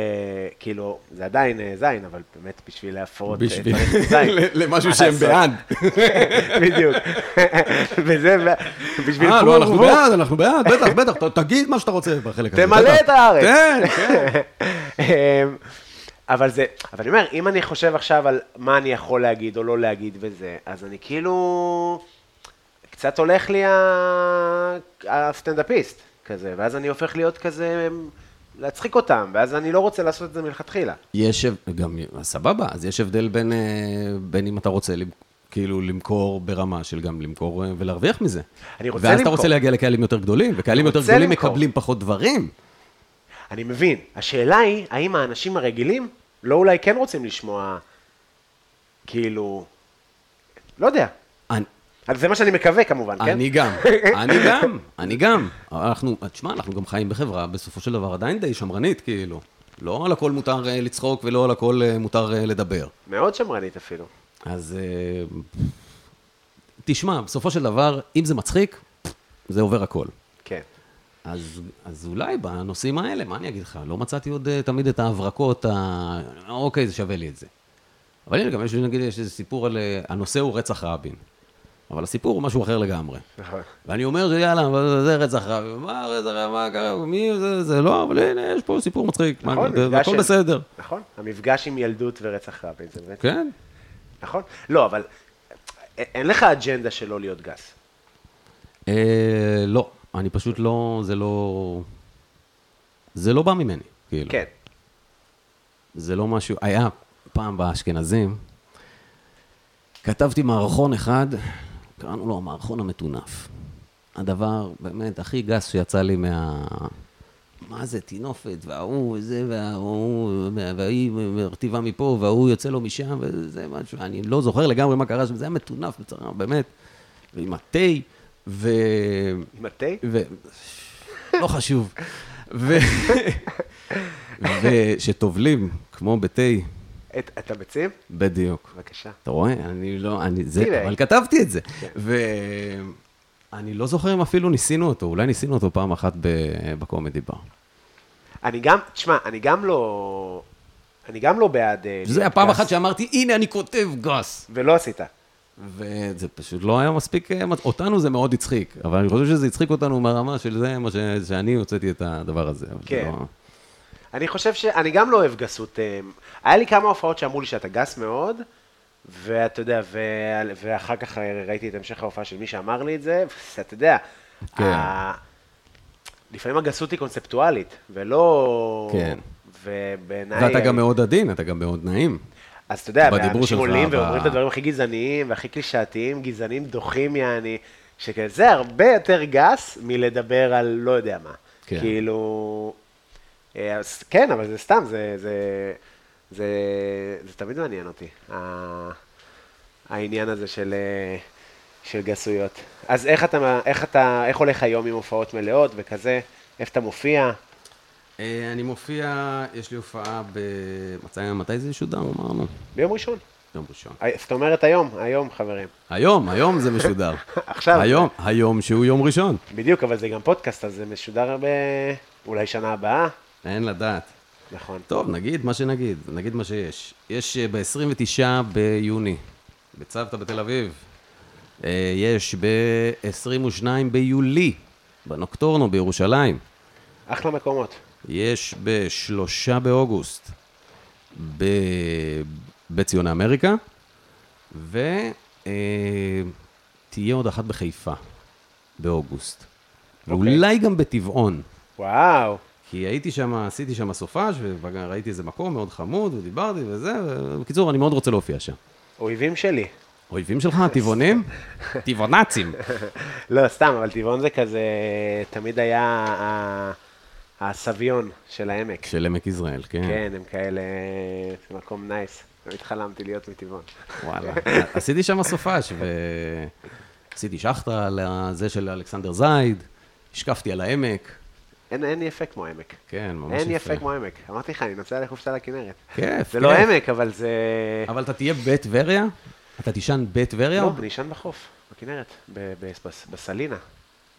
כאילו, זה עדיין אה, זין, אבל באמת בשביל להפרות... אה,
בשביל-
צריך זין.
למשהו
מה
שהם
לעשות?
בעד.
בדיוק. וזה, בשביל...
אה,
פרו
לא, אנחנו
ורבו.
בעד, אנחנו בעד, בטח, בטח, ת- תגיד מה שאתה רוצה בחלק הזה.
תמלא
בטח.
את הארץ.
כן, כן.
אמ, אבל זה, אבל אני אומר, אם אני חושב עכשיו על מה אני יכול להגיד או לא להגיד וזה, אז אני כאילו, קצת הולך לי ה- הסטנדאפיסט כזה, ואז אני הופך להיות כזה, אמ, להצחיק אותם, ואז אני לא רוצה לעשות את זה מלכתחילה.
יש, הב- גם, סבבה, אז יש הבדל בין, אה, בין אם אתה רוצה למ- כאילו למכור ברמה של גם למכור אה, ולהרוויח מזה.
אני רוצה
ואז אתה
למכור.
רוצה להגיע לקהלים יותר גדולים, וקהלים יותר
רוצה
גדולים
למכור.
מקבלים פחות דברים.
אני מבין, השאלה היא, האם האנשים הרגילים לא אולי כן רוצים לשמוע, כאילו, לא יודע,
אני,
אז זה מה שאני מקווה כמובן, כן?
אני גם, אני גם, אני גם. אנחנו, תשמע, אנחנו גם חיים בחברה, בסופו של דבר עדיין די שמרנית, כאילו. לא על הכל מותר אה, לצחוק ולא על הכל אה, מותר אה, לדבר.
מאוד שמרנית אפילו.
אז אה, תשמע, בסופו של דבר, אם זה מצחיק, זה עובר הכל.
כן.
אז, אז אולי בנושאים האלה, מה אני אגיד לך? לא מצאתי עוד אה, תמיד את ההברקות, ה... אוקיי, זה שווה לי את זה. אבל הנה, גם יש לי, נגיד, יש איזה סיפור על... אה, הנושא הוא רצח רבין. אבל הסיפור הוא משהו אחר לגמרי.
נכון.
ואני אומר, זה, יאללה, אבל זה רצח רבין. מה רצח רבין? מה קרה? מי זה? זה לא, אבל הנה, יש פה סיפור מצחיק. מה-
נכון,
זה-
מפגש
הכל
של-
בסדר.
נכון, המפגש עם ילדות ורצח רבין, זה באמת,
כן?
נכון? לא, אבל א- אין לך אג'נדה שלא להיות גס.
אה, לא, אני פשוט לא, זה לא, זה לא בא ממני, כאילו.
כן.
זה לא משהו, היה פעם באשכנזים, כתבתי מערכון אחד, קראנו לו המערכון המטונף. הדבר באמת הכי גס שיצא לי מה... מה זה, טינופת, וההוא, זה, וההוא, וההיא מרטיבה מפה, וההוא יוצא לו משם, וזה משהו, אני לא זוכר לגמרי מה קרה שם, זה היה מטונף בצורה, באמת, ועם התה, ו...
עם התה?
ו... לא חשוב. ו... ושטובלים, כמו בתה,
את את הביצים?
בדיוק.
בבקשה.
אתה רואה? אני לא, אני זה,
הנה.
אבל כתבתי את זה.
כן.
ואני לא זוכר אם אפילו ניסינו אותו, אולי ניסינו אותו פעם אחת ב- בקומדי בר.
אני גם, תשמע, אני גם לא, אני גם לא בעד... אה,
זה
להיות
הפעם
גס,
אחת שאמרתי, הנה, אני כותב גס.
ולא עשית.
וזה פשוט לא היה מספיק, אה, מת- אותנו זה מאוד הצחיק, אבל אני חושב שזה הצחיק אותנו מהרמה של זה, מה ש... שאני הוצאתי את הדבר הזה. אבל זה
כן.
לא-
אני חושב ש... אני גם לא אוהב גסות. אה, היה לי כמה הופעות שאמרו לי שאתה גס מאוד, ואתה יודע, ו... ואחר כך ראיתי את המשך ההופעה של מי שאמר לי את זה, ואתה יודע,
כן.
ה... לפעמים הגסות היא קונספטואלית, ולא...
כן.
ובעיניי... אה,
ואתה גם מאוד עדין, אתה גם מאוד נעים.
אז אתה יודע,
בדיבור
אנשים
שלך,
עולים
ב-
ואומרים את הדברים הכי גזעניים והכי קלישאתיים, גזענים דוחים יעני, שזה הרבה יותר גס מלדבר על לא יודע מה.
כן.
כאילו... אה, אז כן, אבל זה סתם, זה, זה, זה, זה תמיד מעניין אותי, ה- העניין הזה של, אה, של גסויות. אז איך אתה, איך אתה, איך הולך היום עם הופעות מלאות וכזה? איפה אתה מופיע?
אה, אני מופיע, יש לי הופעה ב... מתי- מתי זה ישודר, אמרנו?
ביום ראשון.
יום ראשון.
אה, זאת אומרת היום, היום חברים.
היום, היום זה משודר.
עכשיו.
היום, היום שהוא יום ראשון.
בדיוק, אבל זה גם פודקאסט, אז זה משודר ב... אולי שנה הבאה,
אין לדעת.
נכון.
טוב, נגיד מה שנגיד, נגיד מה שיש. יש אה, ב-29 ביוני, בצוותא בתל אביב. אה, יש ב-22 ביולי, בנוקטורנו בירושלים.
אחלה מקומות.
יש ב-3 באוגוסט בבית ציון האמריקה, ותהיה אה, עוד אחת בחיפה באוגוסט. ואולי גם בטבעון.
וואו,
כי הייתי שם, עשיתי שם סופש, וראיתי איזה מקום מאוד חמוד, ודיברתי וזה, ובקיצור, אני מאוד רוצה להופיע שם.
אויבים שלי.
אויבים שלך, טבעונים? טבעונצים.
לא, סתם, אבל טבעון זה כזה, תמיד היה ה- הסביון של העמק.
של עמק יזרעאל, כן.
כן, הם כאלה, זה מקום נייס. תמיד חלמתי להיות מטבעון.
וואלה. עשיתי שם סופש, ועשיתי שחטה על זה של אלכסנדר זייד, השקפתי על העמק,
אין, אין יפה כמו עמק.
כן, ממש
אין יפה
יפה.
כמו עמק. אמרתי לך, אני נוסע לחופשה לכנרת.
כיף,
זה לא
כיף.
עמק, אבל זה...
אבל אתה תהיה בטבריה? אתה תישן בטבריה?
לא,
או-
אני אשן בחוף, בכנרת, ב- ב- בס- בסלינה.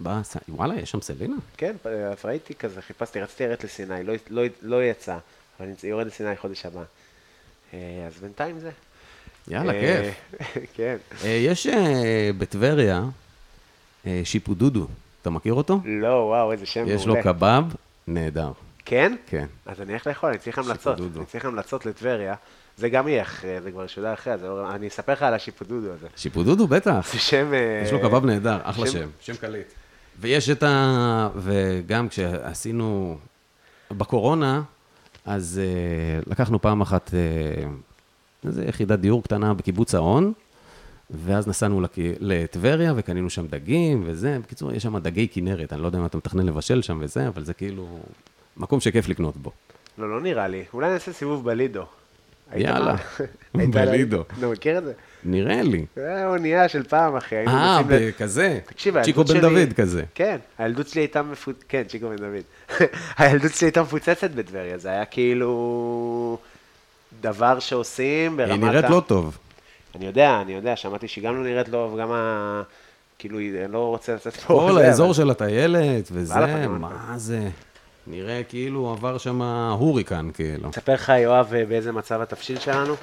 בס- וואלה, יש שם סלינה?
כן, אז ראיתי כזה, חיפשתי, רציתי לרדת לסיני, לא, לא, לא יצא, אבל אני יורד לסיני חודש הבא. אה, אז בינתיים זה.
יאללה,
אה,
כיף.
כן.
אה, יש אה, בטבריה אה, שיפו דודו, אתה מכיר אותו?
לא, וואו, איזה שם מעולה.
יש לו קבב נהדר.
כן?
כן.
אז אני איך לאכול, אני צריך המלצות.
שיפודודו.
אני צריך המלצות לטבריה. זה גם יהיה אחרי, זה כבר שודר אחרי, אז אני אספר לך על השיפודודו הזה.
שיפו דודו, בטח.
זה שם... אה,
יש לו קבב נהדר, אחלה
שם-
שם. שם קליט. ויש את ה... וגם כשעשינו... בקורונה, אז אה, לקחנו פעם אחת אה, איזה יחידת דיור קטנה בקיבוץ ההון, ואז נסענו לק... לטבריה וקנינו שם דגים וזה. בקיצור, יש שם דגי כנרת, אני לא יודע אם אתה מתכנן לבשל שם וזה, אבל זה כאילו מקום שכיף לקנות בו.
לא, לא נראה לי. אולי נעשה סיבוב בלידו. היית-
יאללה,
היית-
בלידו.
אתה מכיר את זה?
נראה לי.
זה היה אונייה של פעם, אחי. היינו
אה,
נוסעים ל-
כזה?
תקשיב, הילדות
צ'יקו בן
שלי...
דוד כזה.
כן, הילדות שלי הייתה מפוצצת, כן, צ'יקו בן דוד. הילדות שלי הייתה מפוצצת בטבריה, זה היה כאילו דבר שעושים ברמת...
היא
ה-
נראית לא טוב.
אני יודע, אני יודע, שמעתי שהיא גם לא נראית לו, וגם ה... כאילו, היא- אני לא רוצה לצאת פה.
כל
זה,
האזור
אבל-
של הטיילת וזה,
וואלה, פגעון.
מה זה? נראה כאילו עבר שם הוריקן, כאילו.
אספר לך, יואב, באיזה מצב התבשיל שלנו?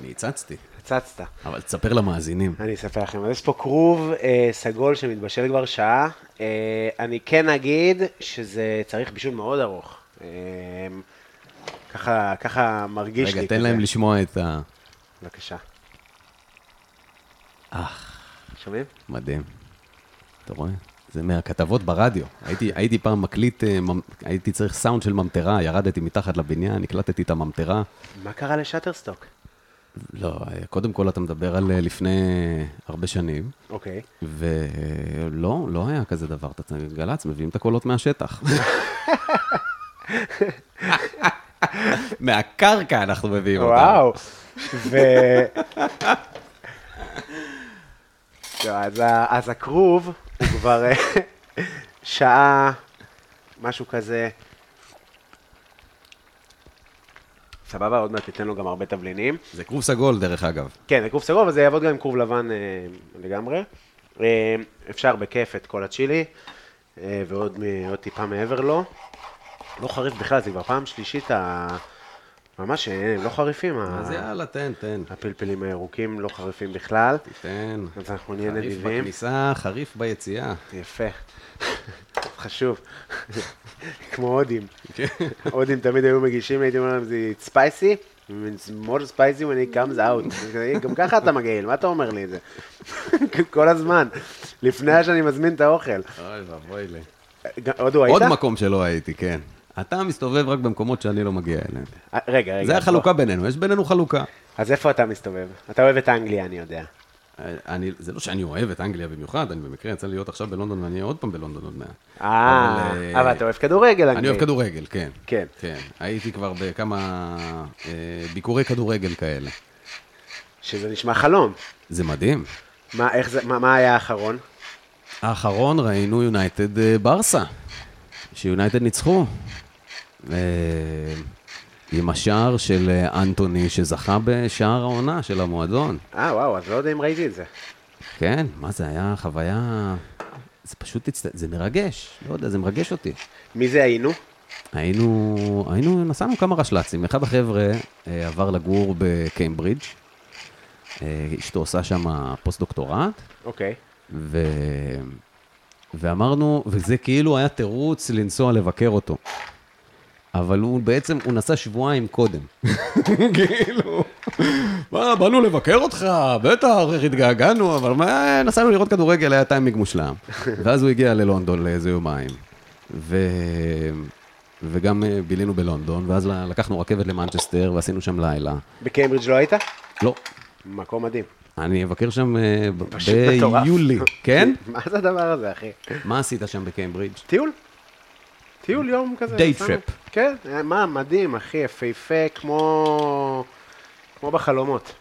אני הצצתי,
הצצת.
אבל תספר למאזינים.
אני אספר לכם, אז יש פה כרוב אה, סגול שמתבשל כבר שעה. אה, אני כן אגיד שזה צריך בישול מאוד ארוך. אה, ככה, ככה מרגיש לי.
רגע, תן
כזה.
להם לשמוע את ה...
בבקשה. שומעים?
מדהים. אתה רואה? זה מהכתבות ברדיו. הייתי, הייתי פעם מקליט, אה, ממ- הייתי צריך סאונד של ממטרה, ירדתי מתחת לבניין, הקלטתי את הממטרה.
מה קרה לשאטרסטוק?
לא, אה, קודם כל אתה מדבר על אה, לפני הרבה שנים.
אוקיי.
ולא, לא היה כזה דבר. אתה צריך- גל"צ, מביאים את הקולות מהשטח. מהקרקע אנחנו מביאים אותם.
וואו. ו... לא, אז, ה- אז הכרוב הוא כבר אה, שעה, משהו כזה. סבבה, עוד מעט תיתן לו גם הרבה תבלינים.
זה כרוב סגול, דרך אגב.
כן, זה כרוב סגול, אבל זה יעבוד גם עם כרוב לבן אה, לגמרי. אה, אפשר בכיף את כל הצ'ילי, אה, ועוד מ- עוד טיפה מעבר לו. לא חריף בכלל, זה כבר פעם שלישית ה- ממש, אה, הם לא חריפים, ה-
אז יאללה, תן, תן.
הפלפלים הירוקים לא חריפים בכלל.
תן.
אז אנחנו נהיה
חריף
נדיבים.
בכניסה, חריף ביציאה.
יפה. חשוב. כמו הודים.
כן.
הודים תמיד היו מגישים, הייתי אומר להם, זה ספייסי? more spicy when it comes out. "אה, גם ככה אתה מגעיל, מה אתה אומר לי את זה? כל הזמן, לפני שאני מזמין את האוכל.
אוי ואבוי לי.
גם- הודו, היית?
עוד מקום שלא הייתי, כן. אתה מסתובב רק במקומות שאני לא מגיע אליהם.
אה, רגע, רגע.
זה
בוא.
החלוקה בינינו, יש בינינו חלוקה.
אז איפה אתה מסתובב? אתה אוהב את האנגליה, אני יודע.
אני, זה לא שאני אוהב את אנגליה במיוחד, אני במקרה יצא לי להיות עכשיו בלונדון ואני אהיה עוד פעם בלונדון עוד מעט.
אה,
אבל, אה,
אבל אתה אוהב כדורגל אנגלי.
אני אוהב כדורגל, כן.
כן.
כן. הייתי כבר בכמה אה, ביקורי כדורגל כאלה.
שזה נשמע חלום.
זה מדהים.
מה, איך זה, מה, מה היה האחרון?
האחרון ראינו יונייטד אה, ברסה, שיונייטד ניצחו. אה, עם השער של אה, אנטוני, שזכה בשער העונה של המועדון.
אה, וואו, אז לא יודע אם ראיתי את זה.
כן, מה זה היה חוויה... זה פשוט, הצט... זה מרגש, לא יודע, זה מרגש אותי.
מי זה היינו?
היינו, היינו, נסענו כמה רשל"צים. אחד החבר'ה אה, עבר לגור בקיימברידג', אה, אשתו עושה שם פוסט-דוקטורט,
אוקיי.
ו... ואמרנו, וזה כאילו היה תירוץ לנסוע לבקר אותו. אבל הוא בעצם, הוא נסע שבועיים קודם. כאילו, מה, באנו לבקר אותך, בטח, איך התגעגענו, אבל מה, נסענו לראות כדורגל, היה טיימינג מושלם. ואז הוא הגיע ללונדון לאיזה יומיים. ו... וגם אה, בילינו בלונדון, ואז ל- לקחנו רכבת למנצ'סטר ועשינו שם לילה.
בקיימברידג' לא היית?
לא,
מקום מדהים.
אני אבקר שם אה, ב-
פשוט מטורף.
ביולי, כן?
מה זה הדבר הזה, אחי?
מה עשית שם בקיימברידג'?
טיול? טיול יום כזה.
Day
נסענו.
trip.
כן, אה, מה, מדהים, אחי, יפהפה, כמו... כמו בחלומות.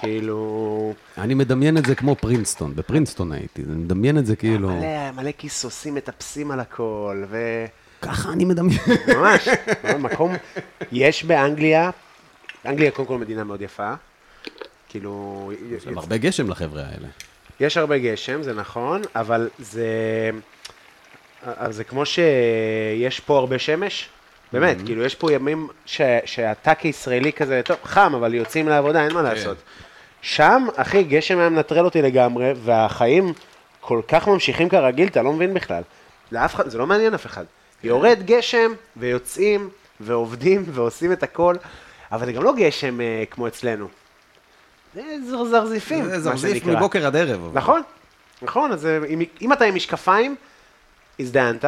כאילו...
אני מדמיין את זה כמו פרינסטון, בפרינסטון הייתי, אני מדמיין את זה כאילו...
מלא, מלא כיסוסים מטפסים על הכל, ו...
ככה אני מדמיין.
ממש, מקום, יש באנגליה, אנגליה קודם כל מדינה מאוד יפה, כאילו,
יש להם הרבה גשם לחבר'ה האלה.
יש הרבה גשם, זה נכון, אבל זה, אבל זה כמו שיש פה הרבה שמש, באמת, כאילו, יש פה ימים ש, שאתה כישראלי כזה, טוב, חם, אבל יוצאים לעבודה, אין מה לעשות. שם, אחי, גשם היה מנטרל אותי לגמרי, והחיים כל כך ממשיכים כרגיל, אתה לא מבין בכלל. לאף אחד, זה לא מעניין אף אחד. יורד גשם, ויוצאים, ועובדים, ועושים את הכל, אבל זה גם לא גשם אה, כמו אצלנו. זה זר- זרזיפים, כן, מה שנקרא.
עד ערב. אבל.
נכון, נכון, אז אה, אם, אם אתה עם משקפיים, הזדיינת,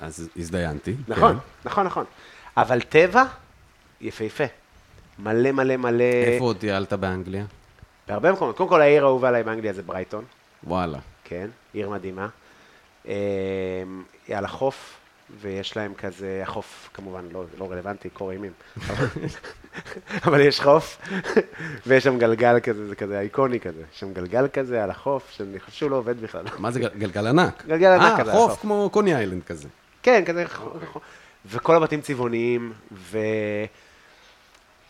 אז הזדיינתי.
נכון,
כן.
נכון, נכון. אבל טבע, יפהפה. מלא מלא מלא,
איפה עוד טיילת באנגליה?
בהרבה מקומות. קודם כל העיר האהובה עליי באנגליה זה ברייטון,
וואלה.
כן, עיר מדהימה. אה, היא על החוף, ויש להם כזה, החוף כמובן לא, לא רלוונטי, קור אימים, אבל- אבל יש חוף, ויש שם גלגל כזה, זה כזה איקוני כזה, יש שם גלגל כזה על החוף, שאני חושב שהוא לא עובד בכלל.
מה זה גל- גלגל ענק?
גלגל ענק נכון. כזה,
אה, חוף
חוף.
כמו קוני איילנד כזה.
כן, כזה,
אוקיי.
ח- ח- וכל הבתים צבעוניים, ו...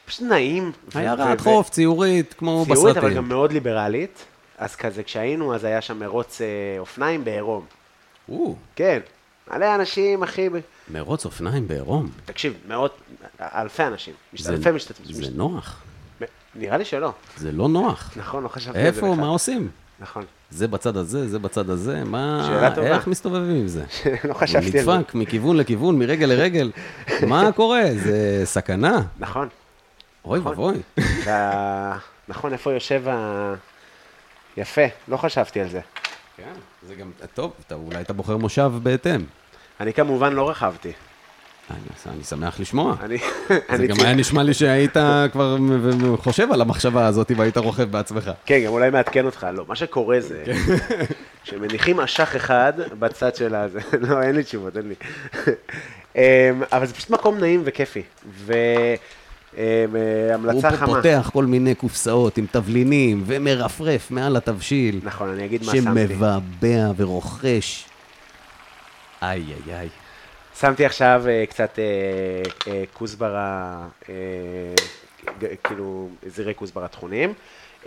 פשוט נעים. ו-
עיירת
ו-
חוף, ציורית, כמו
ציורית, אבל גם לא-
בסרטים.
מאוד ליברלית. אז כזה, כשהיינו, אז היה שם מרוץ אה, אופניים בעירום.
או,
כן, מלא אנשים, אחי, ב-
מרוץ אופניים בעירום.
תקשיב, מאות, אלפי אנשים, משת-
זה-
אלפי משתתפים.
זה לא-
משת-
נוח.
מ- נראה לי שלא.
זה לא נוח.
נכון, לא חשבתי על זה
איפה,
בכלל.
מה עושים?
נכון.
זה בצד הזה, זה בצד הזה, מה...
שאלה טובה.
איך מסתובבים עם זה?
לא חשבתי על זה.
הוא נדפק מכיוון לכיוון, מרגל לרגל. מה קורה? זה סכנה.
נכון.
אוי
נכון.
ואבוי.
וה- נכון, איפה יושב ה... יפה, לא חשבתי על זה.
כן, זה גם... טוב, אתה- אולי אתה בוחר מושב בהתאם.
אני כמובן לא רכבתי.
אני אני שמח לשמוע.
אני...
זה
אני
גם
צי-
היה נשמע לי שהיית כבר מ- מ- חושב על המחשבה הזאת והיית רוכב בעצמך.
כן, גם אולי מעדכן אותך, לא, מה שקורה זה,
כן.
שמניחים אשך אחד בצד של הזה, לא, אין לי תשובות, אין לי. אמ, אבל זה פשוט מקום נעים וכיפי,
הוא
והמלצה
פה
חמה.
פותח כל מיני קופסאות עם תבלינים ומרפרף מעל התבשיל,
נכון, אני אגיד מה שמתי.
שמבעבע ורוכש. איי, איי, איי.
שמתי עכשיו אה, קצת אה, אה, כוסברה, אה, ג- כאילו זירי כוסברה טחונים.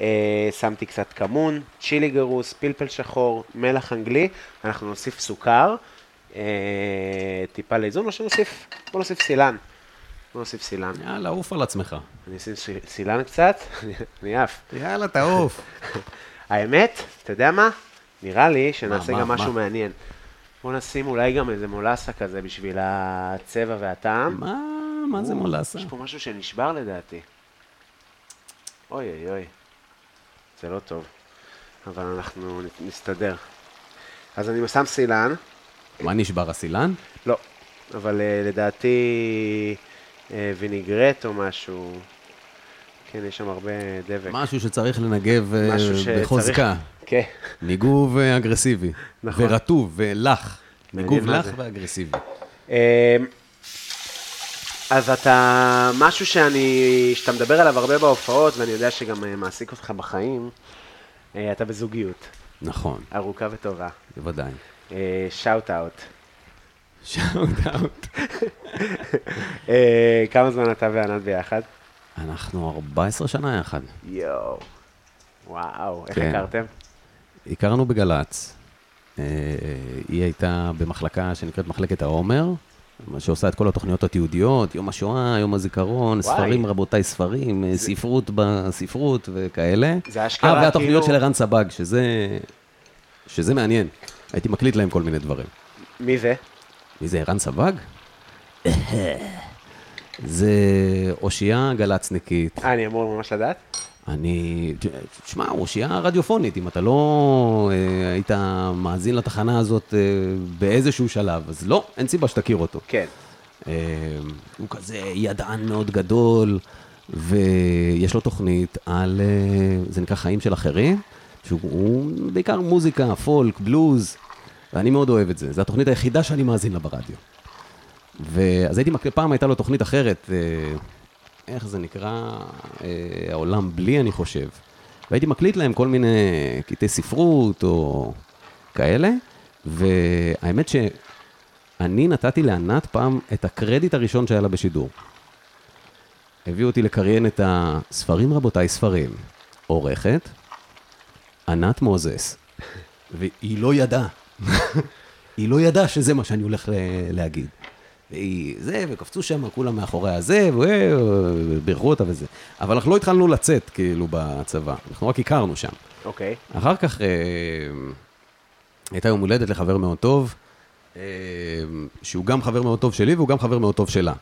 אה, שמתי קצת כמון, צ'ילי גרוס, פלפל שחור, מלח אנגלי, אנחנו נוסיף סוכר, אה, טיפה לאיזון, או שנוסיף, בוא נוסיף סילן. בוא נוסיף סילן.
יאללה, עוף על עצמך.
אני אשים ס- סילן קצת, אני עף.
יאללה, תעוף.
האמת, אתה יודע מה? נראה לי שנעשה
מה,
גם
מה?
משהו מעניין. בוא נשים אולי גם איזה מולאסה כזה בשביל הצבע והטעם.
מה, מה זה
או,
מולאסה?
יש פה משהו שנשבר לדעתי. אוי אוי אוי. זה לא טוב. אבל אנחנו נ- נסתדר. אז אני שם סילן.
מה נשבר הסילן?
לא. אבל אה, לדעתי אה, ויניגרט או משהו. כן, יש שם הרבה דבק.
משהו שצריך לנגב אה,
משהו שצריך-
בחוזקה.
כן.
ניגוב אה, אגרסיבי.
נכון.
ורטוב ולח.
מעניין
ניגוב
מה
לח
זה.
ואגרסיבי.
אמ, אז אתה, משהו שאני, שאתה מדבר עליו הרבה בהופעות, ואני יודע שגם אה, מעסיק אותך בחיים, אה, אתה בזוגיות,
נכון,
ארוכה וטובה. אה,
בוודאי.
שאוט אאוט.
שאוט אאוט.
אה, כמה זמן אתה וענת ביחד?
אנחנו 14 שנה יחד.
יואו. וואו, איך
כן.
הכרתם?
הכרנו בגל"צ. אה, היא הייתה במחלקה שנקראת מחלקת העומר, מה שעושה את כל התוכניות התיעודיות, יום השואה, יום הזיכרון,
וואי.
ספרים, רבותיי, ספרים, אה, ספרות בספרות וכאלה.
זה אשכרה
אה, והתוכניות של
כאילו-
ערן סבג, שזה, שזה מעניין. הייתי מקליט להם כל מיני דברים.
מי זה?
מי זה, ערן סבג? זה אושייה גל"צניקית.
אה, אני אמור ממש לדעת?
אני, תשמע, אושייה רדיופונית, אם אתה לא אה, היית מאזין לתחנה הזאת אה, באיזשהו שלב, אז לא, אין סיבה שתכיר אותו.
כן.
אה, הוא כזה ידען מאוד גדול, ויש לו תוכנית על, אה, זה נקרא חיים של אחרים, שהוא בעיקר מוזיקה, פולק, בלוז, ואני מאוד אוהב את זה. זו התוכנית היחידה שאני מאזין לה ברדיו. ואז הייתי, מק- פעם הייתה לו תוכנית אחרת, אה, איך זה נקרא, אה, העולם בלי, אני חושב. והייתי מקליט להם כל מיני קטעי ספרות או כאלה, והאמת שאני נתתי לענת פעם את הקרדיט הראשון שהיה לה בשידור. הביאו אותי לקריין את הספרים, רבותיי, ספרים. עורכת, ענת מוזס. והיא לא ידעה. היא לא ידעה שזה מה שאני הולך ל- להגיד. והיא זה, וקפצו שם כולם מאחורי הזה, ובירכו אותה וזה. אבל אנחנו לא התחלנו לצאת, כאילו, בצבא. אנחנו רק הכרנו שם.
אוקיי.
אחר כך אה, הייתה יום הולדת לחבר מאוד טוב, אה, שהוא גם חבר מאוד טוב שלי והוא גם חבר מאוד טוב שלה.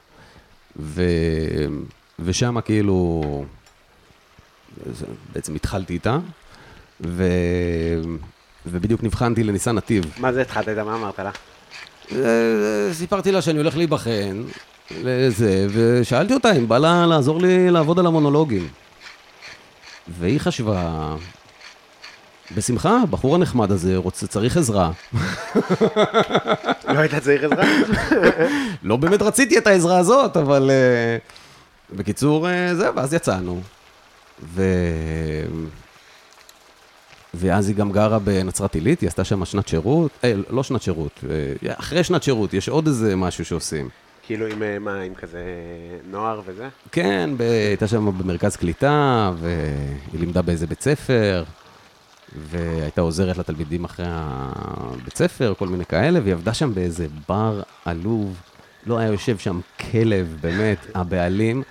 ו, ושם כאילו, זה- בעצם התחלתי איתה, ו, ובדיוק נבחנתי לניסן נתיב.
מה זה התחלת איתה? מה אמרת לה?
אה, סיפרתי לה שאני הולך להיבחן לזה, ושאלתי אותה אם בא לה לעזור לי לעבוד על המונולוגים. והיא חשבה, בשמחה, הבחור הנחמד הזה רוצה, צריך עזרה.
לא היית צריך עזרה?
לא באמת רציתי את העזרה הזאת, אבל... אה, בקיצור, אה, זה, ואז יצאנו. ו... ואז היא גם גרה בנצרת עילית, היא עשתה שם שנת שירות, אה, לא שנת שירות, אה, אחרי שנת שירות, יש עוד איזה משהו שעושים.
כאילו עם אה, מה, עם כזה אה, נוער וזה?
כן, ב... הייתה שם במרכז קליטה, והיא לימדה באיזה בית ספר, והייתה עוזרת לתלמידים אחרי הבית ספר, כל מיני כאלה, והיא עבדה שם באיזה בר עלוב. לא היה יושב שם כלב, באמת, הבעלים,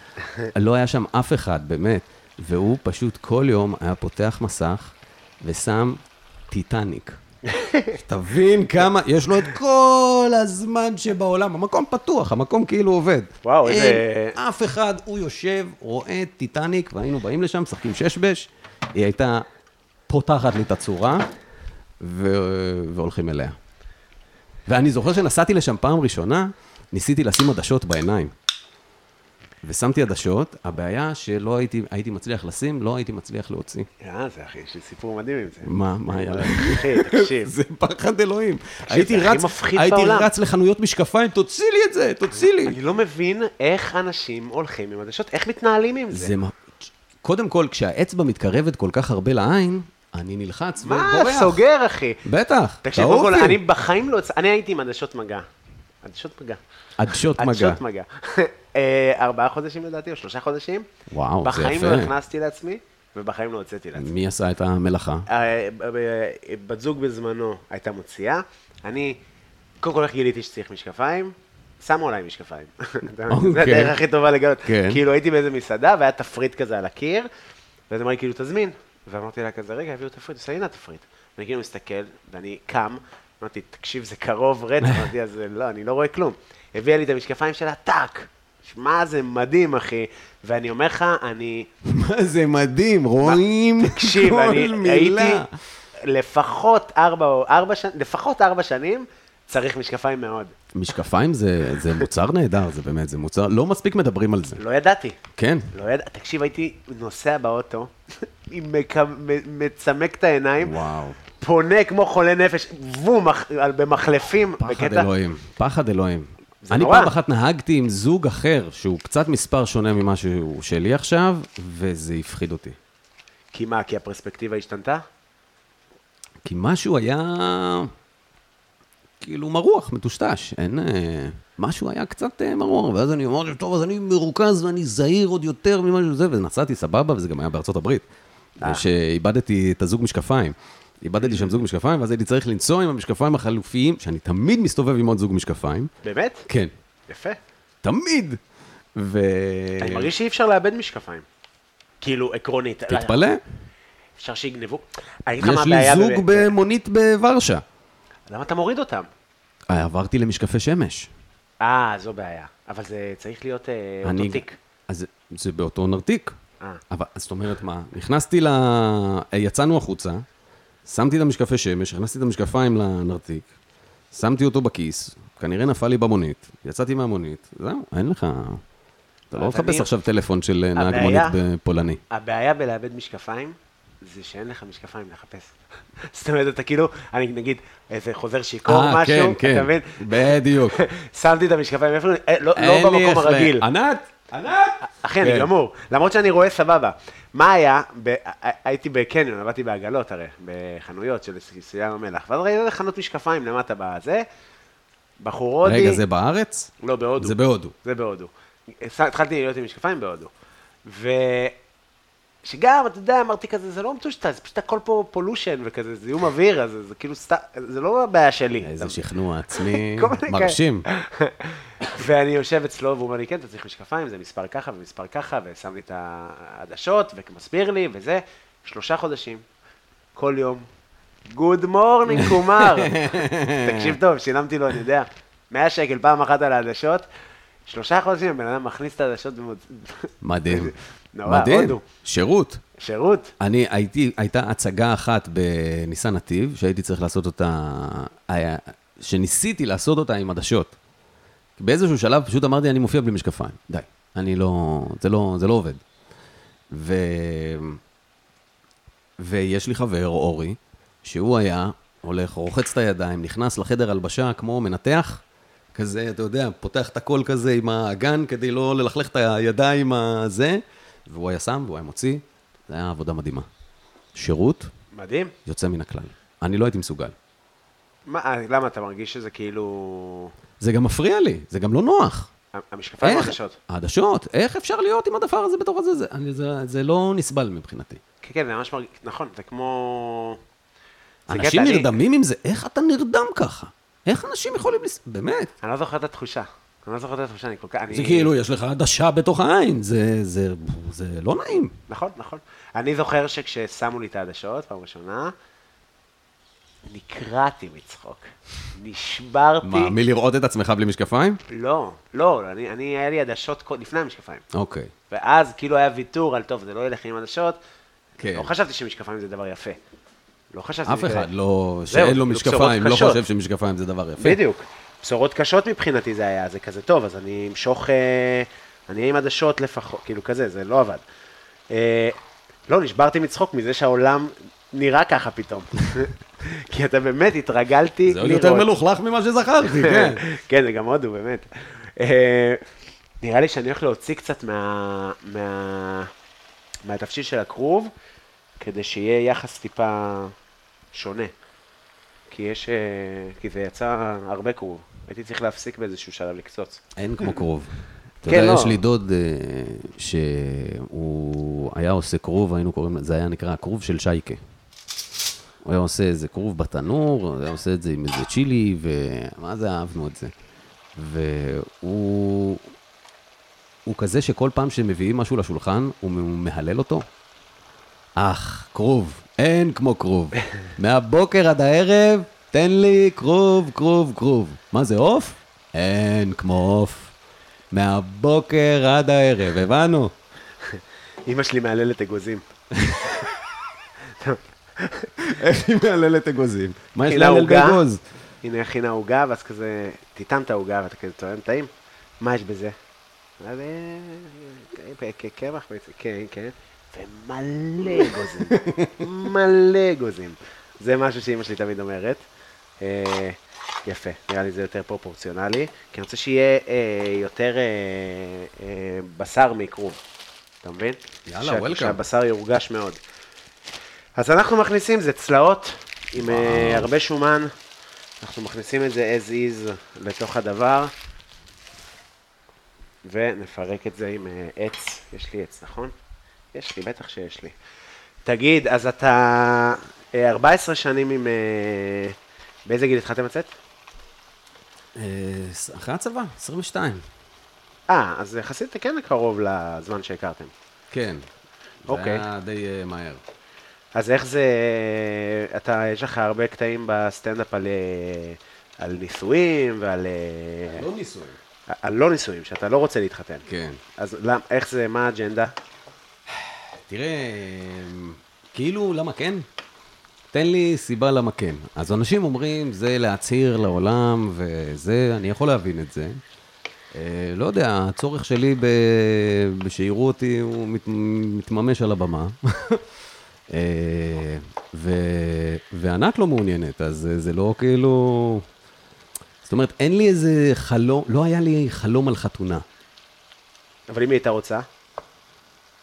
לא היה שם אף אחד, באמת. והוא פשוט כל יום היה פותח מסך ושם טיטניק. תבין כמה, יש לו את כל הזמן שבעולם, המקום פתוח, המקום כאילו עובד.
וואו, איזה-
אין אף אחד, הוא יושב, רואה את טיטניק, והיינו באים לשם, משחקים ששבש, היא הייתה פותחת לי את הצורה, ו... והולכים אליה. ואני זוכר שנסעתי לשם פעם ראשונה, ניסיתי לשים עדשות בעיניים. ושמתי עדשות, הבעיה שלא הייתי, הייתי מצליח לשים, לא הייתי מצליח להוציא.
אה, זה אחי, יש לי סיפור מדהים עם זה.
מה, מה היה לך?
אחי, תקשיב.
זה פחד אלוהים. הייתי
הכי
רץ,
מפחיד
הייתי
בעולם.
רץ לחנויות משקפיים, תוציא לי את זה, תוציא לי.
אני לא מבין איך אנשים הולכים עם עדשות, איך מתנהלים עם זה.
זה מה... קודם כל, כשהאצבע מתקרבת כל כך הרבה לעין, אני נלחץ
מה,
ובורח.
סוגר, אחי?
בטח,
תקשיב, קודם כל, אני בחיים לא... הצ- אני הייתי עם עדשות מגע. עדשות מגע.
עדשות מגע.
עדשות מגע. אה, ארבעה חודשים לדעתי, או שלושה חודשים.
וואו, זה
בחיים
יפה.
לא הכנסתי לעצמי, ובחיים לא הוצאתי לעצמי.
מי עשה את המלאכה?
אה, ב- ב- בת זוג בזמנו הייתה מוציאה. אני, קודם כל, איך גיליתי שצריך משקפיים? שמו עליי משקפיים. זה
אוקיי.
הדרך הכי טובה לגלות.
כן.
כאילו הייתי באיזה מסעדה והיה תפריט כזה על הקיר, ואז אמר לי כאילו תזמין. ואמרתי לה כזה, רגע, הביאו תפריט, עושה לי נא תפריט. ואני כאילו מסתכל, ואני קם, אמרתי, תקשיב, זה קרוב רצח, אמרתי, אז לא, אני לא רואה כלום. הביאה לי את המשקפיים שלה, טאק. שמע, זה מדהים, אחי. ואני אומר לך, אני...
מה זה מדהים, רואים
תקשיב, אני הייתי לפחות ארבע, או- ארבע, שנ- לפחות ארבע שנים צריך משקפיים מאוד.
משקפיים זה, זה מוצר נהדר, זה באמת, זה מוצר, לא מספיק מדברים על זה.
לא ידעתי.
כן.
לא ידע, תקשיב, הייתי נוסע באוטו, עם מק- מ- מצמק את העיניים,
וואו.
פונה כמו חולה נפש, וום, מח- על- במחלפים,
פחד
בקטע...
אלוהים, פחד אלוהים.
זה
אני
נורא.
פעם אחת נהגתי עם זוג אחר, שהוא קצת מספר שונה ממה שהוא שלי עכשיו, וזה הפחיד אותי.
כי מה, כי הפרספקטיבה השתנתה?
כי משהו היה כאילו מרוח, מטושטש. אין... אה, משהו היה קצת אה, מרוח, ואז אני אמרתי, טוב, אז אני מרוכז ואני זהיר עוד יותר ממה שזה, ונסעתי סבבה, וזה גם היה בארצות הברית.
אה.
שאיבדתי את הזוג משקפיים. איבדתי שם זוג משקפיים, ואז הייתי צריך לנסוע עם המשקפיים החלופיים, שאני תמיד מסתובב עם עוד זוג משקפיים.
באמת?
כן,
יפה.
תמיד. ו...
אני מרגיש שאי אפשר לאבד משקפיים. כאילו, עקרונית.
תתפלא,
אפשר שיגנבו. אני אגיד לך מה
יש לי
הבעיה
זוג
בב-
במונית בוורשה.
למה אתה מוריד אותם?
אה, עברתי למשקפי שמש.
אה, זו בעיה. אבל זה צריך להיות אה,
אני-
אותו תיק.
אז זה באותו נרתיק.
אה.
אבל, אז זאת אומרת מה, נכנסתי ל... יצאנו החוצה, שמתי את המשקפי שמש, הכנסתי את המשקפיים לנרתיק, שמתי אותו בכיס, כנראה נפל לי במונית, יצאתי מהמונית, זהו, אין לך... אתה לא
אז אני-
מחפש עכשיו טלפון של אה, נהג מונית
הבעיה-
בפולני.
הבעיה בלאבד משקפיים, זה שאין לך משקפיים לחפש. זאת אומרת, אתה כאילו, אני נגיד, איזה חוזר שיכור
אה,
משהו,
כן, כן,
אתה מבין?
בדיוק.
שמתי את המשקפיים, איפה, אה, לא,
אין
לא
לי
במקום
איך ל-
הרגיל.
ענת, ענת!
אחי, אני
כן.
גמור. למרות שאני רואה סבבה. מה היה, ב- הייתי בקניון, עבדתי בעגלות הרי, בחנויות של סיום המלח, ואז ראיתי חנות משקפיים למטה בזה, בחור הודי.
רגע, זה בארץ?
לא, בהודו.
זה בהודו.
זה בהודו. הס- התחלתי להיות עם משקפיים בהודו. ו... שגם, אתה יודע, אמרתי כזה, זה לא מטושטש, זה פשוט הכל פה פולושן וכזה, זיהום אוויר, אז זה, זה כאילו סתם, זה לא הבעיה שלי.
איזה
אתה-
שכנוע עצמי
כל מיני כאלה.
מרשים.
ואני יושב אצלו, והוא אומר לי, כן, אתה צריך משקפיים, זה מספר ככה ומספר ככה, ושם לי את העדשות, ומסביר לי, וזה, שלושה חודשים, כל יום. גוד מורנינג, קומר. תקשיב טוב, שילמתי לו, אני יודע, 100 שקל פעם אחת על העדשות, שלושה חודשים, הבן אדם מכניס את העדשות ומוצ...
מדהים.
נורא,
מדהים.
הודו.
שירות.
שירות.
אני הייתי, הייתה הצגה אחת בניסן נתיב, שהייתי צריך לעשות אותה, היה- שניסיתי לעשות אותה עם עדשות. באיזשהו שלב פשוט אמרתי, אני מופיע בלי משקפיים, די. אני לא, זה לא, זה לא עובד. ו... ויש לי חבר, אורי, שהוא היה הולך, רוחץ את הידיים, נכנס לחדר הלבשה כמו מנתח, כזה, אתה יודע, פותח את הכל כזה עם האגן כדי לא ללכלך את הידיים הזה, והוא היה שם והוא היה מוציא, זה היה עבודה מדהימה. שירות
מדהים.
יוצא מן הכלל. אני לא הייתי מסוגל.
מה, אה, למה אתה מרגיש שזה כאילו...
זה גם מפריע לי, זה גם לא נוח.
המשקפיים או העדשות?
העדשות, איך אפשר להיות עם הדבר הזה בתוך הזה? זה, אני, זה, זה לא נסבל מבחינתי.
כן, כן, זה ממש מרגיש, נכון, זה כמו... זה קטע,
אנשים
אני-
נרדמים עם זה, איך אתה נרדם ככה? איך אנשים יכולים לס... באמת.
אני לא זוכר את התחושה. אני לא זוכר את התחושה, אני כל כך... אני...
זה כאילו, יש לך עדשה בתוך העין, זה, זה, זה לא נעים.
נכון, נכון. אני זוכר שכששמו לי את העדשות, פעם ראשונה, נקרעתי מצחוק. נשברתי.
מה, מלראות את עצמך בלי משקפיים?
לא, לא, אני, אני, היה לי עדשות קוד- לפני המשקפיים.
אוקיי.
ואז כאילו היה ויתור על, טוב, זה לא ילך עם עדשות.
כן.
לא חשבתי שמשקפיים זה דבר יפה. לא חשבתי...
אף
שזה-
אחד לא,
זהו,
שאין לו
כאילו
משקפיים, לא
בשורות
חושב
קשות.
שמשקפיים זה דבר יפה.
בדיוק. בשורות קשות מבחינתי זה היה, זה כזה טוב, אז אני אמשוך, אה, אני אהיה עם עדשות לפחות, כאילו כזה, זה לא עבד. אה, לא, נשברתי מצחוק מזה שהעולם נראה ככה פתאום. כי אתה באמת התרגלתי לראות.
זה עוד יותר מלוכלך ממה שזכרתי, כן.
כן, זה גם הודו, באמת. אה, נראה לי שאני הולך להוציא קצת מה, מה, מהתפשיל של הכרוב, כדי שיהיה יחס טיפה שונה. כי יש, אה, כי זה יצא הרבה כרוב. הייתי צריך להפסיק באיזשהו שלב לקצוץ.
אין כמו כרוב. אתה
כן,
יודע,
לא.
יש לי דוד אה, שהוא היה עושה כרוב, היינו קוראים, לזה- זה היה נקרא הכרוב של שייקה. הוא היה עושה איזה כרוב בתנור, הוא היה עושה את זה עם איזה צ'ילי, ומה זה אהבנו את זה. והוא הוא כזה שכל פעם שמביאים משהו לשולחן, הוא מ- מהלל אותו. אך, כרוב, אין כמו כרוב. מהבוקר עד הערב, תן לי כרוב, כרוב, כרוב. מה זה עוף? אין כמו עוף. מהבוקר עד הערב, הבנו?
אימא שלי מהללת אגוזים.
איך היא מהללת אגוזים? מה יש
הכינה
להלל
עוגה,
באגוז?
הנה הכינה עוגה, ואז כזה, תטעם את העוגה, ואתה כזה טועם טעים, מה יש בזה? ואז, "אה, כ- כ- קמח בעצם, כן, כן, ומלא אגוזים, מלא אגוזים. זה משהו שאימא שלי תמיד אומרת. אה, יפה, נראה לי זה יותר פרופורציונלי, כי אני רוצה שיהיה אה, יותר אה, אה, בשר מכרוב, אתה מבין?
יאללה,
שה-
welcome.
שהבשר יורגש מאוד. אז אנחנו מכניסים, זה צלעות עם אה, הרבה שומן. אנחנו מכניסים את זה as is לתוך הדבר, ונפרק את זה עם אה, עץ. יש לי עץ, נכון? יש לי, בטח שיש לי. תגיד, אז אתה אה, 14 שנים עם... אה, באיזה גיל התחלתם לצאת?
אה, אחרי הצבא, 22.
אה, אז יחסית כן קרוב לזמן שהכרתם.
כן. זה
אוקיי.
היה די אה, מהר.
אז איך זה, אה, אתה, יש לך הרבה קטעים בסטנדאפ על, אה, על נישואים ועל אה,
לא ניסוי.
על לא נישואים, שאתה לא רוצה להתחתן.
כן.
אז למ, איך זה, מה האג'נדה?
תראה, כאילו, למה כן? תן לי סיבה למה כן. אז אנשים אומרים, זה להצהיר לעולם, וזה, אני יכול להבין את זה. אה, לא יודע, הצורך שלי ב... שיראו אותי, הוא מת... מתממש על הבמה. אה, ו... וענת לא מעוניינת, אז אה, זה לא כאילו... זאת אומרת, אין לי איזה חלום, לא היה לי חלום על חתונה.
אבל אם היא הייתה רוצה,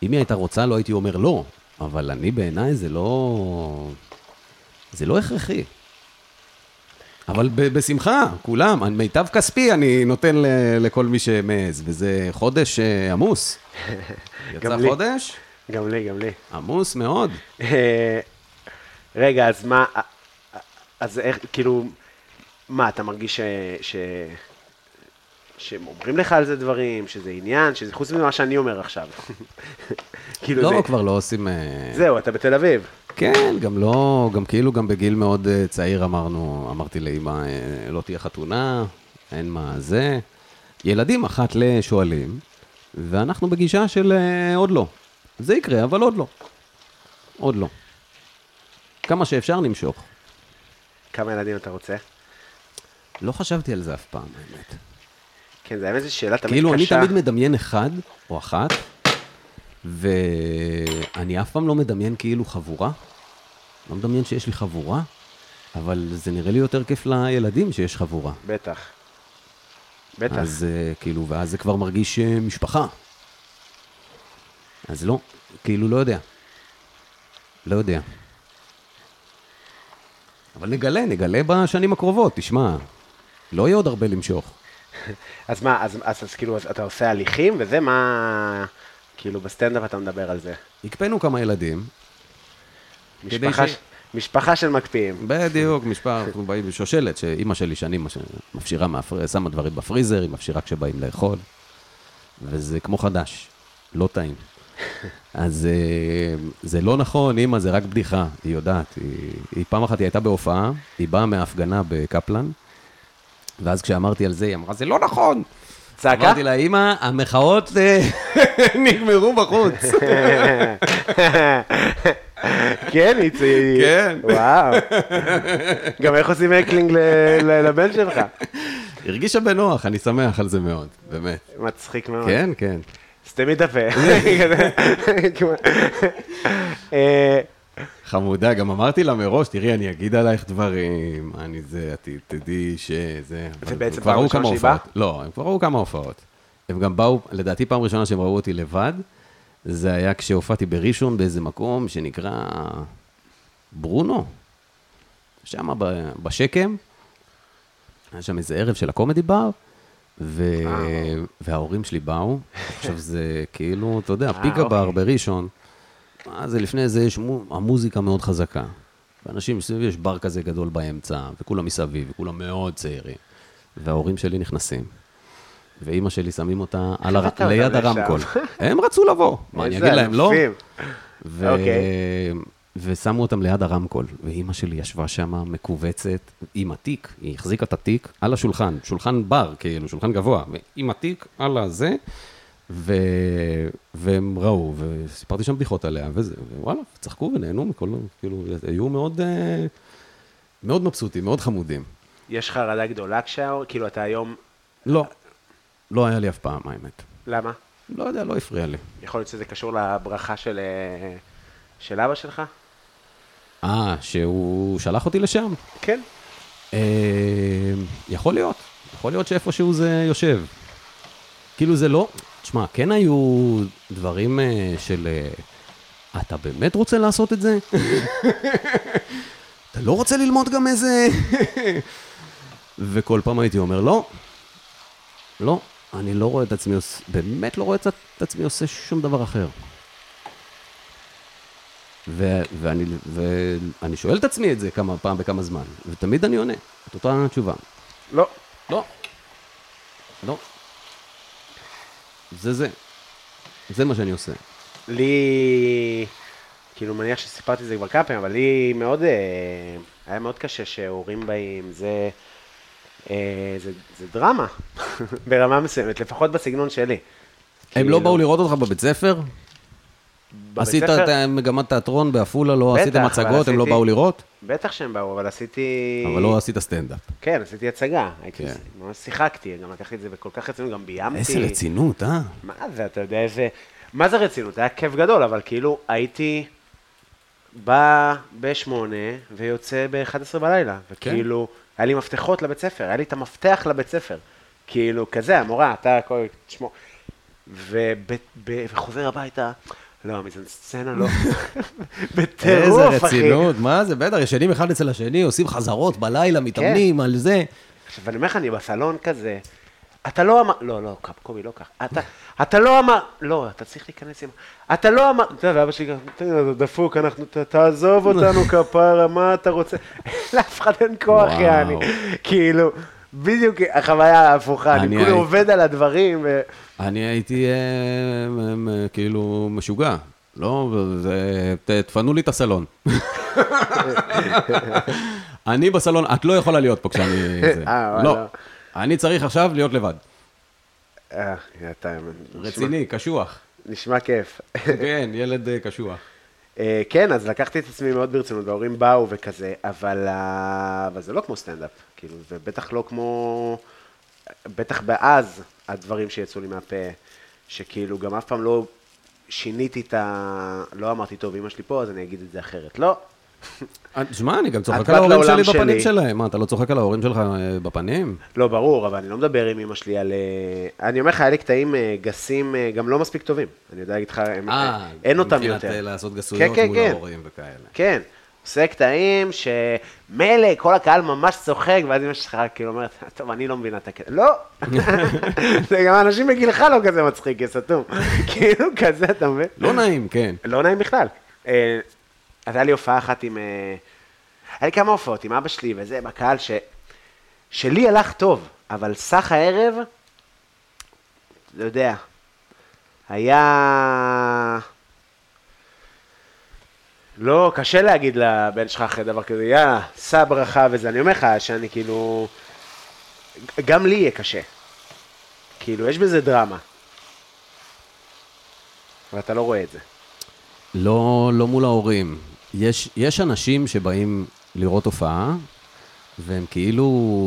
אם היא הייתה רוצה, לא הייתי אומר לא, אבל אני בעיניי זה לא... זה לא הכרחי. אבל ב- בשמחה, כולם, אני- מיטב כספי אני נותן ל- לכל מי שמעז, וזה חודש אה, עמוס. יצא
גם לי.
חודש?
גם לי, גם לי.
עמוס מאוד.
אה, רגע, אז מה, אה, אה, אז איך, כאילו, מה, אתה מרגיש ש... ש... שהם אומרים לך על זה דברים, שזה עניין, שזה חוץ ממה שאני אומר עכשיו. כאילו
לא,
זה,
כבר לא עושים... אה,
זהו, אתה בתל אביב.
כן, גם לא, גם כאילו גם בגיל מאוד אה, צעיר אמרנו, אמרתי לאמא, אה, לא תהיה חתונה, אין מה זה. ילדים אחת לשואלים, ואנחנו בגישה של אה, עוד לא. זה יקרה, אבל עוד לא. עוד לא. כמה שאפשר נמשוך.
כמה ילדים אתה רוצה?
לא חשבתי על זה אף פעם, האמת.
כן, זה האמת זו שאלה תמיד
כאילו, אני
קשה.
תמיד מדמיין אחד או אחת, ואני אף פעם לא מדמיין כאילו חבורה. לא מדמיין שיש לי חבורה, אבל זה נראה לי יותר כיף לילדים שיש חבורה.
בטח. בטח.
אז אה, כאילו, ואז זה כבר מרגיש אה, משפחה. אז לא, כאילו, לא יודע. לא יודע. אבל נגלה, נגלה בשנים הקרובות, תשמע. לא יהיה עוד הרבה למשוך.
אז מה, אז, אז, אז כאילו, אז אתה עושה הליכים, וזה מה, כאילו, בסטנדאפ אתה מדבר על זה.
הקפאנו כמה ילדים, כדי
משפחה,
ש-
ש... משפחה של מקפיאים.
בדיוק, משפחה, אנחנו באים בשושלת, שאימא שלי שנים מש- מפשירה, מהפר- שמה דברים בפריזר, היא מפשירה כשבאים לאכול, וזה כמו חדש, לא טעים. אז אה, זה לא נכון, אימא, זה רק בדיחה, היא יודעת. היא, היא פעם אחת, היא הייתה בהופעה, היא באה מההפגנה בקפלן, ואז כשאמרתי על זה, היא אמרה, זה לא נכון.
צעקה?
אמרתי לה, אימא, המחאות אה, נגמרו בחוץ.
כן, היא צי...
כן.
וואו. גם איך עושים הקלינג ל- ל- לבן שלך?
הרגישה בנוח, אני שמח על זה מאוד, באמת.
מצחיק מאוד.
כן, כן.
סתמי את הפה. כזה. כמו- אה,
חמודה, גם אמרתי לה מראש, תראי, אני אגיד עלייך דברים, אני זה, את תדעי שזה... אבל
ובעצם
הם כבר
פעם
ראו
ראשונה
כמה
שהיא באה?
הופעות. לא, הם כבר ראו כמה הופעות. הם גם באו, לדעתי פעם ראשונה שהם ראו אותי לבד, זה היה כשהופעתי בראשון באיזה מקום שנקרא ברונו, שם ב- בשקם, היה שם איזה ערב של הקומדי בר, ו... וההורים שלי באו, עכשיו זה כאילו, אתה
אה,
יודע, פיגה בר
אוקיי.
בראשון, מה זה לפני זה יש מו... המוזיקה מאוד חזקה. ואנשים מסביב, יש בר כזה גדול באמצע, וכולם מסביב, וכולם מאוד צעירים. וההורים שלי נכנסים. ואימא שלי שמים אותה על הר...
הבאת אותם
ליד
לשם?
הרמקול. הם רצו לבוא, מה אני
איזה
אגיד להם, לא?
אלופים.
ו...
אוקיי.
ושמו אותם ליד הרמקול, ואימא שלי ישבה שם מכווצת עם התיק, היא החזיקה את התיק על השולחן, שולחן בר, כאילו, שולחן גבוה, עם התיק על הזה, ו... והם ראו, וסיפרתי שם בדיחות עליה, וזה, וואלה, צחקו ונהנו מכל, כאילו, היו מאוד, אה, מאוד מבסוטים, מאוד חמודים.
יש חרדה גדולה כשהאור, כאילו אתה היום,
לא, לא היה לי אף פעם, האמת.
למה?
לא יודע, לא הפריע לי.
יכול להיות שזה קשור לברכה של, אה, של אבא שלך?
אה, שהוא שלח אותי לשם?
כן.
אה, אמ, יכול להיות, יכול להיות שאיפשהו זה יושב. כאילו זה לא, תשמע, כן היו דברים אה, של, אה, אתה באמת רוצה לעשות את זה? אתה לא רוצה ללמוד גם איזה... וכל פעם הייתי אומר, לא, לא, אני לא רואה את עצמי עושה, באמת לא רואה את את עצמי עושה שום דבר אחר. ו- ואני, ואני שואל את עצמי את זה כמה פעם בכמה זמן, ותמיד אני עונה את אותה התשובה.
לא.
לא. לא. זה זה. זה מה שאני עושה.
לי, כאילו מניח שסיפרתי את זה כבר כמה פעמים, אבל לי מאוד, אה, היה מאוד קשה שהורים באים, זה, אה, זה, זה דרמה ברמה מסוימת, לפחות בסגנון שלי.
הם לא באו לראות אותך בבית ספר?
בבית
עשית
ספר-
את מגמת תיאטרון בעפולה, לא
בטח,
עשית
אבל
מצגות, הם לא
עשיתי-
באו לראות?
בטח שהם באו, אבל עשיתי...
אבל לא עשית סטנדאפ.
כן, עשיתי הצגה. הייתי,
כן.
ממש שיחקתי, גם לקחתי את זה בכל כך רצינות, גם ביימתי.
איזה רצינות, אה?
מה זה, אתה יודע איזה... מה זה רצינות? היה כיף גדול, אבל כאילו הייתי בא בשמונה ויוצא ב-11 בלילה, וכאילו, היה לי מפתחות לבית ספר, היה לי את המפתח לבית ספר. כאילו, כזה, המורה, אתה הכל, תשמור. וב- ב- וחוזר הביתה, לא, המזנסצנה לא. בטירוף,
איזה
אחי.
רצינות, מה זה, בטח, ישנים אחד אצל השני, עושים חזרות בלילה, מתאמנים על זה.
עכשיו, אני אומר לך, אני בסלון כזה, אתה לא אמר, לא, לא, קאפ, קובי, לא ככה, אתה, אתה לא אמר, לא, אתה צריך להיכנס עם, אתה לא אמר, אתה יודע, ואבא שלי ככה, "אתה יודע, אתה דפוק, אנחנו, ת- תעזוב אותנו כפרה, מה אתה רוצה, לאף אחד אין כוח,
וואו.
יעני, כאילו, בדיוק החוויה ההפוכה, אני
אני
כולי
הייתי-
עובד על הדברים, ו...
אני הייתי אה, אה, אה, כאילו משוגע. לא, זה- ת- תפנו לי את הסלון. אני בסלון, את לא יכולה להיות פה כשאני... זה.
אה, וואלה.
לא. אני צריך עכשיו להיות לבד.
אה, אתה נשמע-
רציני, קשוח.
נשמע כיף.
כן, ילד אה, קשוח.
אה, כן, אז לקחתי את עצמי מאוד ברצינות, וההורים באו וכזה, אבל, ה- אבל זה לא כמו סטנדאפ, כאילו, זה בטח לא כמו, בטח באז הדברים שיצאו לי מהפה, שכאילו גם אף פעם לא שיניתי את ה... לא אמרתי, טוב, אמא שלי פה, אז אני אגיד את זה אחרת. לא,
אה, תשמע, אני גם
את
צוחק
באת
על ההורים
לעולם
שלי
שלי.
בפנים שלהם. מה, אתה לא צוחק על ההורים שלך אה, בפנים?
לא, ברור, אבל אני לא מדבר עם אמא שלי על... אה, אני אומר לך, היה לי קטעים אה, גסים, אה, גם לא מספיק טובים. אני יודע להגיד לך, הם-
אה,
אה, אין אותם יותר.
מבחינת, אה, לעשות גסויות
כן, כן,
מול
כן.
ההורים וכאלה.
כן, עושה קטעים שמילא, כל הקהל ממש צוחק, ואז אמא שלך כאילו אומרת, טוב, אני לא מבינה את הקטע. לא! זה גם אנשים בגילך לא כזה מצחיק, יא סתום. כאילו, כזה, אתה מבין?
לא נעים, כן.
לא נעים בכלל. אה, אז היה לי הופעה אחת עם... אה, היה לי כמה הופעות עם אבא שלי וזה, בקהל, ש... שלי הלך טוב, אבל סך הערב, לא יודע, היה... לא, קשה להגיד לבן שלך אחרי דבר כזה, יאללה, סע ברכה וזה. אני אומר לך שאני כאילו... גם לי יהיה קשה. כאילו, יש בזה דרמה. ואתה לא רואה את זה.
לא, לא מול ההורים. יש, יש אנשים שבאים לראות הופעה, והם כאילו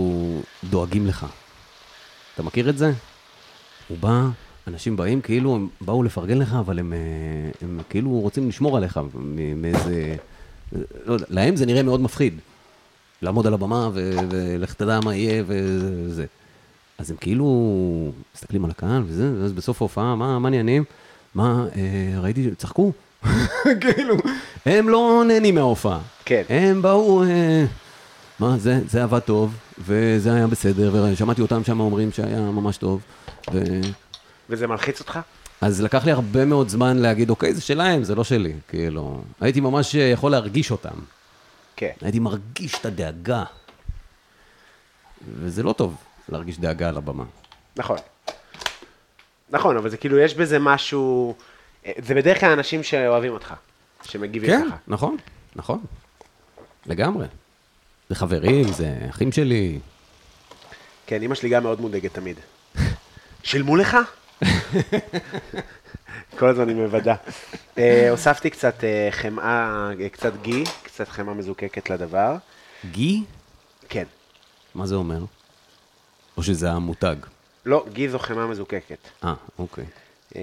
דואגים לך. אתה מכיר את זה? הוא בא, אנשים באים כאילו, הם באו לפרגן לך, אבל הם, אה, הם כאילו רוצים לשמור עליך מ- מאיזה... לא יודע, להם זה נראה מאוד מפחיד. לעמוד על הבמה ו- ולך תדע מה יהיה וזה. אז הם כאילו מסתכלים על הקהל וזה, ואז בסוף ההופעה, מה, מה עניינים? מה, אה, ראיתי, ש- צחקו. כאילו, הם לא נהנים מההופעה.
כן.
הם באו, אה, מה, זה, זה עבד טוב, וזה היה בסדר, ושמעתי אותם שם אומרים שהיה ממש טוב. ו...
וזה מלחיץ אותך?
אז לקח לי הרבה מאוד זמן להגיד, אוקיי, זה שלהם, זה לא שלי. כאילו, הייתי ממש אה, יכול להרגיש אותם.
כן.
הייתי מרגיש את הדאגה. וזה לא טוב להרגיש דאגה על הבמה.
נכון. נכון, אבל זה כאילו, יש בזה משהו... זה בדרך כלל אנשים שאוהבים אותך, שמגיבים
כן,
ככה.
נכון, נכון. לגמרי. זה חברים, זה אחים שלי.
כן, אימא שלי גם מאוד מודאגת תמיד. שילמו לך? כל הזמן היא מוודא. אה, הוספתי קצת אה, חמאה, אה, קצת גי, קצת חמאה מזוקקת לדבר.
גי?
כן.
מה זה אומר? או שזה המותג?
לא, גי זו חמאה מזוקקת.
אה, אוקיי.
אה,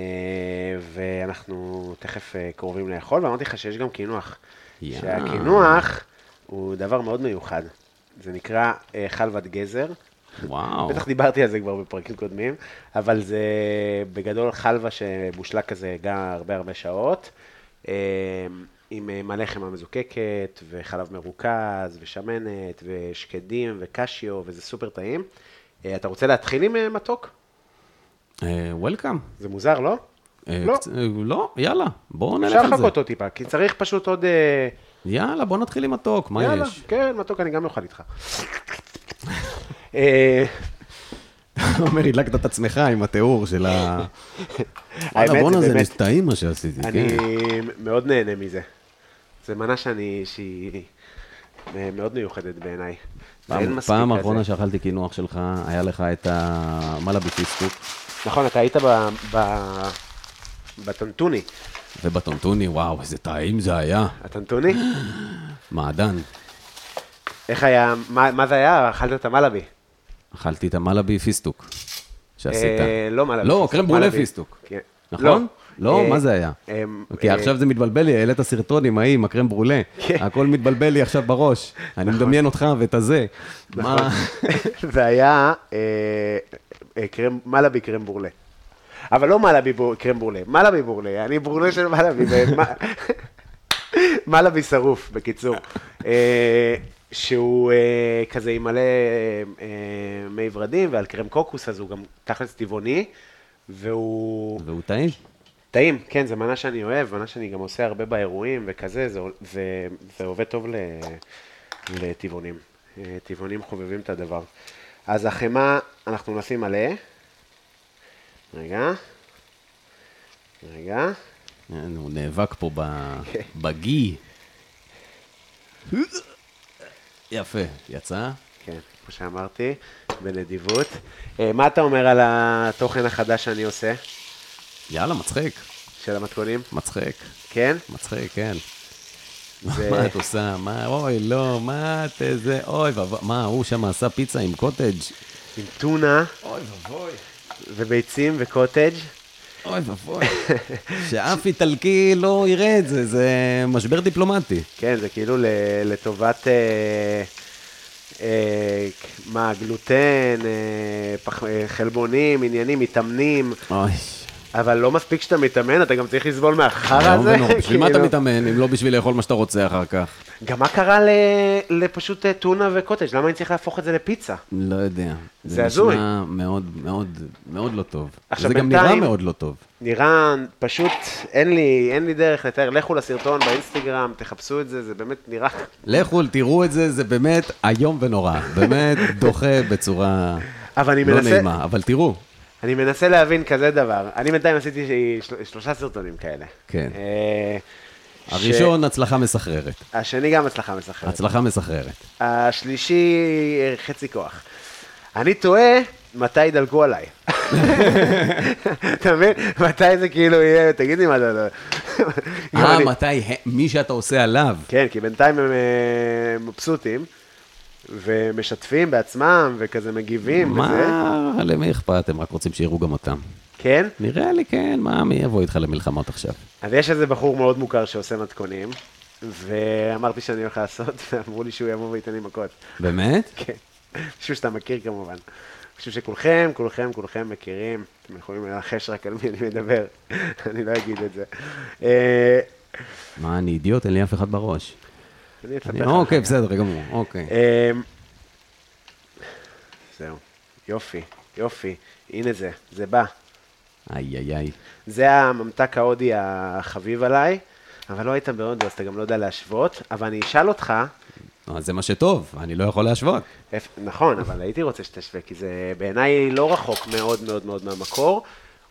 ואנחנו תכף אה, קרובים לאכול, ואמרתי לך שיש גם קינוח.
יאה.
שהקינוח הוא דבר מאוד מיוחד. זה נקרא אה, חלבת גזר.
וואו.
בטח דיברתי על זה כבר בפרקים קודמים, אבל זה בגדול חלבה שמושלה כזה גם הרבה הרבה שעות, אה, עם אה, מלא חמאה מזוקקת, וחלב מרוכז, ושמנת, ושקדים, וקשיו, וזה סופר טעים. אה, אתה רוצה להתחיל עם אה, מתוק?
וולקאם.
זה מוזר, לא? לא.
לא, יאללה, בואו נלך
אפשר
על
לחכות
זה.
אותו טיפה, כי צריך פשוט עוד... אה,
יאללה, בואו נתחיל עם מתוק, מה
יאללה,
יש?
כן, מתוק, אני גם אוכל איתך. אה,
אומר, הדלקת את עצמך עם התיאור של ה...
האמת,
וואלה, בואנה,
זה
זה
באמת-
טעים מה שעשיתי,
אני
כן.
מאוד נהנה מזה. זו מנה שאני, שהיא אה, מאוד מיוחדת בעיניי.
פעם-
ואין מספיק
פעם
כזה.
אחרונה שאכלתי קינוח שלך, היה לך את המלאבי פיסטוק
נכון, אתה היית ב... ב- בטנטוני.
ובטונטוני, וואו, איזה טעים זה היה.
הטנטוני?
מעדן.
איך היה, מה מה זה היה? אכלת את המלאבי.
אכלתי את המלאבי פיסטוק שעשית.
אה, לא מלאבי.
לא,
פיסטוק,
קרם ברולה
מלאבי.
פיסטוק.
כן.
נכון? לא,
אה,
מה זה היה?
אה,
כי
אה,
עכשיו זה מתבלבל לי, העלית סרטון עם ההיא, עם הקרם ברולה.
כן. נכון.
הכל מתבלבל לי עכשיו בראש. אני מדמיין אותך ואת הזה. מה?
זה היה אה, אה, קרם, מלאבי קרם בורלה. אבל לא מלאבי בור- קרם בורלה, מלאבי בורלה, אני בורלה של מלאבי. ומ- מלאבי שרוף, בקיצור. אה, שהוא אה, כזה עם מלא אה, מי ורדים, ועל קרם קוקוס, אז הוא גם תכלס טבעוני, והוא
והוא טעים.
טעים, כן, זו מנה שאני אוהב, מנה שאני גם עושה הרבה באירועים וכזה, זה, זה, זה עובד טוב ל, לטבעונים. אה, טבעונים חובבים את הדבר. אז החמאה, אנחנו נשים מלא. רגע. רגע.
אין, כן, הוא נאבק פה ב...
כן.
בגי. יפה, יצא.
כן, כמו שאמרתי, בנדיבות. אה, מה אתה אומר על התוכן החדש שאני עושה,
יאללה, מצחיק.
של המתכונים?
מצחיק.
כן?
מצחיק, כן.
זה-
מה את עושה? מה, אוי, לא, מה את איזה, אוי ואבוי, מה, הוא שם עשה פיצה עם קוטג'?
עם טונה
אוי ואבוי.
וביצים וקוטג'.
אוי ואבוי. שאף איטלקי לא יראה את זה, זה משבר דיפלומטי.
כן, זה כאילו ל- לטובת, אה, אה, מה, גלוטן, אה, פח- אה, חלבונים, עניינים, מתאמנים,
אוי.
אבל לא מספיק שאתה מתאמן, אתה גם צריך לסבול מהחרא
איום
הזה.
ונורא. לא אוקיי, בשביל מה אתה
כאילו.
מתאמן, אם לא בשביל לאכול מה שאתה רוצה אחר כך?
גם מה קרה ל- לפשוט אה, טונה וקוטג'? למה אני צריך להפוך את זה לפיצה?
לא יודע.
זה הזוי.
זה נשמע מאוד מאוד מאוד לא טוב.
עכשיו,
זה גם
בינתיים-
נראה מאוד לא טוב.
נראה פשוט, אין לי, אין לי דרך לתאר, לכו לסרטון באינסטגרם, תחפשו את זה, זה באמת נראה...
לכו, תראו את זה, זה באמת איום ונורא. באמת דוחה בצורה
אבל אני
לא
מנסה-
נעימה. אבל תראו,
אני מנסה להבין כזה דבר. אני בינתיים עשיתי של- שלושה סרטונים כאלה.
כן.
אה, ש-
הראשון, הצלחה מסחררת.
השני גם הצלחה מסחררת.
הצלחה מסחררת.
השלישי, אה, חצי כוח. אני תוהה מתי ידלגו עליי. אתה מבין? מתי זה כאילו יהיה, תגיד לי מה זה... גם
אה,
אני-
מתי, ה- מי שאתה עושה עליו.
כן, כי בינתיים הם אה, מבסוטים, ומשתפים בעצמם, וכזה מגיבים, וזה.
מה, למי אכפת? הם רק רוצים שיראו גם אותם.
כן?
נראה לי כן, מה, מי יבוא איתך למלחמות עכשיו?
אז יש איזה בחור מאוד מוכר שעושה מתכונים, ואמרתי שאני הולך לעשות, ואמרו לי שהוא יבוא וייתן לי מכות.
באמת?
כן, מישהו שאתה מכיר כמובן. מישהו שכולכם, כולכם, כולכם מכירים. אתם יכולים לנחש רק על מי אני מדבר, אני לא אגיד את זה. אה,
מה, אני אידיוט? אין לי אף אחד בראש.
אני אספר
אני-
לך.
אוקיי, בסדר גמור, אוקיי.
אה, זהו, יופי, יופי, הנה זה, זה בא.
איי, איי, איי.
זה הממתק ההודי החביב עליי, אבל לא היית בהודו, אז אתה גם לא יודע להשוות, אבל אני אשאל אותך,
אה, זה מה שטוב, אני לא יכול להשוות.
איפ- נכון, אבל הייתי רוצה שתשווה, כי זה בעיניי לא רחוק מאוד מאוד מאוד מהמקור.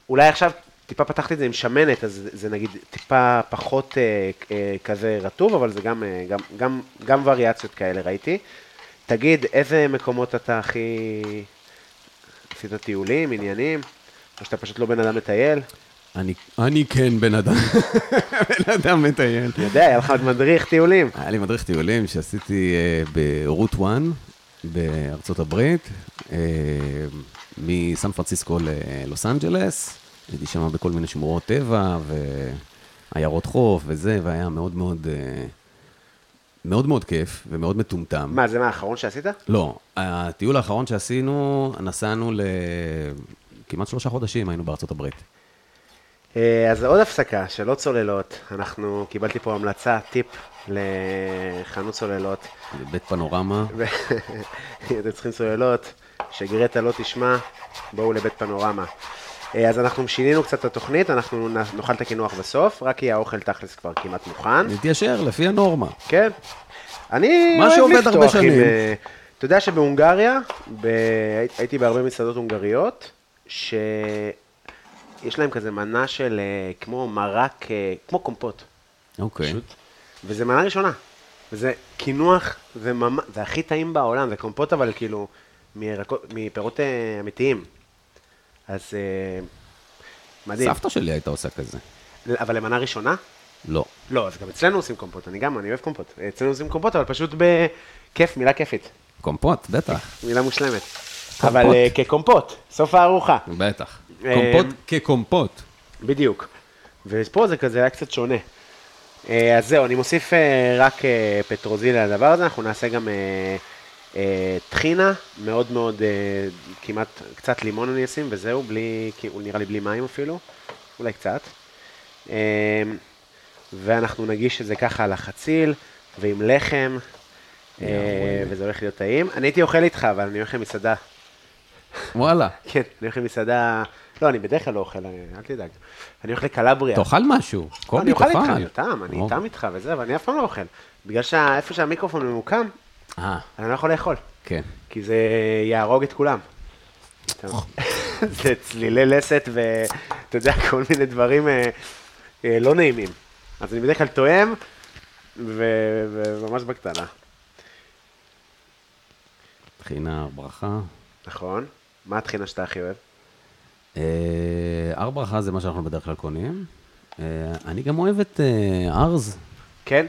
אולי עכשיו טיפה פתחתי את זה עם שמנת, אז זה- זה נגיד טיפה פחות אה, אה, כזה רטוב, אבל זה גם, אה, גם, גם, גם וריאציות כאלה ראיתי. תגיד, איזה מקומות אתה הכי... עשית טיולים, עניינים? או שאתה פשוט לא בן אדם מטייל?
אני, אני כן בן אדם, בן אדם מטייל.
אני יודע, היה לך עוד מדריך טיולים.
היה לי מדריך טיולים שעשיתי אה, ברוט 1 בארצות הברית, אה, מסן פרנסיסקו ללוס אנג'לס. הייתי שם בכל מיני שמורות טבע ועיירות חוף וזה, והיה מאוד מאוד, אה, מאוד מאוד כיף ומאוד מטומטם.
מה, זה מה האחרון שעשית?
לא, הטיול האחרון שעשינו, נסענו ל... כמעט שלושה חודשים היינו בארצות הברית.
אה, אז עוד הפסקה, שלא צוללות. אנחנו, קיבלתי פה המלצה, טיפ לחנות צוללות.
בית פנורמה,
ו- אתם צריכים סוללות, שגרטה לא תשמע, בואו לבית פנורמה. אה, אז אנחנו שינינו קצת את התוכנית, אנחנו נ- נאכל את הקינוח בסוף, רק כי האוכל תכלס כבר כמעט מוכן.
נתיישר לפי הנורמה.
כן. אני
מה
אוהב
שעובד
לפתוח
הרבה
עם...
שנים.
אה, אתה יודע שבהונגריה, ב... הייתי בהרבה מסעדות הונגריות, ש... יש להם כזה מנה של אה, כמו מרק, אה, כמו קומפוט.
אוקיי.
פשוט. וזה מנה ראשונה. וזה קינוח, זה, ממ... זה הכי טעים בעולם, זה קומפוט אבל כאילו מירקות, מפירות אה, אמיתיים. אז אה, מדהים.
סבתא שלי הייתה עושה כזה.
אבל למנה ראשונה?
לא.
לא, אז גם אצלנו עושים קומפוט, אני גם, אני אוהב קומפוט. אצלנו עושים קומפוט, אבל פשוט בכיף, מילה כיפית,
קומפוט, בטח.
מילה מושלמת. אבל אה, כקומפוט, סוף הארוחה.
בטח.
אה,
קומפוט כקומפוט.
בדיוק. ופה זה כזה היה קצת שונה. אה, אז זהו, אני מוסיף אה, רק אה, פטרוזיל לדבר הזה, אנחנו נעשה גם אה, אה, טחינה, מאוד מאוד, אה, כמעט, קצת לימון אני אשים, וזהו, בלי, כאילו, נראה לי בלי מים אפילו, אולי קצת. אה, ואנחנו נגיש את זה ככה על החציל, ועם לחם, אה, וזה הולך להיות טעים. אני הייתי אוכל איתך, אבל אני הולך למסעדה.
וואלה.
כן, אני הולך למסעדה, לא, אני בדרך כלל לא אוכל, אני- אל תדאג. אני הולך לקלבריה.
תאכל משהו.
לא,
קובי,
אני אוכל
תאכל.
איתך, אני טעם, אני
או.
טעם איתך וזה, אבל אני אף פעם לא אוכל. בגלל שאיפה שהמיקרופון ממוקם,
אה,
אני לא יכול לאכול,
כן.
כי זה יהרוג את כולם. זה צלילי לסת ואתה יודע, כל מיני דברים אה, אה, לא נעימים. אז אני בדרך כלל תואם, ו- וממש בקטנה.
טחינה, ברכה.
נכון. מה הטחינה שאתה הכי אוהב?
אה, הר ברכה זה מה שאנחנו בדרך כלל קונים. אה, אני גם אוהב את אה, ארז.
כן?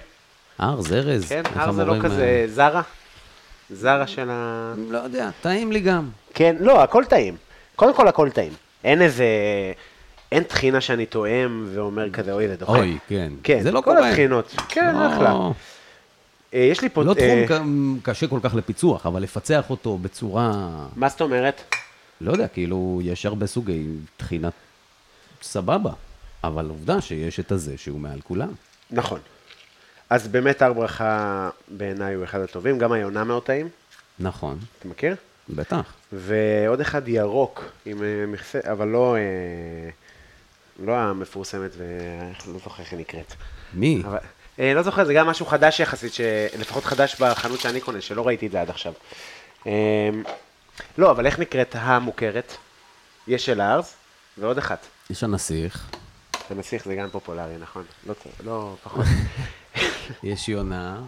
ארז, ארז.
כן,
איך
הר זה לא
המורים,
כזה זרה? זרה של ה...
אה, לא יודע, טעים לי גם.
כן, לא, הכל טעים. קודם כל, הכל טעים. אין איזה... אין טחינה שאני תואם ואומר כזה, אוי, זה דוחה.
אוי, כן.
כן,
זה לא
כל
קורה.
הטחינות. כן,
לא-
אחלה. אה, יש לי פה...
לא
אה,
תחום ק- קשה כל כך לפיצוח, אבל לפצח אותו בצורה...
מה זאת אומרת?
לא יודע, כאילו, יש הרבה סוגי טחינת סבבה, אבל עובדה שיש את הזה שהוא מעל כולם.
נכון. אז באמת הר ברכה בעיניי הוא אחד הטובים, גם היונה מאוד טעים,
נכון,
אתה מכיר?
בטח.
ועוד אחד ירוק, עם אה, מכסה, אבל לא... אה, לא המפורסמת, ואיך- לא זוכר איך היא נקראת.
מי?
אבל, אה, לא זוכר, זה גם משהו חדש יחסית, ש... לפחות חדש בחנות שאני קונה, שלא ראיתי את זה עד עכשיו. אה, לא, אבל איך נקראת המוכרת? יש של הארז, ועוד אחת.
יש הנסיך,
אתה מסיך, זה גם פופולרי, נכון? לא, טוב, לא פחות.
יש יונה,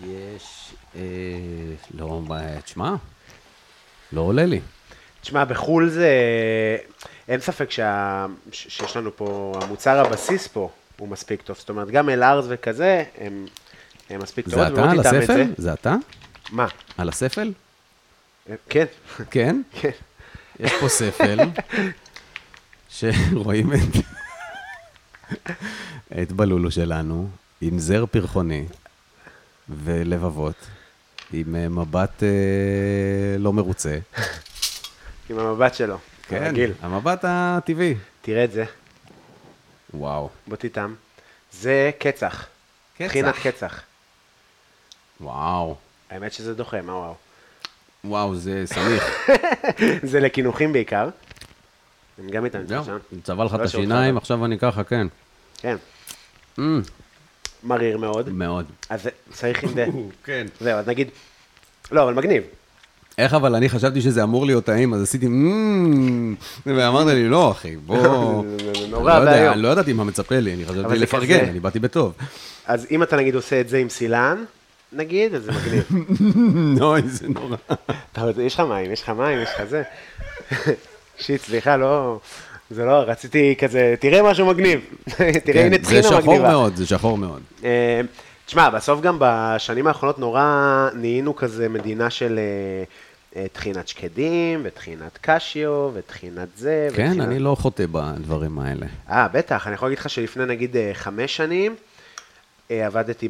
יש... אה, לא, מה, תשמע, לא עולה לי.
תשמע, בחו"ל זה... אין ספק שה... ש- שיש לנו פה, המוצר הבסיס פה הוא מספיק טוב. זאת אומרת, גם אל ארז וכזה, הם, הם מספיק טובות.
זה אתה
ומאוד
על
איתם את זה.
הספל? זה אתה?
מה?
על הספל?
כן.
כן?
כן.
יש פה ספל, שרואים את... את בלולו שלנו, עם זר פרחוני ולבבות, עם אה, מבט אה, לא מרוצה.
עם המבט שלו. כן. רגיל.
המבט הטבעי.
תראה את זה.
וואו.
בוא תטעם. זה קצח.
קצח.
טחינת קצח.
וואו.
האמת שזה דוחה, מה וואו.
וואו, זה סמיך.
זה לקינוחים בעיקר. אני גם איתם
זהו,
שם.
צבע לך
לא
את
שאותך,
השיניים,
אבל-
עכשיו אני ככה, כן.
כן.
Mm,
מריר מאוד.
מאוד.
אז זה- צריך עם זה.
כן.
זהו, אז נגיד... לא, אבל מגניב.
איך אבל אני חשבתי שזה אמור להיות טעים, אז עשיתי "מ-מ-מ", ואמרת לי, לא, אחי, בוא...
זה- זה
אני
נורא
לא יודע,
ואיום.
אני לא ידעתי מה מצפה לי, אני
אבל
חשבתי
זה
לפרגן,
כזה-
אני באתי בטוב.
אז אם אתה נגיד עושה את זה עם סילן, נגיד, אז זה מגניב.
נוי, זה נורא.
אתה יודע, יש לך מים, יש לך מים, יש לך זה. שיט, סליחה, לא... זה לא, רציתי כזה, תראה משהו מגניב. תראה, הנה
כן, זה
טחינה
שחור
מגניבה.
מאוד, זה שחור מאוד.
אה, תשמע, בסוף גם בשנים האחרונות נורא נהיינו כזה מדינה של אה, אה, טחינת שקדים, וטחינת קשיו, וטחינת זה,
כן,
וטחינת-
אני לא חוטא בדברים האלה.
אה, בטח, אני יכול להגיד לך שלפני נגיד אה, חמש שנים, אה, עבדתי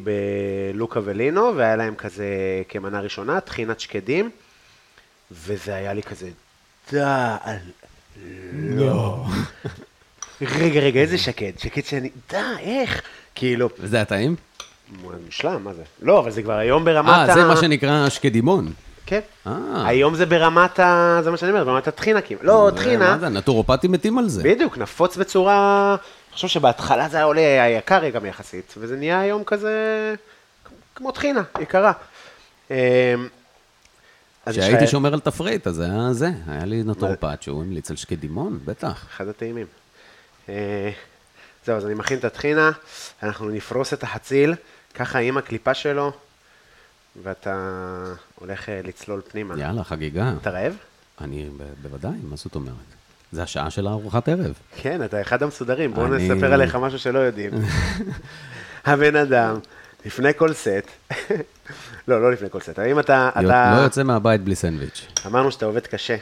בלוקה ולינו, והיה להם כזה כמנה ראשונה, טחינת שקדים, וזה היה לי כזה, דה, אל- לא. רגע, רגע, איזה שקד? שקד שאני, דה, איך? כאילו,
וזה היה טעים?
מה, מושלם, מה זה? לא, אבל זה כבר היום ברמת
אה, זה מה שנקרא שקדימון.
כן.
אה.
היום זה ברמת ה... זה מה שאני אומר, ברמת הטחינה כמעט. לא, טחינה.
מה זה, נטורופטים מתים על זה.
בדיוק, נפוץ בצורה... אני חושב שבהתחלה זה היה עולה היה יקר גם יחסית, וזה נהיה היום כזה... כמו טחינה, יקרה. אמ, אז יש לך
כשהייתי שומר על תפריט, אז היה זה, היה לי נטורופט שהוא המליץ על שקדימון, בטח.
אחד הטעימים. אה, זהו, אז אני מכין את הטחינה, אנחנו נפרוס את החציל, ככה עם הקליפה שלו, ואתה הולך אה, לצלול פנימה.
יאללה, חגיגה.
אתה רעב?
אני, ב- בוודאי, מה זאת אומרת? זה השעה של הארוחת ערב.
כן, אתה אחד המסודרים, בואו
אני-
נספר עליך משהו שלא יודעים. הבן אדם, לפני כל סט, לא, לא לפני כל סט, האם אתה,
יו-
אתה,
לא יוצא מהבית בלי סנדוויץ'.
אמרנו שאתה עובד קשה,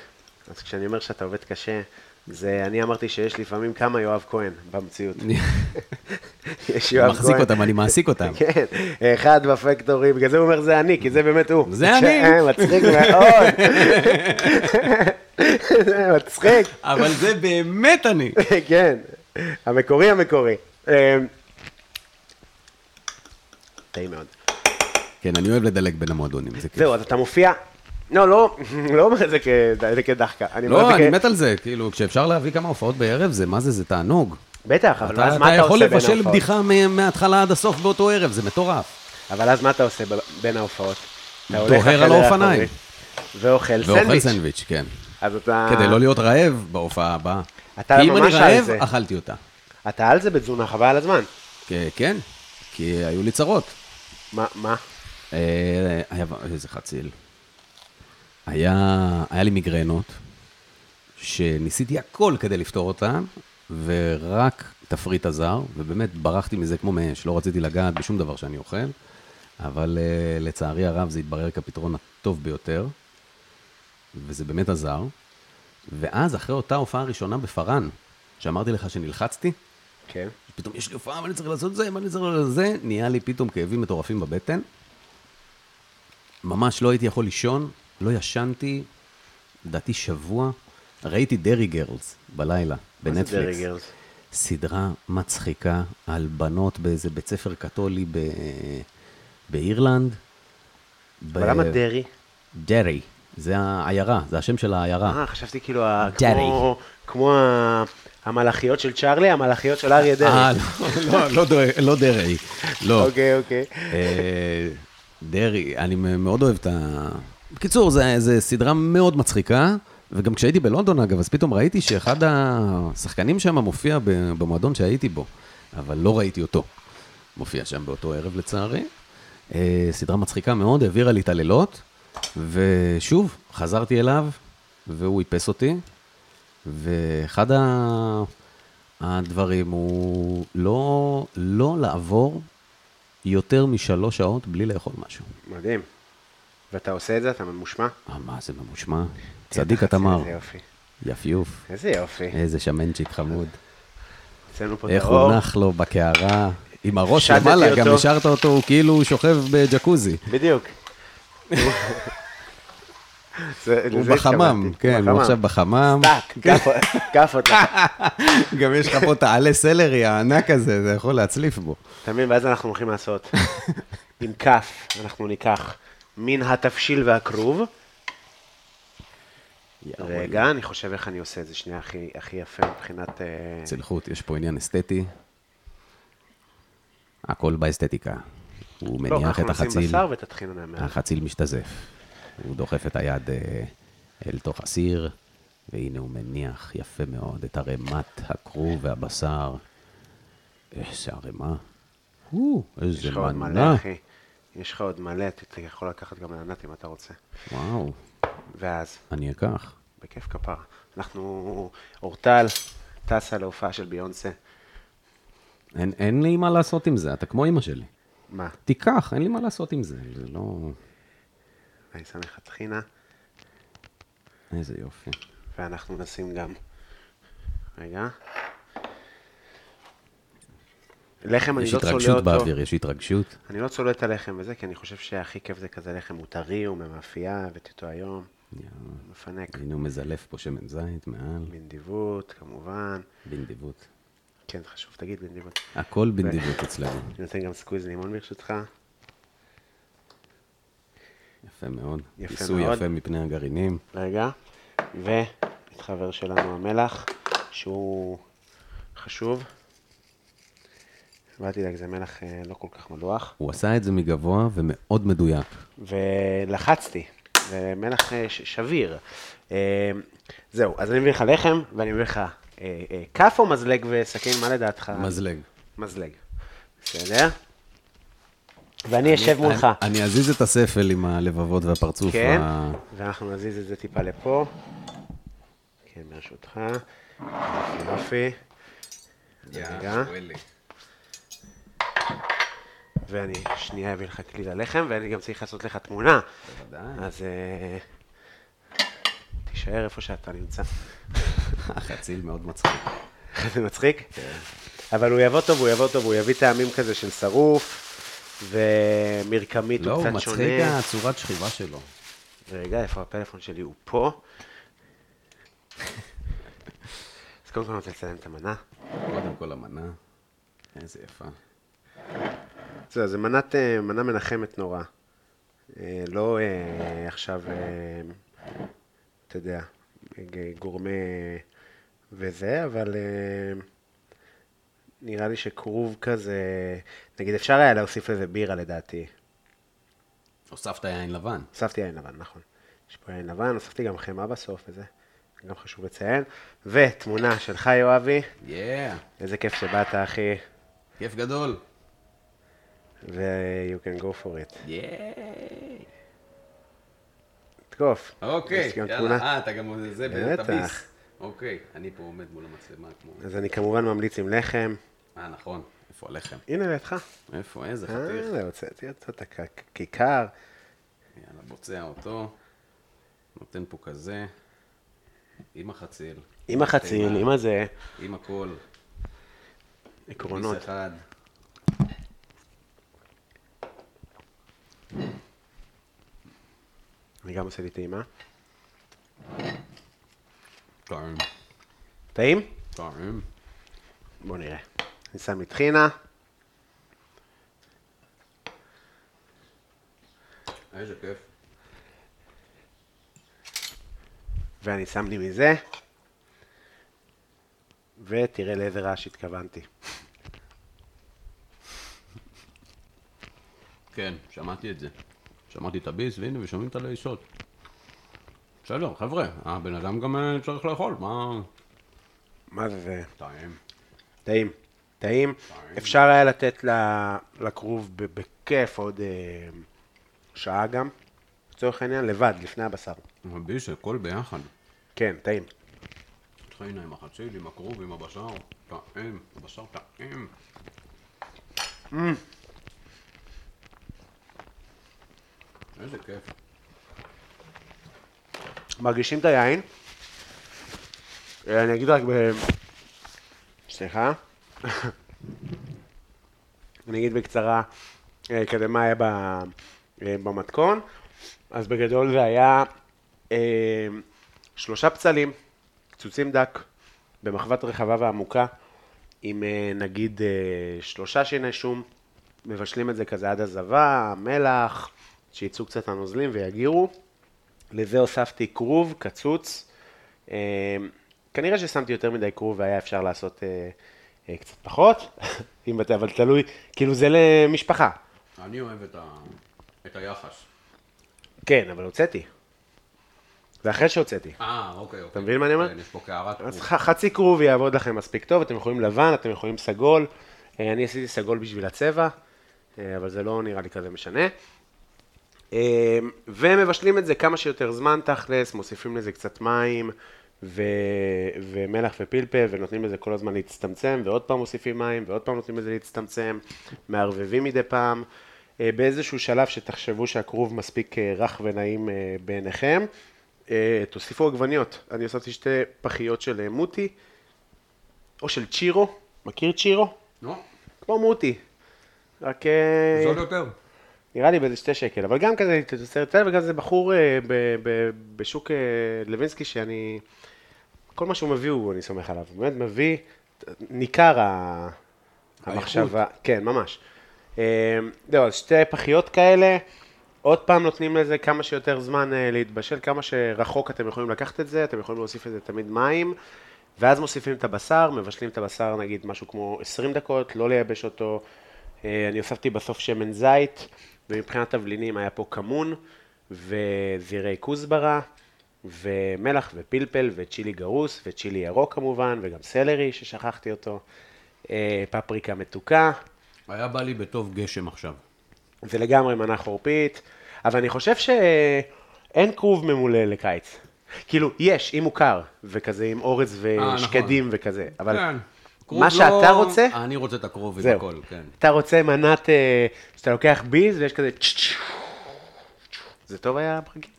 אז כשאני אומר שאתה עובד קשה, זה, אני אמרתי שיש לפעמים כמה יואב כהן במציאות. יש יואב כהן.
מחזיק אותם, אני מעסיק אותם.
כן, אחד בפקטורי, בגלל זה הוא אומר זה אני, כי זה באמת הוא.
זה אני.
אה, מצחיק מאוד. זה מצחיק.
אבל זה באמת אני.
כן, המקורי המקורי. אמ, טעים מאוד.
כן, אני אוהב לדלג בין המועדונים, זה כיף.
זהו, אז אתה מופיע... לא, לא, לא אומר את זה כ- זה כדחקה.
לא,
אומר את זה
אני
כ-
מת על זה, כאילו, כשאפשר להביא כמה הופעות בערב, זה מה זה, זה תענוג.
בטח, אבל אז
אתה
מה
אתה
אתה
יכול
עושה בין
לבשל
ההופעות?
בדיחה מ- מההתחלה עד הסוף באותו ערב, זה מטורף.
אבל אז מה אתה עושה ב- בין ההופעות? אתה הולך
דוהר על
לחדר
האופניים.
האחורי ואוכל
ואוכל
סנדוויץ'.
סנדוויץ', כן.
אז אתה...
כדי לא להיות רעב בהופעה הבאה.
אתה
כי אם אני
ממש על
רעב,
זה.
אכלתי אותה.
אתה על זה בתזונה, חבל על הזמן.
כ- כן, כי היו לי צרות.
מה, מה?
אה, היה, איזה חציל. היה, היה לי מיגרנות, שניסיתי הכל כדי לפתור אותן, ורק תפריט עזר, ובאמת ברחתי מזה כמו מאש, לא רציתי לגעת בשום דבר שאני אוכל, אבל אה, לצערי הרב זה התברר כפתרון הטוב ביותר, וזה באמת עזר. ואז, אחרי אותה הופעה ראשונה בפארן, שאמרתי לך שנלחצתי,
כן.
פתאום יש לי הופעה, מה אני צריך לעשות זה, מה אני צריך לעשות זה, נהיה לי פתאום כאבים מטורפים בבטן. ממש לא הייתי יכול לישון, לא ישנתי, לדעתי שבוע. ראיתי דרעי גרלס בלילה,
מה זה
בנטפליקס.
דרעי גרלס?
סדרה מצחיקה על בנות באיזה בית ספר קתולי ב... באירלנד. ב-
אבל למה דרעי?
דרעי, זה העיירה, זה השם של העיירה.
אה, חשבתי כאילו, ה-
דרעי.
כמו- כמו ה- המלאכיות של צ'ארלי, המלאכיות של אריה דרעי.
לא, לא, לא דרעי, לא דרעי, לא.
אוקיי, אוקיי.
אה, דרעי, אני מאוד אוהב את ה... בקיצור, זו סדרה מאוד מצחיקה, וגם כשהייתי בלונדון, אגב, אז פתאום ראיתי שאחד השחקנים שם מופיע ב- במועדון שהייתי בו, אבל לא ראיתי אותו. מופיע שם באותו ערב, לצערי. אה, סדרה מצחיקה מאוד, העבירה לי את הלילות, ושוב, חזרתי אליו, והוא איפס אותי, ואחד ה... הדברים הוא לא, לא לעבור יותר משלוש שעות בלי לאכול משהו.
מדהים. ואתה עושה את זה, אתה ממושמע?
אה, מה זה ממושמע? צדיק התמר.
איזה יופי.
יפיוף.
איזה יופי.
איזה שמנצ'יק חמוד.
אצלנו פה
אה, איך
טהור.
הוא נח לו בקערה, עם הראש
שדתי
למעלה,
אותו.
גם השארת אותו, הוא כאילו שוכב בג'קוזי.
בדיוק. זה-
הוא
לזה
בחמם,
התכוונתי.
כן, הוא עכשיו בחמם. כן.
טאק, כף- כף אותך.
גם יש לך פה את העלה סלרי הענק הזה, זה יכול להצליף בו.
אתה מבין? ואז אנחנו הולכים לעשות. עם כף אנחנו ניקח מן התבשיל והכרוב. רגע, אני חושב איך אני עושה את זה שנייה הכי הכי יפה מבחינת... אה,
צלחות, יש פה עניין אסתטי. הכל באסתטיקה. הוא
לא,
מניח
אנחנו
את
נשים
החציל,
בשר ותטחינו להם.
החציל משתזף. הוא דוחף את היד אה, אל תוך הסיר, והנה הוא מניח יפה מאוד את ערימת הכרוב והבשר. איזה ערימה. הו,
יש
איזה
לך עוד
מנה.
מלא, אחי. יש לך עוד מלא, אתה אתה יכול לקחת גם לענת אם אתה רוצה.
וואו,
ואז,
אני אקח.
בכיף כפרה. אנחנו, אורטל טסה להופעה של ביונסה.
אין, אין לי מה לעשות עם זה, אתה כמו אמא שלי.
מה?
תיקח, אין לי מה לעשות עם זה, זה לא...
אני שם לך טחינה,
איזה יופי.
ואנחנו נשים גם. רגע. לחם אני
יש
לא צולע
התרגשות
אותו.
באוויר, יש התרגשות.
אני לא צולע את הלחם וזה, כי אני חושב שהכי כיף זה כזה לחם, הוא טרי, הוא ממאפייה, הבאתי אותו היום,
יאללה.
מפנק.
הנה הוא מזלף פה שמן זית מעל,
בנדיבות, כמובן.
בנדיבות.
כן, זה חשוב, תגיד בנדיבות.
הכל בנדיבות אצלנו.
אני נותן גם סקוויז לימון ברשותך.
יפה מאוד.
יפה
כיסוי
מאוד.
יפה מפני הגרעינים.
רגע. ואת חבר שלנו המלח, שהוא חשוב. ואל תדאג, זה מלח אה, לא כל כך מלוח.
הוא עשה את זה מגבוה ומאוד מדויק.
ולחצתי, זה מלח אה, ש- שביר. אה, זהו, אז אני מביא לך לחם, ואני מביא לך אה, אה, כף או מזלג וסכין, מה לדעתך?
מזלג.
מזלג. בסדר? ואני אשב מולך.
אני- אני אזיז את הספל עם הלבבות והפרצוף.
כן,
ה-
ואנחנו נזיז את זה טיפה לפה. כן, ברשותך. יופי. רגע. ואני שנייה אביא לך כלי ללחם, ואני גם צריך לעשות לך תמונה.
בוודאי.
אז אה, תישאר איפה שאתה נמצא.
החציל מאוד מצחיק.
זה מצחיק?
כן.
אבל הוא יבוא טוב, הוא יבוא טוב, הוא יביא טעמים כזה של שרוף, ומרקמית
לא,
הוא
הוא
קצת שונה.
מצחיק הצורת שכיבה שלו.
רגע, איפה הפלאפון שלי? הוא פה. אז קודם כל אני רוצה לצלם את המנה.
קודם כל המנה. איזה יפה.
זהו, זה מנת, אה, מנה מנחמת נורא. אה, לא אה, עכשיו, אה, אתה יודע, ג- גורמה וזה, אבל אה, נראה לי שכרוב כזה, נגיד אפשר היה להוסיף לזה בירה לדעתי.
הוספת יין לבן.
הוספתי יין לבן, נכון. יש פה יין לבן, הוספתי גם חמאה בסוף וזה, גם חשוב לציין. ותמונה שלך, יואבי,
יאה,
איזה כיף שבאת, אחי,
כיף גדול.
ו- you can go for it.
יאה.
תקוף.
אוקיי,
יש גם
יאללה,
תמונה.
אה, אתה גם זה,
בטח.
בטביס. אוקיי, אני פה עומד מול המצלמה כמו...
אז אני כמובן ממליץ עם לחם.
אה, נכון, איפה הלחם?
הנה לידך.
איפה, איזה חתיך?
אה, הוצאתי אותו את הכיכר.
יאללה, בוצע אותו, נותן פה כזה, עם החציל,
עם החציל, עם הזה,
עם הכל,
עקרונות.
ביס אחד.
אני גם עושה לי טעימה.
טעם,
טעים?
טעם.
בואו נראה. אני שם לי טחינה.
איזה כיף.
ואני שם לי מזה, ותראה לאיזה רעש התכוונתי.
כן, שמעתי את זה. שמעתי את הביס, והנה, ושומעים את הלעיסות. בסדר, חבר'ה, הבן אדם גם אה, צריך לאכול, מה...
מה זה זה?
טעים.
טעים. טעים. אפשר היה לתת ל- לכרוב ב- בכיף עוד אה, שעה גם, לצורך העניין, לבד, לפני הבשר.
הביס, הכל ביחד.
כן, טעים.
טחינה עם החציל, עם הכרוב, עם הבשר, טעים, הבשר טעים.
Mm.
איזה כיף.
מרגישים את היין. אה, אני אגיד רק ב... סליחה. אני אגיד בקצרה, אה, כזה מה היה ב... אה, במתכון. אז בגדול זה היה אה, שלושה פצלים, קצוצים דק, במחבת רחבה ועמוקה, עם אה, נגיד אה, שלושה שיני שום, מבשלים את זה כזה עד הזבה, מלח, שיצאו קצת הנוזלים ויגירו. לזה הוספתי כרוב, קצוץ. אה, כנראה ששמתי יותר מדי כרוב והיה אפשר לעשות אה, אה, קצת פחות, אם אתה, אבל תלוי, כאילו זה למשפחה.
אני אוהב את, ה... את היחס.
כן, אבל הוצאתי. זה אחרי שהוצאתי.
אה, אוקיי, אוקיי.
אתה מבין מה אני אומר?
כן, יש פה קערת
אז
כרוב.
ח- חצי כרוב יעבוד לכם מספיק טוב, אתם יכולים לבן, אתם יכולים סגול. אה, אני עשיתי סגול בשביל הצבע, אה, אבל זה לא נראה לי כזה משנה. אה, ומבשלים את זה כמה שיותר זמן תכלס, מוסיפים לזה קצת מים ו... ומלח ופלפל, ונותנים לזה כל הזמן להצטמצם, ועוד פעם מוסיפים מים, ועוד פעם נותנים לזה להצטמצם, מערבבים מדי פעם. אה, באיזשהו שלב שתחשבו שהכרוב מספיק אה, רך ונעים אה, בעיניכם, אה, תוסיפו עגבניות. אני הוספתי שתי פחיות של אה, מוטי, או של צ'ירו, מכיר צ'ירו?
נו,
כמו מוטי. רק... אה,
זול יותר.
נראה לי באיזה שתי שקל, אבל גם כזה תוצרת צל, וגם זה בחור אה, ב- ב- בשוק אה, לוינסקי שאני, כל מה שהוא מביא הוא, אני סומך עליו, הוא באמת מביא, ניכר ה- המחשבה, כן, ממש. אה, זהו, אז שתי פחיות כאלה, עוד פעם נותנים לזה כמה שיותר זמן אה, להתבשל, כמה שרחוק אתם יכולים לקחת את זה, אתם יכולים להוסיף לזה תמיד מים, ואז מוסיפים את הבשר, מבשלים את הבשר נגיד משהו כמו 20 דקות, לא לייבש אותו. אה, אני הוספתי בסוף שמן זית, ומבחינת תבלינים היה פה כמון, וזירי כוסברה, ומלח ופלפל, וצ'ילי גרוס, וצ'ילי ירוק כמובן, וגם סלרי ששכחתי אותו, אה, פפריקה מתוקה,
היה בא לי בטוב גשם עכשיו.
זה לגמרי מנה חורפית, אבל אני חושב שאין כרוב ממולא לקיץ. כאילו, יש, אם הוא קר, וכזה עם אורז
נכון.
ושקדים וכזה, אבל...
כן. כרוב לא-
מה שאתה רוצה,
אני רוצה את הכרוב עם
זהו.
הכל, כן.
אתה רוצה מנת, אה, שאתה לוקח ביז ויש כזה צ'צ' צ'צ'. זה טוב היה פרקים?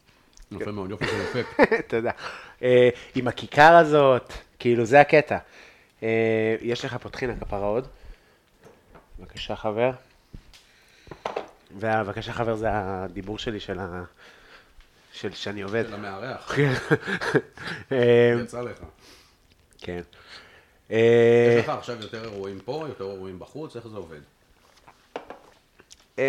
יפה מאוד, יופי של אפקט.
תודה. אה, עם הכיכר הזאת, כאילו זה הקטע. אה, יש לך פה טחינה כפרה עוד. בבקשה חבר. והבקשה חבר זה הדיבור שלי של ה... של שאני עובד.
של המארח,
אה,
יצא לך.
כן. אה,
יש לך עכשיו יותר אירועים פה, יותר אירועים בחוץ, איך זה עובד?
אמ,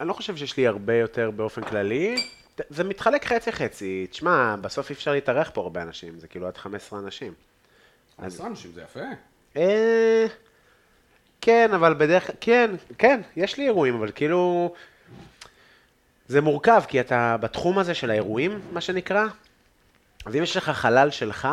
אני לא חושב שיש לי הרבה יותר באופן כללי. ת- זה מתחלק חצי-חצי. תשמע, בסוף אי אפשר להתארח פה הרבה אנשים, זה כאילו עד 15 אנשים. אז-
עשרה אנשים, זה יפה.
אה, כן, אבל בדרך כלל, כן, כן, יש לי אירועים, אבל כאילו... זה מורכב, כי אתה בתחום הזה של האירועים, מה שנקרא, אז אם יש לך חלל שלך,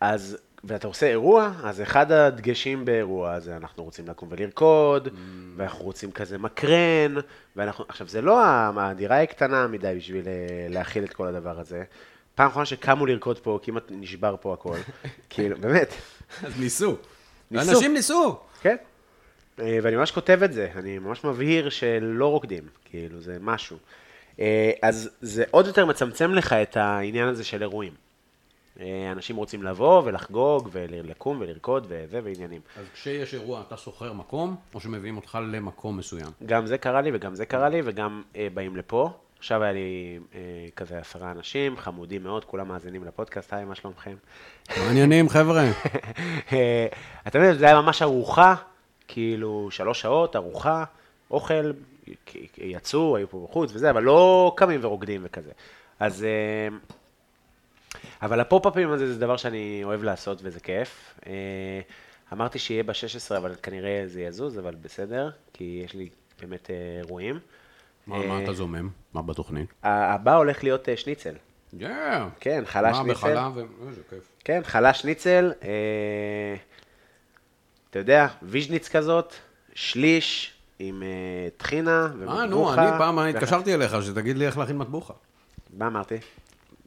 אז, ואתה עושה אירוע, אז אחד הדגשים באירוע זה אנחנו רוצים לקום ולרקוד, ואנחנו רוצים כזה מקרן, ואנחנו, עכשיו זה לא, ה- מה, הדירה היא קטנה מדי בשביל אה, להכיל את כל הדבר הזה. פעם אחרונה שקמו לרקוד פה, כמעט נשבר פה הכל. כאילו, באמת.
אז ניסו.
ניסו.
אנשים ניסו.
כן. אה, ואני ממש כותב את זה, אני ממש מבהיר שלא רוקדים, כאילו, זה משהו. אה, אז זה עוד יותר מצמצם לך את העניין הזה של אירועים. אה, אנשים רוצים לבוא ולחגוג ולקום ולרקוד וזה ועניינים.
אז כשיש אירוע, אתה שוכר מקום, או שמביאים אותך למקום מסוים?
גם זה קרה לי וגם זה קרה לי וגם אה, באים לפה. עכשיו היה לי אה, כזה עשרה אנשים, חמודים מאוד, כולם מאזינים לפודקאסט, היי, מה שלומכם?
מעניינים, חבר'ה.
אה, אתה מבין, זה היה ממש ארוחה, כאילו שלוש שעות, ארוחה, אוכל, יצאו, היו פה בחוץ וזה, אבל לא קמים ורוקדים וכזה. אז... אה, אבל הפופ-אפים הזה זה דבר שאני אוהב לעשות וזה כיף. אה, אמרתי שיהיה ב-16, אבל כנראה זה יזוז, אבל בסדר, כי יש לי באמת אה, אירועים.
מה מה אתה זומם? מה בתוכנית?
ה- הבא הולך להיות אה, שניצל.
יא.
כן, חלה
מה
שניצל.
בחלב? ו- איזה כיף.
כן, חלה שניצל, אה, אתה יודע, ויז'ניץ כזאת, שליש עם אה, טחינה ומטבוחה.
אה, נו, אני פעם אני
ואח-
התקשרתי אליך, שתגיד לי איך להכין מטבוחה.
מה אמרתי?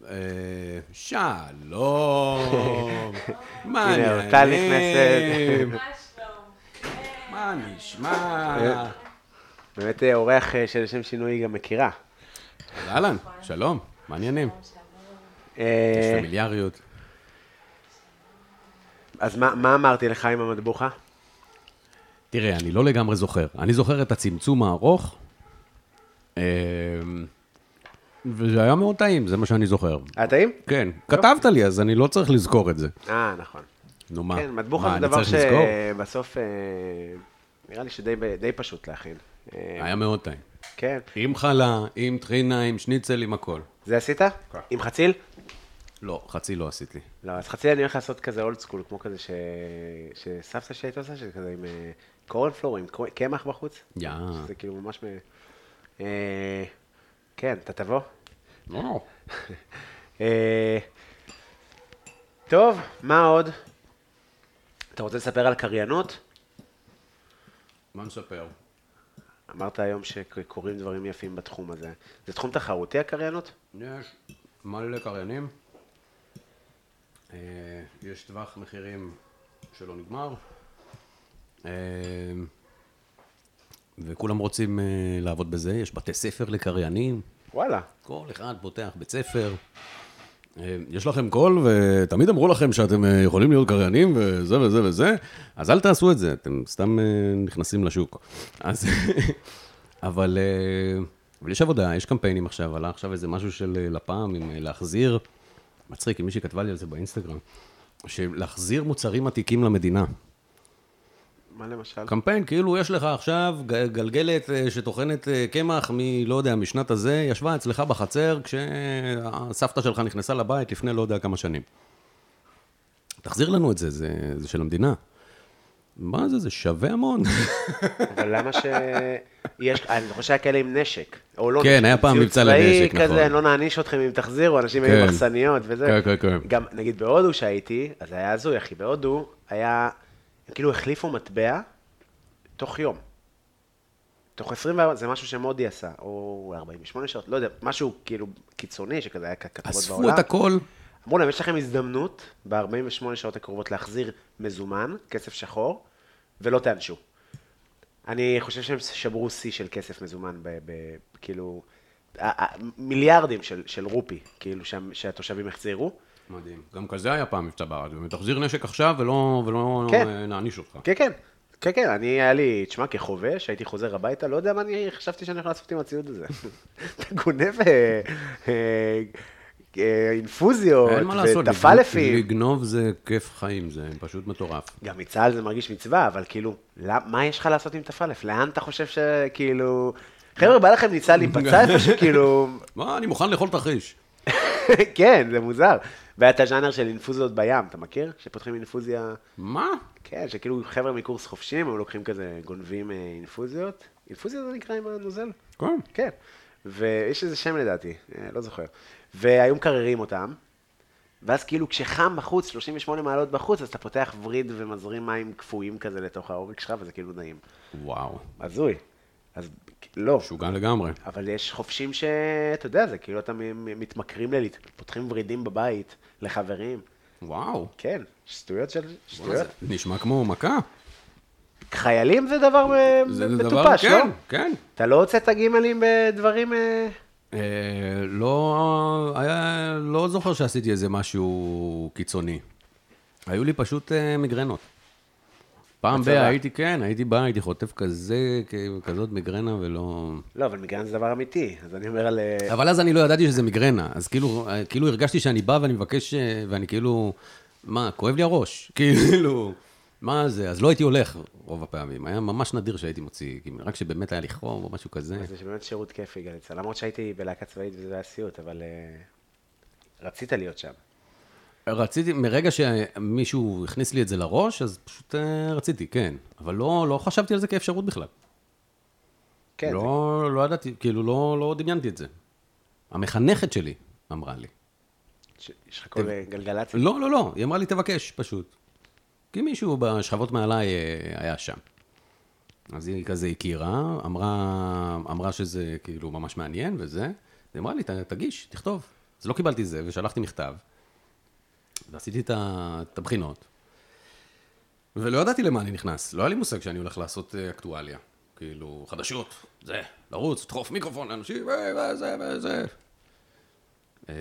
אה, שלום, מה
הנה, טל
העניינים?
נכנסת. אה.
מה נשמע?
באמת אה, אורח אה, שלשם שינוי היא גם מכירה.
אהלן, שלום, מה העניינים? יש
אה,
פמיליאריות.
אז מה מה אמרתי לך עם המטבוחה?
תראה, אני לא לגמרי זוכר. אני זוכר את הצמצום הארוך, אה, וזה היה מאוד טעים, זה מה שאני זוכר.
היה אה, טעים?
כן, כתבת לי, אז אני לא צריך לזכור את זה.
אה, נכון.
נו מה,
כן, מטבוחה
מה,
זה
אני
דבר
צריך לזכור?
שבסוף, אה, נראה לי שדי ב- די פשוט להכין. אה,
היה מאוד טעים.
כן.
עם חלה, עם טחינה, עם שניצל, עם הכל.
זה עשית?
כן.
עם חציל?
לא, חצי לא עשיתי.
לא, אז חצי אני הולך לעשות כזה אולד סקול, כמו כזה ש... שסבתא שלי הייתה עושה, שכזה עם אה, קורנפלור, עם קו- קמח בחוץ.
יא.
שזה כאילו ממש... מ- אה, כן, אתה תבוא?
לא.
אה, טוב, מה עוד? אתה רוצה לספר על קריינות?
מה נספר?
אמרת היום שקורים דברים יפים בתחום הזה. זה תחום תחרותי הקריינות?
יש מלא קריינים, אה, יש טווח מחירים שלא נגמר, אה, וכולם רוצים אה, לעבוד בזה, יש בתי ספר לקריינים,
וואלה.
כל אחד פותח בית ספר. אה, יש לכם קול, ותמיד אמרו לכם שאתם אה, יכולים להיות קריינים וזה וזה וזה, אז אל תעשו את זה, אתם סתם אה, נכנסים לשוק. אז... אבל, אה, אבל יש עבודה, יש קמפיינים עכשיו, עלה עכשיו איזה משהו של אה, לפ"מ עם אה, להחזיר, מצחיק, עם מישהי כתבה לי על זה באינסטגרם, שלהחזיר מוצרים עתיקים למדינה.
מה למשל?
קמפיין, כאילו יש לך עכשיו ג- גלגלת אה, שטוחנת אה, קמח מ... לא יודע, משנת הזה, ישבה אצלך בחצר כשהסבתא שלך נכנסה לבית לפני לא יודע כמה שנים. תחזיר לנו את זה, זה, זה של המדינה. מה זה, זה שווה המון.
אבל למה ש... יש... אני זוכר שהיה כאלה עם נשק. או לא
כן,
נשק,
היה פעם
ציוד
מבצע
צבאי
לנשק,
כזה,
נכון.
לא נעניש אתכם אם תחזירו, אנשים היו
כן.
מחסניות וזה.
כן, כן, כן.
גם, נגיד בהודו שהייתי, אז היה הזוי, אחי, בהודו היה... הם כאילו החליפו מטבע תוך יום. תוך 24, זה משהו שמודי עשה, או 48 שעות, לא יודע, משהו כאילו קיצוני, שכזה היה כ- כתבות בעולם.
אספו את הכל.
אמרו להם, יש לכם הזדמנות ב-48 שעות הקרובות להחזיר מזומן, כסף שחור, ולא תיענשו. אני חושב שהם שברו שיא של כסף מזומן, ב- ב- כאילו, ה- ה- מיליארדים של, של רופי, כאילו, שה- שהתושבים החזירו.
מדהים. גם כזה היה פעם מבצע בארץ. באמת, תחזיר נשק עכשיו ולא, ולא
כן.
אה, נעניש אותך.
כן, כן, כן, כן, אני, היה לי, תשמע, כחובש, הייתי חוזר הביתה, לא יודע מה אני חשבתי שאני יכול לעשות עם הציוד הזה. אתה גונב אה, אה, אה, אינפוזיות
אין מה לעשות,
וטפלפים.
לגנוב זה כיף חיים, זה פשוט מטורף.
גם מצה"ל זה מרגיש מצווה, אבל כאילו, למ- מה יש לך לעשות עם תפלף? לאן אתה חושב שכאילו... חבר'ה, בא לכם ניסה להיפצע איפשהו, כאילו...
מה, אני מוכן לאכול תרחיש.
כן, זה מוזר. והיה את הז'אנר של אינפוזיות בים, אתה מכיר? שפותחים אינפוזיה...
מה?
כן, שכאילו חבר'ה מקורס חופשים, הם לוקחים כזה, גונבים אה, אינפוזיות. אינפוזיה זה נקרא עם הנוזל?
כן.
כן. ויש איזה שם לדעתי, אה, לא זוכר. והיו מקררים אותם, ואז כאילו כשחם בחוץ, 38 מעלות בחוץ, אז אתה פותח וריד ומזרים מים קפואים כזה לתוך העורק שלך, וזה כאילו נעים.
וואו,
הזוי. אז לא.
משוגע לגמרי.
אבל יש חובשים שאתה יודע, זה כאילו אתה מ- מ- מתמכרים לליט, פותחים ורידים בבית לחברים.
וואו.
כן, שטויות של...
מה זה?
שטויות.
נשמע כמו מכה.
חיילים זה דבר אה,
זה דבר-
מטופש, לא?
כן, כן.
אתה לא הוצאת גימלים בדברים... אה,
אה, לא, היה, לא זוכר שעשיתי איזה משהו קיצוני. היו לי פשוט אה, מיגרנות. פעם ב...
בצבא.
הייתי, כן, הייתי בא, הייתי חוטף כזה, כ- כזאת מיגרנה ולא...
לא, אבל מיגרן זה דבר אמיתי, אז אני אומר על... אה,
אבל אז אני לא ידעתי שזה מיגרנה, אז כאילו, כאילו הרגשתי שאני בא ואני מבקש, אה, ואני כאילו, מה, כואב לי הראש, כאילו, מה זה, אז לא הייתי הולך רוב הפעמים, היה ממש נדיר שהייתי מוציא, כאילו, רק שבאמת היה לי חום או משהו כזה.
זה באמת שירות כיפי, גלי צה"ל. למרות שהייתי בלהקה צבאית וזה היה סיוט, אבל אה, רצית להיות שם.
רציתי, מרגע שמישהו הכניס לי את זה לראש, אז פשוט אה, רציתי, כן, אבל לא, לא חשבתי על זה כאפשרות בכלל.
כן, זה-
לא, לא ידעתי, כאילו, לא, לא דמיינתי את זה. המחנכת שלי אמרה לי.
ש- יש לך כל אה, גלגלצ.
לא, לא, לא, היא אמרה לי, תבקש, פשוט. כי מישהו בשכבות מעליי אה, היה שם. אז היא כזה הכירה, אמרה, אמרה שזה כאילו ממש מעניין וזה, היא אמרה לי, "ת- תגיש, תכתוב. אז לא קיבלתי זה, ושלחתי מכתב, ועשיתי את ה- את הבחינות, ולא ידעתי למה אני נכנס, לא היה לי מושג שאני הולך לעשות אה, אקטואליה. כאילו, חדשות, זה, לרוץ, לדחוף מיקרופון לאנשים, אה, וזה וזה. אה,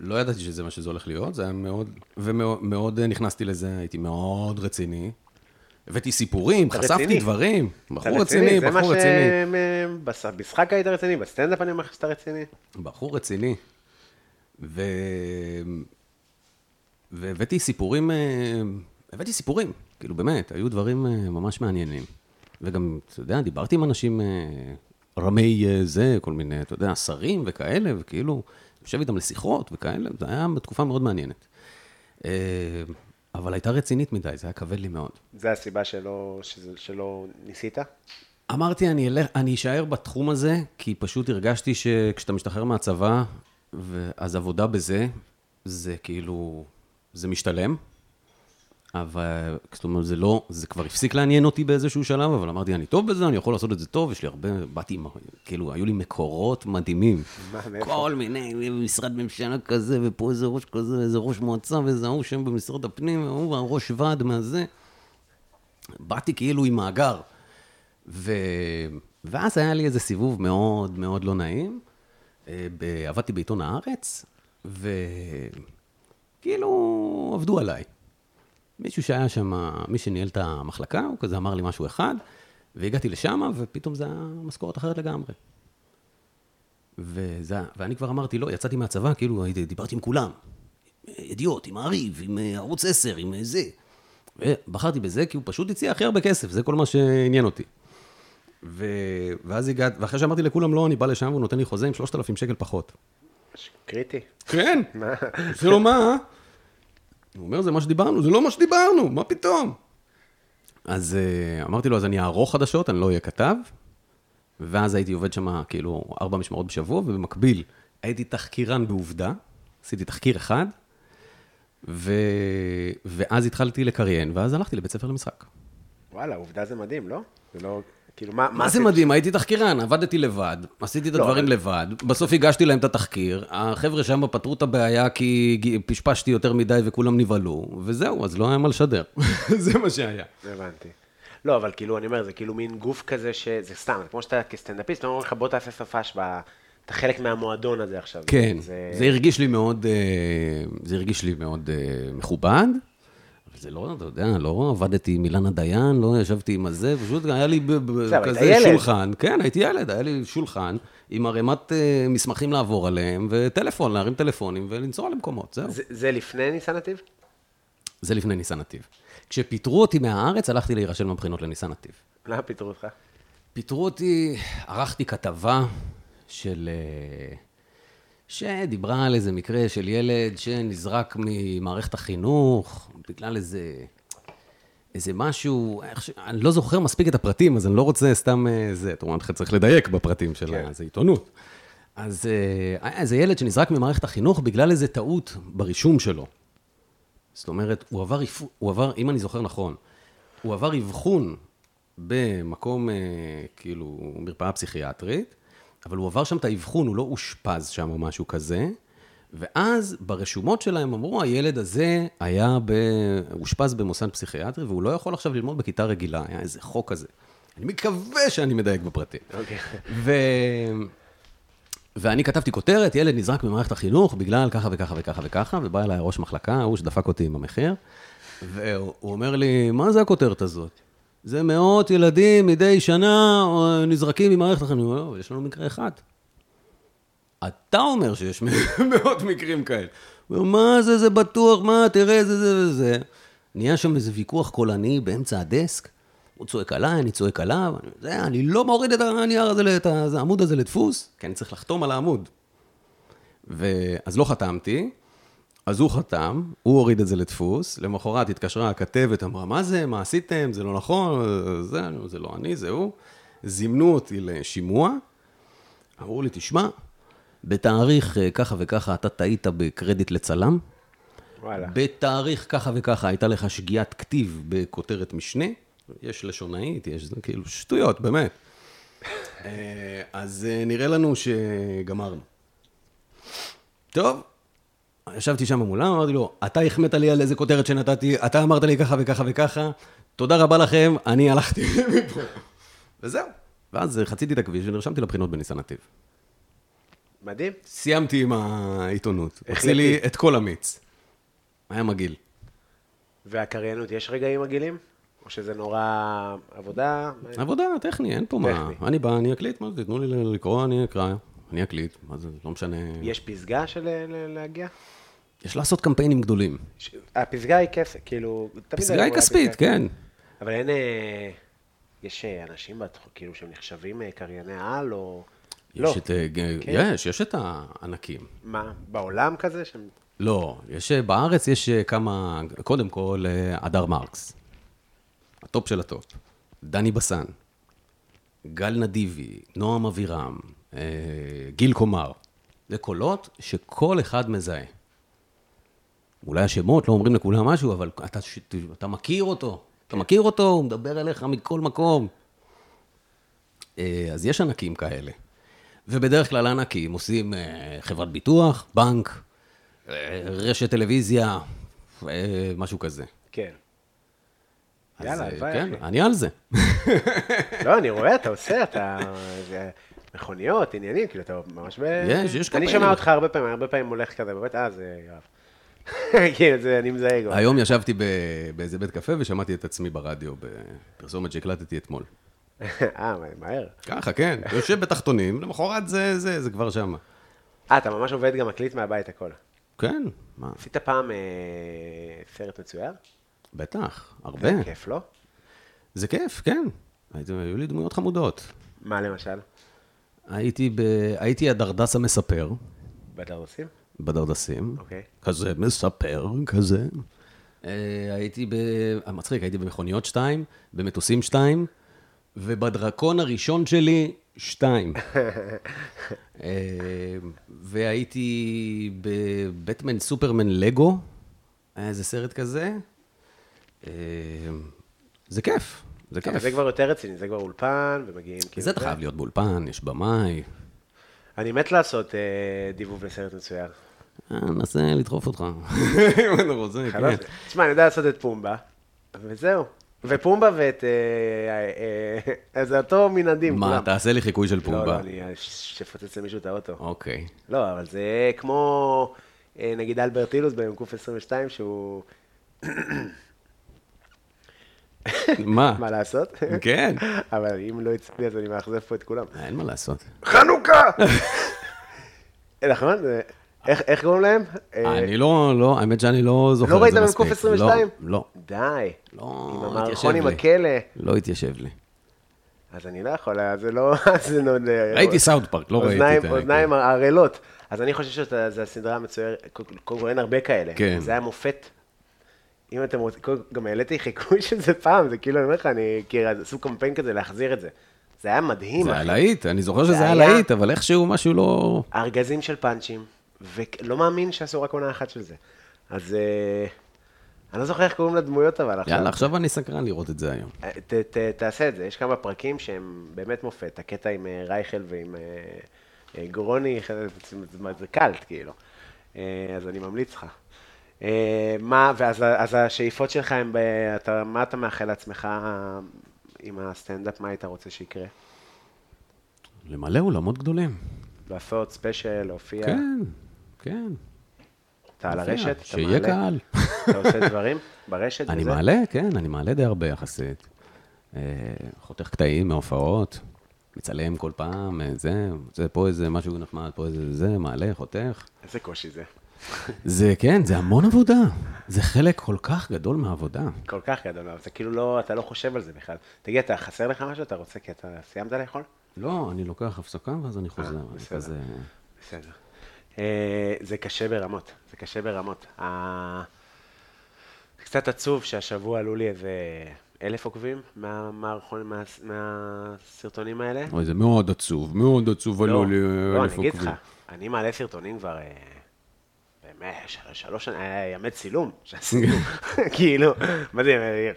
לא ידעתי שזה מה שזה הולך להיות, זה היה מאוד, ומאוד מאוד, אה, נכנסתי לזה, הייתי מאוד רציני. הבאתי סיפורים,
אתה
חשפתי
רציני?
דברים,
אתה
בחור רציני,
זה מה
בחור
ש-
רציני.
מ- בש- במשחק היית רציני, בסטנדאפ אני אומר לך שאתה רציני.
בחור רציני. ו... והבאתי סיפורים, אה, הבאתי סיפורים, כאילו באמת, היו דברים אה, ממש מעניינים. וגם, אתה יודע, דיברתי עם אנשים אה, רמי אה, זה, כל מיני, אתה יודע, שרים וכאלה, וכאילו, יושב איתם לשיחות וכאלה, זה היה בתקופה מאוד מעניינת. אה, אבל הייתה רצינית מדי, זה היה כבד לי מאוד.
זה הסיבה שלא, שזה- שלא ניסית?
אמרתי, אני, אלך, אני אשאר בתחום הזה, כי פשוט הרגשתי שכשאתה משתחרר מהצבא, ו- אז עבודה בזה, זה כאילו, זה משתלם. אבל, זאת אומרת, זה לא, זה כבר הפסיק לעניין אותי באיזשהו שלב, אבל אמרתי, אני טוב בזה, אני יכול לעשות את זה טוב, יש לי הרבה, באתי עם, כאילו, היו לי מקורות מדהימים.
מה, מאיפה?
כל מיני, משרד ממשלה כזה, ופה איזה ראש כזה, איזה ראש מועצה, ואיזה ההוא שם במשרד הפנים, והוא הראש ועד מהזה. באתי כאילו עם מאגר. ו... ואז היה לי איזה סיבוב מאוד מאוד לא נעים. אה, ב... עבדתי בעיתון הארץ, וכאילו כאילו, עבדו עליי. מישהו שהיה שם, מי שניהל את המחלקה, הוא כזה אמר לי משהו אחד, והגעתי לשם, ופתאום זה היה משכורת אחרת לגמרי. וזה, ואני כבר אמרתי, לא, יצאתי מהצבא, כאילו, הייתי- דיברתי עם כולם. ידיעות, עם מעריב, עם אה, ערוץ 10, עם אה, זה. ובחרתי בזה, כי הוא פשוט הציע הכי הרבה כסף, זה כל מה שעניין אותי. ו... ואז הגעת, ואחרי שאמרתי לכולם לא, אני בא לשם, והוא נותן לי חוזה עם 3,000 שקל פחות.
קריטי.
כן. אמרתי לו, מה? הוא אומר, זה מה שדיברנו, זה לא מה שדיברנו, מה פתאום? אז אה, אמרתי לו, אז אני אערוך חדשות, אני לא אהיה כתב, ואז הייתי עובד שם כאילו ארבע משמרות בשבוע, ובמקביל הייתי תחקירן בעובדה, עשיתי תחקיר אחד, ו... ואז התחלתי לקריין, ואז הלכתי לבית ספר למשחק.
וואלה, עובדה זה מדהים, לא? זה לא... כאילו, מה...
מה זה
עשית?
מדהים, הייתי תחקירן, עבדתי לבד, עשיתי את
לא,
הדברים
אבל-
לבד, בסוף הגשתי להם את התחקיר, החבר'ה שם פתרו את הבעיה כי גי- פשפשתי יותר מדי וכולם נבהלו, וזהו, אז לא היה מה לשדר. זה מה שהיה.
הבנתי. לא, אבל כאילו, אני אומר, זה כאילו מין גוף כזה ש... זה סתם, זה כמו שאתה כסטנדאפיסט, אומרים לך, בוא תעשה שפה שבה... אתה חלק מהמועדון הזה עכשיו.
כן,
זה...
זה הרגיש לי מאוד, אה, זה הרגיש לי מאוד אה, מכובד. אבל זה לא, אתה יודע, לא עבדתי עם אילנה דיין, לא ישבתי עם הזה, פשוט היה לי ב- ב-
זה, אבל
כזה
היית ילד.
שולחן. כן, הייתי ילד, היה לי שולחן עם ערימת אה, מסמכים לעבור עליהם, וטלפון, להרים טלפונים ולנסוע למקומות, זהו.
זה, זה לפני ניסן נתיב?
זה לפני ניסן נתיב. כשפיטרו אותי מהארץ, הלכתי להירשם לבחינות לניסן נתיב.
למה לא, פיטרו אותך?
פיטרו אותי, ערכתי כתבה של... אה, שדיברה על איזה מקרה של ילד שנזרק ממערכת החינוך בגלל איזה... איזה משהו, איך ש... אני לא זוכר מספיק את הפרטים, אז אני לא רוצה סתם אה, זה. אתה אומר, לך צריך לדייק בפרטים של
כן.
כן. זה עיתונות. אז אה, היה איזה ילד שנזרק ממערכת החינוך בגלל איזה טעות ברישום שלו. זאת אומרת, הוא עבר, אבחו- הוא עבר, אם אני זוכר נכון, הוא עבר אבחון במקום, אה, כאילו, מרפאה פסיכיאטרית, אבל הוא עבר שם את האבחון, הוא לא אושפז שם או משהו כזה, ואז ברשומות שלהם אמרו, הילד הזה היה, ב... אושפז במוסד פסיכיאטרי, והוא לא יכול עכשיו ללמוד בכיתה רגילה, היה איזה חוק כזה. אני מקווה שאני מדייק בפרטים.
אוקיי.
ו... ואני כתבתי כותרת, ילד נזרק ממערכת החינוך בגלל ככה וככה וככה וככה, ובא אליי ראש מחלקה, ההוא שדפק אותי עם המחיר, והוא הוא אומר לי, מה זה הכותרת הזאת? זה מאות ילדים מדי שנה אה, נזרקים ממערכת החינוך. אני אומר, "לא, אבל יש לנו מקרה אחד. אתה אומר שיש מאות מקרים כאלה. הוא אומר, מה זה, זה בטוח, מה, תראה, זה, זה וזה. נהיה שם איזה ויכוח קולני באמצע הדסק, הוא צועק עליי, אני צועק עליו, אני, זה, אני לא מוריד את הנייר הזה, את העמוד הזה לדפוס, כי אני צריך לחתום על העמוד. ואז לא חתמתי, אז הוא חתם, הוא הוריד את זה לדפוס, למחרת התקשרה הכתבת, אמרה, מה זה, מה עשיתם, זה לא נכון, זה, זה לא אני, זה הוא. זימנו אותי לשימוע, אמרו לי, תשמע, בתאריך אה, ככה וככה אתה טעית בקרדיט לצלם,
וואלה.
בתאריך ככה וככה הייתה לך שגיאת כתיב בכותרת משנה, יש לשונאית, יש זה, כאילו שטויות, באמת. אה, אז אה, נראה לנו שגמרנו. טוב, ישבתי שם מולם, אמרתי לו, אתה החמאת לי על איזה כותרת שנתתי, אתה אמרת לי ככה וככה וככה, תודה רבה לכם, אני הלכתי מפה. וזהו. ואז אה, חציתי את הכביש ונרשמתי לבחינות בניסן נתיב.
מדהים.
סיימתי עם העיתונות. הוציא
החלטי.
לי את כל המיץ. היה מגעיל.
והקריינות, יש רגעים מגעילים? או שזה נורא עבודה?
עבודה, טכני, אין פה מה.
טכני.
אני בא, אני אקליט, מה זה, תנו לי ל- לקרוא, אני אקרא, אני אקליט, מה זה, לא משנה.
יש פסגה של אה, ל- להגיע?
יש לעשות קמפיינים גדולים.
ש- הפסגה היא כסף, כאילו... תמיד
פסגה
אני
היא
רואה
כספית,
פסגה.
כן.
אבל אין... אה, יש אה, אנשים בתחום, כאילו, שהם נחשבים אה, קרייני על, או... לא.
יש את... אה, ג-
כן.
יש, יש את הענקים.
מה, בעולם כזה? שהם...
לא, יש, אה, בארץ יש אה, כמה, קודם כל, אה, הדר מרקס. הטופ של הטופ. דני בסן. גל נדיבי, נועם אבירם, אה, גיל קומר. זה קולות שכל אחד מזהה. אולי השמות לא אומרים לכולם משהו, אבל אתה, ש- אתה מכיר אותו. אתה מכיר אותו, הוא מדבר אליך מכל מקום. אה, אז יש ענקים כאלה. ובדרך כלל ענקים עושים אה, חברת ביטוח, בנק, אה, רשת טלוויזיה, אה, משהו כזה.
כן.
אז,
יאללה,
אה,
הלוואי,
כן,
אחי.
אני על זה.
לא, אני רואה, אתה עושה, אתה... זה מכוניות, עניינים, כאילו, אתה ממש ב...
יש, יש
אני
קמפיינים.
שומע אותך הרבה פעמים, הרבה פעמים הולך כזה בבית, אה, זה יואב. כן, זה אני מזהה גם.
היום ישבתי ב- באיזה בית קפה ושמעתי את עצמי ברדיו בפרסומת שהקלטתי אתמול.
אה, מה- מהר.
ככה, כן. יושב בתחתונים, למחרת זה, זה, זה כבר שמה.
אה, אתה ממש עובד גם מקליט מהבית הכל.
כן, מה?
עשית פעם אה, סרט מצויר?
בטח, הרבה.
זה כיף, לא?
זה כיף, כן. הייתי- היו לי דמויות חמודות.
מה למשל?
הייתי, ב... הייתי הדרדס המספר
בדרוסים?
בדרדסים.
אוקיי.
כזה מספר, כזה. אה, הייתי ב... אה, מצחיק, הייתי במכוניות שתיים, במטוסים שתיים, ובדרקון הראשון שלי, שתיים. אה, והייתי בבטמן סופרמן לגו, היה איזה סרט כזה. אה, זה כיף, זה כן.
כן,
כיף.
זה כבר יותר רציני, זה כבר אולפן, ומגיעים כאילו...
זה אתה חייב להיות באולפן, יש במאי.
אני מת לעשות אה, דיבוב לסרט מצויר.
אה, ננסה לדחוף אותך. אם אתה רוצה,
חלום.
כן.
תשמע, אני יודע לעשות את פומבה, וזהו. ופומבה ואת... אה, אה, אה, זה אותו מנעדים.
מה,
כולם.
תעשה לי חיקוי של
לא, לא,
פומבה.
אני שפוצץ למישהו את האוטו.
אוקיי.
לא, אבל זה כמו אה, נגיד אלברט אילוס במקוף 22, שהוא...
מה?
מה לעשות?
אה. כן.
אבל אם לא יצא לי, אז אני מאכזב פה את כולם.
אה, אין מה לעשות.
חנוכה! נכון? זה- איך- איך קוראים להם? אה,
אני לא, לא, האמת שאני לא זוכר
לא
את
ראית
זה מספיק.
במקוף 22?
לא, לא.
די.
לא,
עם
התיישב
המערכון עם
לי.
הכלא.
לא התיישב לי.
אז אני לא יכול, אז זה לא... זה נוד-
ראיתי סאונד פארק, לא ראיתי
אוזניים-
את ה-
אוזניים ערלות. אז אני חושב שזו הסדרה המצוירת, קודם כל אין הרבה כאלה.
כן.
זה היה מופת. אם אתם רוצים, קודם כל, גם העליתי חיקוי של זה פעם, זה כאילו, אני אומר לך, אני כאילו, אז עשו קמפיין כזה להחזיר את זה. זה היה מדהים.
זה היה
אחי.
להיט, אני זוכר שזה היה
היה-
להיט, אבל איכשהו משהו לא...
ארגזים של פאנצ'ים, ולא מאמין שעשו רק עונה אחת של זה. אז אה, אני לא זוכר איך קוראים לדמויות, אבל עכשיו...
יאללה, עכשיו אני סקרן לראות את זה היום.
ת, ת, תעשה את זה, יש כמה פרקים שהם באמת מופת, הקטע עם אה, רייכל ועם אה, אה, גרוני, אה, זה- זה- זה קאלט כאילו, אה, אז אני ממליץ לך. אה, מה, ואז ה- אז השאיפות שלך הם, ב, אתה, מה אתה מאחל לעצמך אה, עם הסטנדאפ, מה היית רוצה שיקרה?
למלא אולמות גדולים.
לעשות ספיישל, להופיע,
כן, כן.
אתה על
יפה,
הרשת, אתה
שיהיה קהל.
אתה עושה דברים ברשת?
אני
וזה?
מעלה, כן, אני מעלה די הרבה יחסית. אה, חותך קטעים מההופעות, מצלם כל פעם, אה, זה, זה פה איזה משהו נחמד, פה איזה זה, מעלה, חותך.
איזה קושי זה,
זה, כן, זה המון עבודה. זה חלק כל כך גדול מהעבודה.
כל כך גדול, אבל זה כאילו לא, אתה לא חושב על זה בכלל. תגיד, אתה חסר לך משהו? אתה רוצה, כי אתה סיימת לאכול?
לא, אני לוקח הפסקה ואז אני חוזר. אני
בסדר.
כזה...
בסדר. אה, זה קשה ברמות, זה קשה ברמות. ה- זה קצת עצוב שהשבוע עלו לי איזה אלף עוקבים מהמערכון, מה, מהסרטונים האלה.
אוי, זה מאוד עצוב, מאוד עצוב, עלו לי
לא,
אלף
אני אגיד לך,
עוקבים.
אני מעלה סרטונים כבר... אה, באמת, של- שלוש שנים, היה ימי צילום שעשינו, כאילו, מה זה,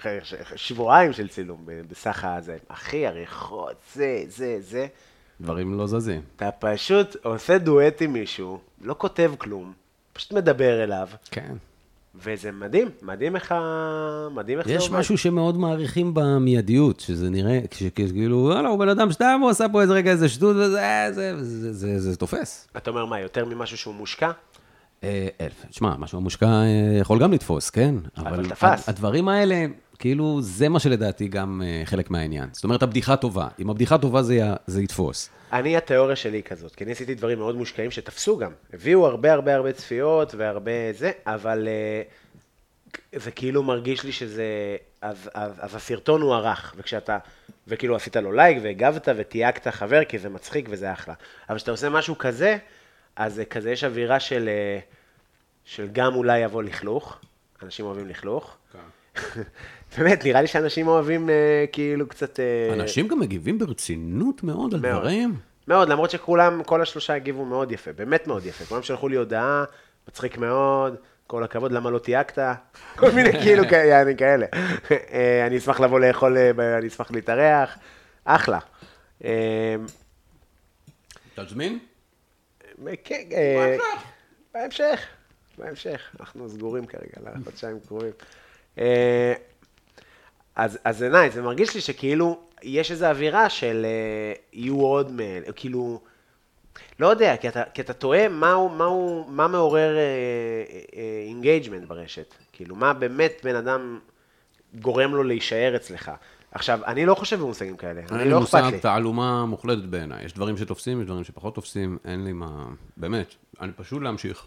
אה, ש- ש- שבועיים של צילום ב- בסך הזה, אחי, עריכות, זה, זה, זה,
דברים לא זזים.
אתה פשוט עושה דואט עם מישהו, לא כותב כלום, פשוט מדבר אליו,
כן.
וזה מדהים, מדהים איך, ה- מדהים איך זה
יש
עובד.
משהו שמאוד מעריכים במיידיות, שזה נראה, שכאילו, וואלה, הוא בן אדם שתם, הוא עשה פה איזה רגע איזה שטות, וזה, אה, זה, זה, זה, זה תופס.
אתה אומר מה, יותר ממשהו שהוא מושקע?
אה, אלף. שמע, משהו המושקע אה, יכול גם לתפוס, כן?
אבל תפס.
הד- הדברים האלה, כאילו, זה מה שלדעתי גם אה, חלק מהעניין. זאת אומרת, הבדיחה טובה. אם הבדיחה טובה זה, י- זה יתפוס.
אני, התיאוריה שלי היא כזאת, כי אני עשיתי דברים מאוד מושקעים שתפסו גם. הביאו הרבה הרבה הרבה צפיות והרבה זה, אבל אה, זה כאילו מרגיש לי שזה... אז, אז, אז הסרטון הוא ערך, וכשאתה... וכאילו עשית לו לייק והגבת ותייגת חבר, כי זה מצחיק וזה אחלה. אבל כשאתה עושה משהו כזה, אז זה כזה יש אווירה של, אה, של גם אולי יבוא לכלוך, אנשים אוהבים לכלוך. באמת, נראה לי שאנשים אוהבים אה, כאילו קצת... אה,
אנשים גם מגיבים ברצינות מאוד על
מאוד.
דברים.
מאוד, למרות שכולם, כל השלושה הגיבו מאוד יפה, באמת מאוד יפה. כולם שלחו לי הודעה, מצחיק מאוד, כל הכבוד, למה לא תייגת? כל מיני כאילו כאלה, יעני כאלה. אה, אני אשמח לבוא לאכול, אה, ב- אני אשמח להתארח, אחלה. אה,
תזמין?
כן, אה, בהמשך, בהמשך. אנחנו סגורים כרגע, לחודשיים קרובים. אה, אז אז זה נייס, זה מרגיש לי שכאילו, יש איזו אווירה של אה, יהיו עוד מאלה, כאילו, לא יודע, כי אתה, כי אתה תוהה מהו, מהו, מה מעורר אה, אינגייג'מנט ברשת. כאילו, מה באמת בן אדם גורם לו להישאר אצלך. עכשיו, אני לא חושב במושגים כאלה, אני לא אכפת לי.
תעלומה מוחלטת בעיניי. יש דברים שתופסים, יש דברים שפחות תופסים, אין לי מה... באמת, אני פשוט להמשיך.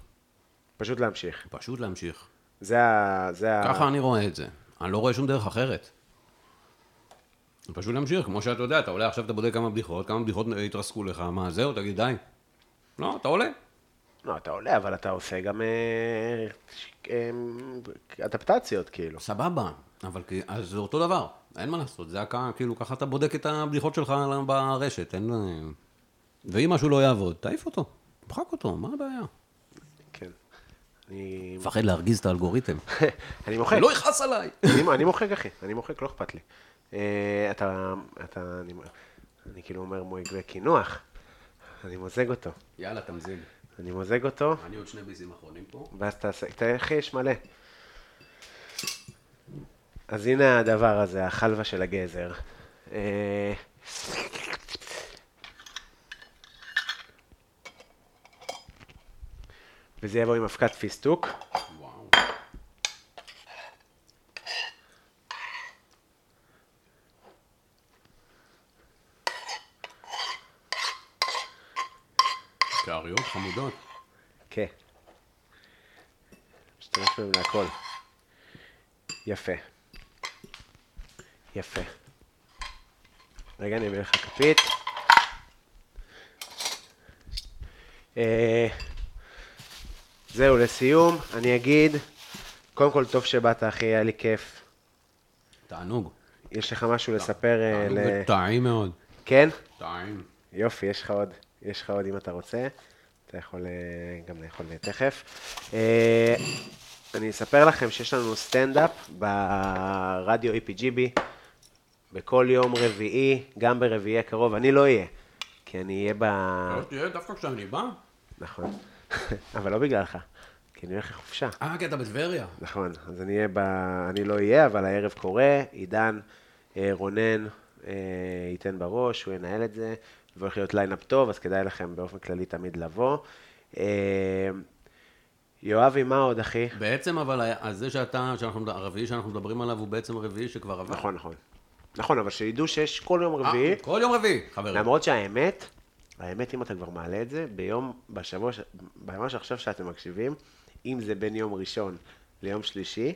פשוט להמשיך.
פשוט להמשיך.
זה ה... זה ה...
ככה אני רואה את זה. אני לא רואה שום דרך אחרת. פשוט להמשיך, כמו שאתה יודע, אתה עולה עכשיו, אתה בודק כמה בדיחות, כמה בדיחות התרסקו לך, מה, זהו, תגיד די. לא, אתה עולה.
לא, אתה עולה, אבל אתה עושה גם אה, ש- אה, אדפטציות, כאילו.
סבבה, אבל כי- אז זה אותו דבר, אין מה לעשות, זה הקהל, כאילו ככה אתה בודק את הבדיחות שלך על- ברשת, אין... אה, ואם משהו לא יעבוד, תעיף אותו, תמחק אותו, מה הבעיה?
כן. אני
מפחד להרגיז את האלגוריתם.
אני מוחק.
לא יכעס עליי!
אני- אני מוחק, אחי. אני מוחק, לא אכפת לי. אה, אתה... אתה... אני- אני כאילו אומר מויגרי קינוח. אני מוזג אותו.
יאללה, תמזיג.
אני מוזג אותו,
אני עוד שני ביזים אחרונים פה.
ואז תעשה... תראה, אחי, יש מלא. אז הנה הדבר הזה, החלבה של הגזר. אה, וזה יבוא עם אבקת פיסטוק.
וואו. קעריות חמודות.
כן. משתמש בהם להכל. יפה. יפה. רגע, אני אביא לך כפית. אה, זהו, לסיום, אני אגיד, קודם כל, טוב שבאת, אחי, היה לי כיף.
תענוג.
יש לך משהו לספר? אה,
תענוג
ל...
טעים מאוד.
כן?
טעים.
יופי, יש לך עוד, יש לך עוד אם אתה רוצה. אתה יכול אה, גם לאכול תכף. אה, אני אספר לכם שיש לנו סטנדאפ ברדיו EPGB בכל יום רביעי, גם ברביעי הקרוב. אני לא אהיה, כי אני אהיה ב...
לא תראה, דווקא כשאני בא.
נכון. אבל לא בגללך, כי אני הולך לחופשה.
אה, כי אתה בטבריה.
נכון, אז אני אהיה ב... אני לא אהיה, אבל הערב קורה, עידן, אה, רונן אה, ייתן בראש, הוא ינהל את זה, והולך להיות ליינאפ טוב, אז כדאי לכם באופן כללי תמיד לבוא. אה, יואבי, מה עוד, אחי?
בעצם, אבל ה- אז זה שאתה, שאנחנו, מד- הרביעי שאנחנו מדברים עליו הוא בעצם רביעי שכבר עבר.
נכון, נכון. נכון, אבל שידעו שיש כל יום
אה,
רביעי,
כל יום רביעי, חברים.
למרות שהאמת, האמת, אם אתה כבר מעלה את זה, ביום, בשבוע, ש- ביום שעכשיו שאתם מקשיבים, אם זה בין יום ראשון ליום שלישי,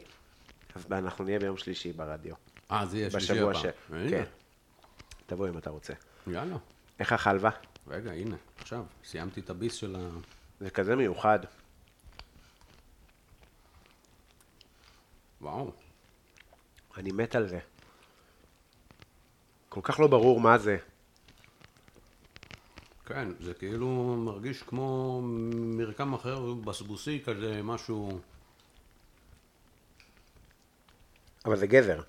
אז אנחנו נהיה ביום שלישי ברדיו.
אה, זה יהיה שלישי
בשבוע
הפעם.
ש...
הנה,
כן. תבוא אם אתה רוצה.
יאללה.
איך החלבה?
רגע, הנה, עכשיו, סיימתי את הביס של ה...
זה כזה מיוחד.
וואו.
אני מת על זה. כל כך לא ברור מה זה.
כן, זה כאילו מרגיש כמו מרקם אחר, בסבוסי כזה, משהו...
אבל זה גזר.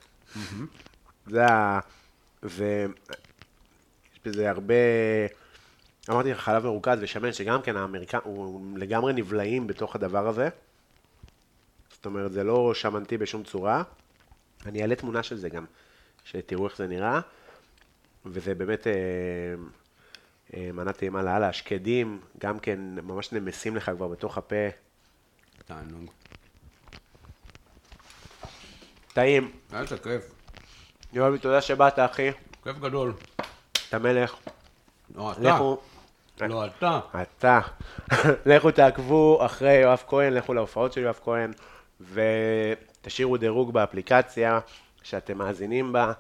זה ה... זה... יש בזה הרבה... אמרתי לך, חלב מרוכז ושמן, שגם כן האמריקא... הוא לגמרי נבלעים בתוך הדבר הזה. זאת אומרת, זה לא שמנתי בשום צורה. אני אעלה תמונה של זה גם, שתראו איך זה נראה. וזה באמת אה, אה, מנת טעימה לאללה, השקדים, גם כן ממש נמסים לך כבר בתוך הפה.
תענוג.
טעים.
איזה כיף.
יואבי, תודה שבאת, אחי.
כיף גדול.
אתה מלך.
לא, אתה.
לכו...
לא, אתה.
אתה. לכו תעקבו אחרי יואב כהן, לכו להופעות של יואב כהן, ותשאירו דירוג באפליקציה שאתם מאזינים בה,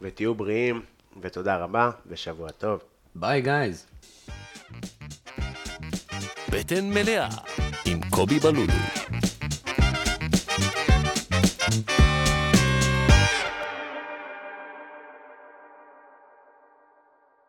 ותהיו בריאים, ותודה רבה, ושבוע טוב.
ביי, גייז.
בטן מלאה עם קובי בלולו.